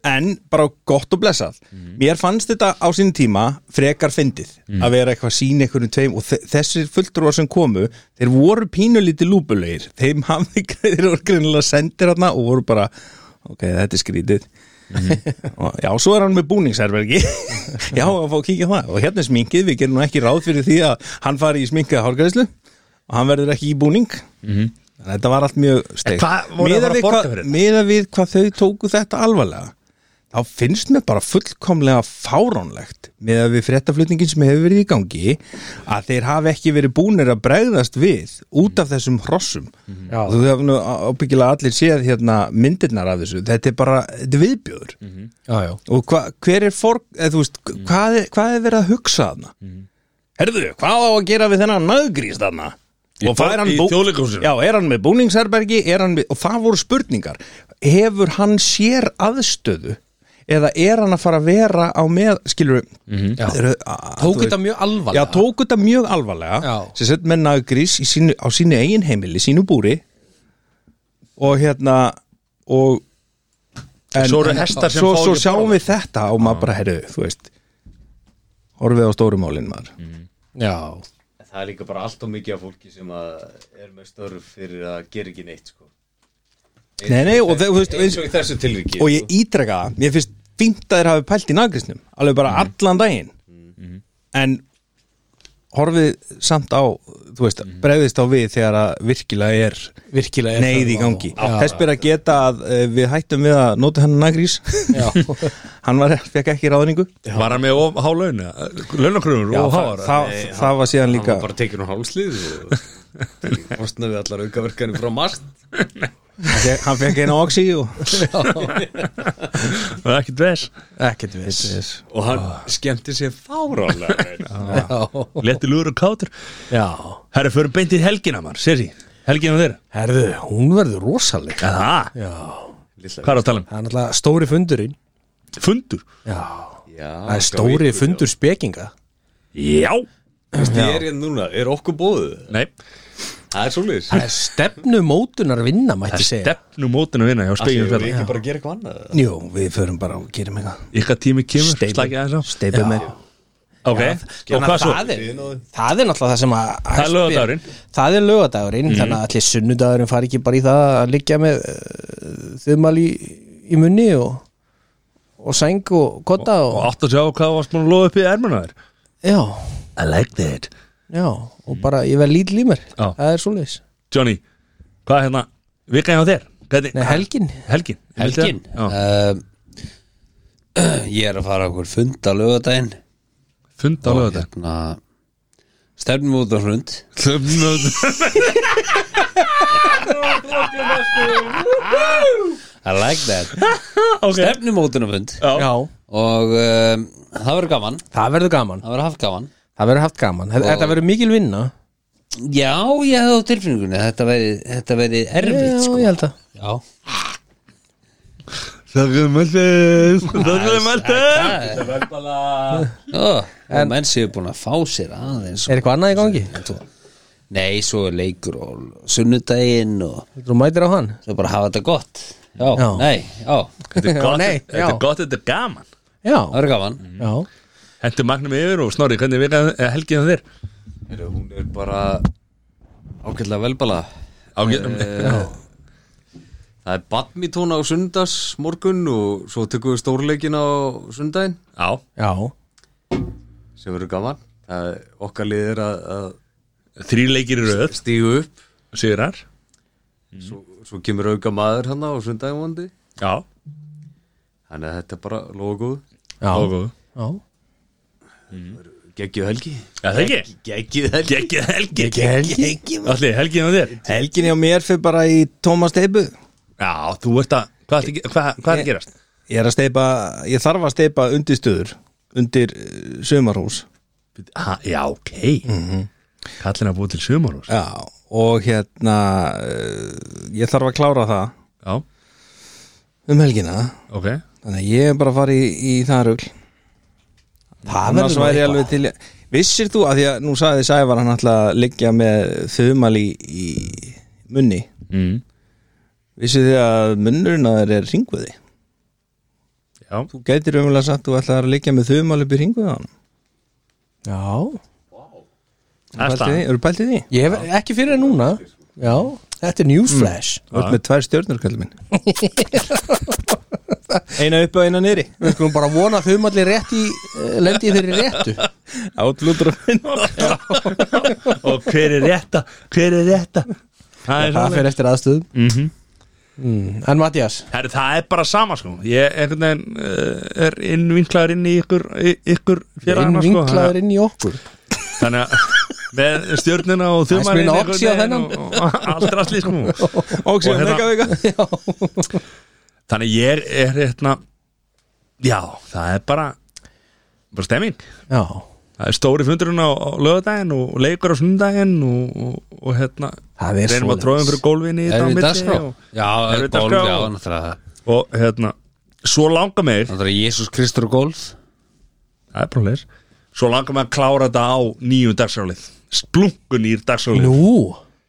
S5: en bara gott og blessað mér fannst þetta á sín tíma frekar fyndið að vera eitthvað sín einhverjum tveim og þe- þessir fulltrúar sem komu þeir voru pínulíti lúpulegir þeim hafði þeir voru greinilega sendir þarna og voru bara ok, þetta er skrítið Mhm. og, já, svo er hann með búningsherbergi já, að fá að kíkja á það og hérna er sminkið, við gerum nú ekki ráð fyrir því að hann fari í sminkaða hárgræslu og hann verður ekki í búning þannig að þetta var allt mjög
S1: Mhm. En
S5: steik
S1: hvað voru þeir að fara að borga fyrir þetta?
S5: meða við hvað þau tóku þetta alvarlega þá finnst mér bara fullkomlega fáránlegt með að við fréttaflutningin sem hefur verið í gangi að þeir hafi ekki verið búnir að bregðast við út af þessum hrossum og þú hefur nú ábyggilega allir séð hérna myndirnar af þessu þetta er bara, þetta er viðbjöður
S2: já, já.
S5: og hva, hver er for, eða, þú veist, hvað, er, hvað er verið að hugsa þarna herðu, hvað á að gera við þennan nöðgrís þarna
S1: Í
S5: og fær
S1: þó-
S5: hann
S1: í
S5: bú-
S1: Þjóðleikhúsinu?
S5: já, er hann með búningsherbergi er hann með, og það voru spurningar hefur hann sér aðstöðu eða er hann að fara að vera á með skilur
S1: Mhm.
S5: mm
S2: Já. Tók þetta mjög alvarlega
S5: já, tók þetta mjög alvarlega
S2: Já.
S5: sem sett með naggrís sínu, á sínu eigin heimili, sínu búri og hérna og en,
S1: Svo eru
S5: en-
S1: hestar sem
S5: svo,
S1: fá
S5: svo
S1: ekki
S5: sjáum við þetta og maður bara herðu, þú veist horfið á stórumálin maður
S1: Mm.
S2: Já,
S6: það er líka bara allt og mikið af fólki sem að er með störf fyrir að gera ekki neitt sko.
S5: nei, nei, og, þau- þú veist,
S6: eins og í þessu tilviki sko.
S5: og ég ítreka það mér finnst fínt að þeir hafi pælt í nagrisnum alveg bara
S2: Mhm.
S5: allan daginn en horfið samt á, þú veist, bregðist á við þegar að virkilega er
S2: Mhm. virkilega er
S5: neyð í
S2: þörf á-
S5: gangi
S2: Já.
S5: þess ber að geta að eh, við hættum við að nota hennan nagrís hann var, fekk ekki ráðningu
S1: var hann með of há laun eða? launakröfur og
S5: það,
S1: háar
S5: það, það var síðan líka
S6: hann var bara tekin á hálslið og fórstna við allar aukaverkanir frá margt
S5: hann fekk- hann fekk einu oxi og
S1: það er Ah. ekki dves
S2: Ekkert viss
S6: og hann skemmti sér fárálega vel.
S1: leti lúður og kátur
S2: Já,
S1: herri, förum beint í helgina mann, sér því helgina þeirra
S2: herðu, hún verður rosaleg Já,
S1: Aha,
S2: það
S1: hvað er að tala um?
S2: er náttúrulega stóri fundurinn
S1: Fundur?
S2: Já,
S6: Já,
S2: það er stóri fundur spekinga
S1: Já
S6: ég er hérna núna, er okkur bóðu
S1: Nei,
S6: það er svolítið
S2: Það er stefnumótunar vinna, mætti segja
S1: Stefnu mótin að vinna hérna hjá spegjum
S6: Við
S1: fjall
S6: ekki bara að gera eitthvað annað
S2: Jú, við förum bara og gerum eitthvað
S1: Ykkar tími kemur,
S2: Steypum.
S1: slakið aðeins á
S2: Steipum með
S1: Ok, og hvað svo?
S2: það, er, það er náttúrulega það sem að
S1: Það er laugardagurinn. Mhm.
S2: Það er lögadagurinn, þannig að allir sunnudagurinn fari ekki bara í það að liggja með uh, þumal í, í munni og, og sæng og kotta og,
S1: Og átt að sjá hvað varst búin að lofa upp í ermuna þér
S2: Já,
S1: I like that
S2: já, og bara ég verð lítil í mér
S1: Já.
S2: Það er svoleiðis
S1: Johnny, hvað er hérna, vika hjá þér? Hvernig,
S2: Nei, helgin
S1: Helgin
S3: Helgin
S2: Uh,
S1: Já.
S3: um, Ég er að fara á okkur fund á lögadaginn
S1: Fund á
S3: og
S1: lögða
S3: hérna stefnum út á hrund I like that Stefnum út á hrund
S2: Já,
S3: og um, það verður gaman
S2: það verður gaman
S3: það verður haft gaman
S2: Það verður haft gaman, Þetta- þetta verður mikil vinna
S3: Já, ég hefði á tilfinningunni að þetta verið, þetta verið
S2: Já,
S3: erfitt sko.
S2: ég held að
S3: Já,
S1: Þakkaði mæltis Þakkaði mæltis
S3: Ó, og menn séu búin að fá sér aðeins sko.
S2: Er eitthvað annað í gangi?
S3: Nei, svo er leikur og sunnudaginn og
S2: Þú mætir á hann?
S3: svo bara hafa þetta gott Já,
S2: Já.
S3: nei, já,
S1: Þetta er
S2: Já,
S1: gott,
S2: nei,
S1: þetta
S2: já.
S1: er gott, þetta er gaman
S2: Já,
S3: það verður gaman
S2: já
S1: Hentu magnum yfir og snorri, hvernig vika eh, helgin hjá þér?
S6: Heyrðu, Hún er bara ákveðlega velbala
S2: Uh,
S1: Ágæðum
S6: Það er badmintón á sundags morgun og svo tökum við stórleikin á sundaginn
S1: Já,
S2: Já,
S6: sem verður gaman það er okkar liðir að, að
S1: þrý leikir í röð
S6: stígu upp Mm.
S1: Sigrar
S6: svo, svo kemur auka maður hann á sundaginn vondi
S1: Já,
S6: þannig að þetta er bara logoð
S2: já,
S1: og góð
S2: já.
S6: geggju helgi
S1: Já, það ekki
S6: geggju helgi
S1: Gekkið helgi Allir, helgin á þér
S5: Helgin hjá mér fyrir bara í Tómas Steipu
S1: Já, þú ert að Hvað ertu að- hvað- hvað er að gerast?
S5: Ég er að steipa, ég þarf að steipa undirstöður undir uh, sumarhús
S1: Ha, Já, ok Kallin að búið til sumar og-
S5: Já, og hérna uh, ég þarf að klára það
S1: Já,
S5: um helgina
S1: ok
S5: þannig að ég er bara að fara í, í það rugl
S2: Það
S5: annars
S2: verður nú
S5: væri ég
S2: eitthvað
S5: alveg til í- Vissir þú að því að nú sagði Sævar hann ætla að liggja með þumal í, í munni
S1: mm.
S5: Vissir þið að munnurinn að þér er ringvöði
S1: Já,
S5: Þú gætir umlega sagt þú ætlar að liggja með þumal upp í ringvöði á hann
S2: Já,
S1: það er staðan.
S5: Eru pæltið því?
S2: ég hef ekki fyrir en núna Já, þetta er newsflash
S5: Þú ert með tvær stjörnur kallið minn Eina upp og eina niðri
S2: Við skulum bara vona að þau um allir rétt í eh, lendi í þeirri réttu
S5: Átlútur að finna
S1: Og hver er rétta, hver er rétta Það er Mhm.
S2: Það
S1: svolítið
S2: fer eftir aðstöðum mm -hmm. En Mattias,
S1: Herri, það er bara sama sko Ég einhvern veginn uh, er innvinklaður inn í ykkur, í- ykkur
S2: einn
S1: félagana sko
S5: hérna.
S2: vinklaður inn í okkur
S1: Þannig að með stjórnina og
S2: Það er
S1: þumarinn
S2: smíðin
S1: einhvern
S2: oxi á
S1: veginn
S2: þennan.
S1: og- og Allt rastli sko
S5: Og
S1: Og
S5: sér
S1: hérna-
S5: mega vika
S1: Þannig ég er hérna Já, það er bara bara stemming
S2: Já,
S1: Það er stóri fundurinn á, á lögadaginn og leikur á sundaginn og, og, og hérna
S2: það er
S1: reynum að tróðum fyrir gólfinni í
S3: Erum við
S1: milli
S3: dagskrá?
S1: og,
S3: Já,
S1: Erum við
S3: golf,
S1: dagskrá?
S3: já, náttúrulega
S1: og hérna svo langar mig
S3: Náttúrulega Jésús Kristur og golf
S1: það er bara leis svo langar mig að klára þetta á nýjum dagsrálið splunkunýr dagsrálið
S2: Nú,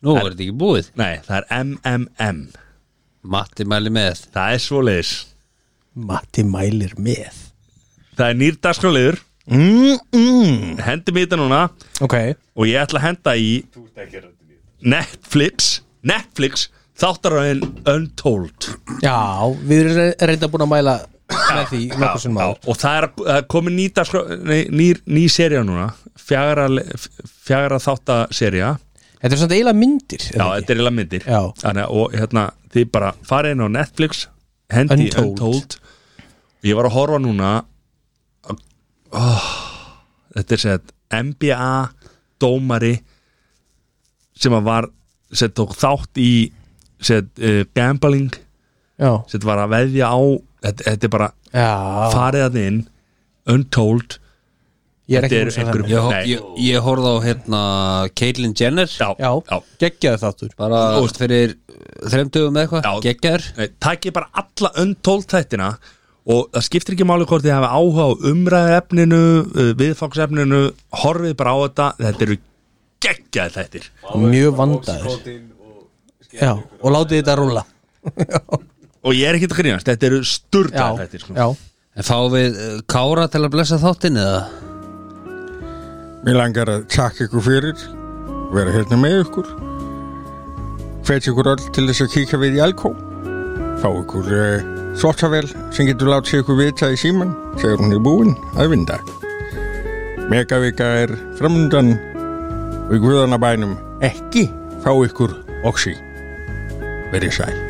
S3: Nú er þetta ekki búið
S1: nei, það er MMM
S3: Matti mæli með
S1: það er svo leis
S2: Matti mælir með
S1: það er nýr dagsráliður
S5: mm, mm.
S1: hendum í þetta núna
S2: Ok,
S1: og ég ætla að henda í Netflix Netflix þáttaröðin Untold
S2: já, við erum re- reynda búin að mæla með því nokkuð sem maður
S1: og það er, það er komið ný, dagskrá, nei, ný, ný seria núna fjara, fjara þáttaserja
S2: Þetta er samt eiginlega myndir er
S1: Já,
S2: það ekki?
S1: þetta er eiginlega myndir
S2: Já.
S1: Þannig, að- og hérna, þið bara farið inn á Netflix hendi
S2: Untold.
S1: Untold, Ég var að horfa núna oh, Þetta er sett NBA dómari sem að var sett tók þátt í sett uh, gambling
S2: Já,
S1: sett var að veðja á þetta, þetta er bara
S2: já,
S1: farið að inn Untold
S2: ég er
S1: þetta
S2: ekki
S1: er
S2: búin að segja
S1: einhverjum-
S2: þannig
S3: Ég, ho-
S1: Nei.
S3: ég, ég horfði á hérna Caitlyn Jenner
S1: Já,
S2: Já, geggjaðu þáttur
S3: bara
S1: Óst.
S3: fyrir þremdugum eða
S1: Já.
S3: eitthvað geggar
S1: Nei, takk ég bara alla untold þættina og það skiptir ekki máli hvort þið hafa eh, áhuga á umræðefninu, viðfangsefninu horfið bara á þetta, þetta eru geggjaði þættir
S2: mjög vandaður já, og látið þetta rúlla
S1: og ég er ekkert að grínast, þetta eru sturglaði
S2: já,
S1: þættir sko.
S2: já,
S3: En fáum við eh, Kára til að blessa þáttinn eða?
S5: Mér langar að takka ykkur fyrir vera hérna með ykkur fæti ykkur öll til þess að kíka við í Alko fá ykkur uh, svartavel sem getur látið ykkur vita í síman þegar hún er búin að vinda Megavika er framundan og í guðanabænum ekki fá ykkur oxi verið sæl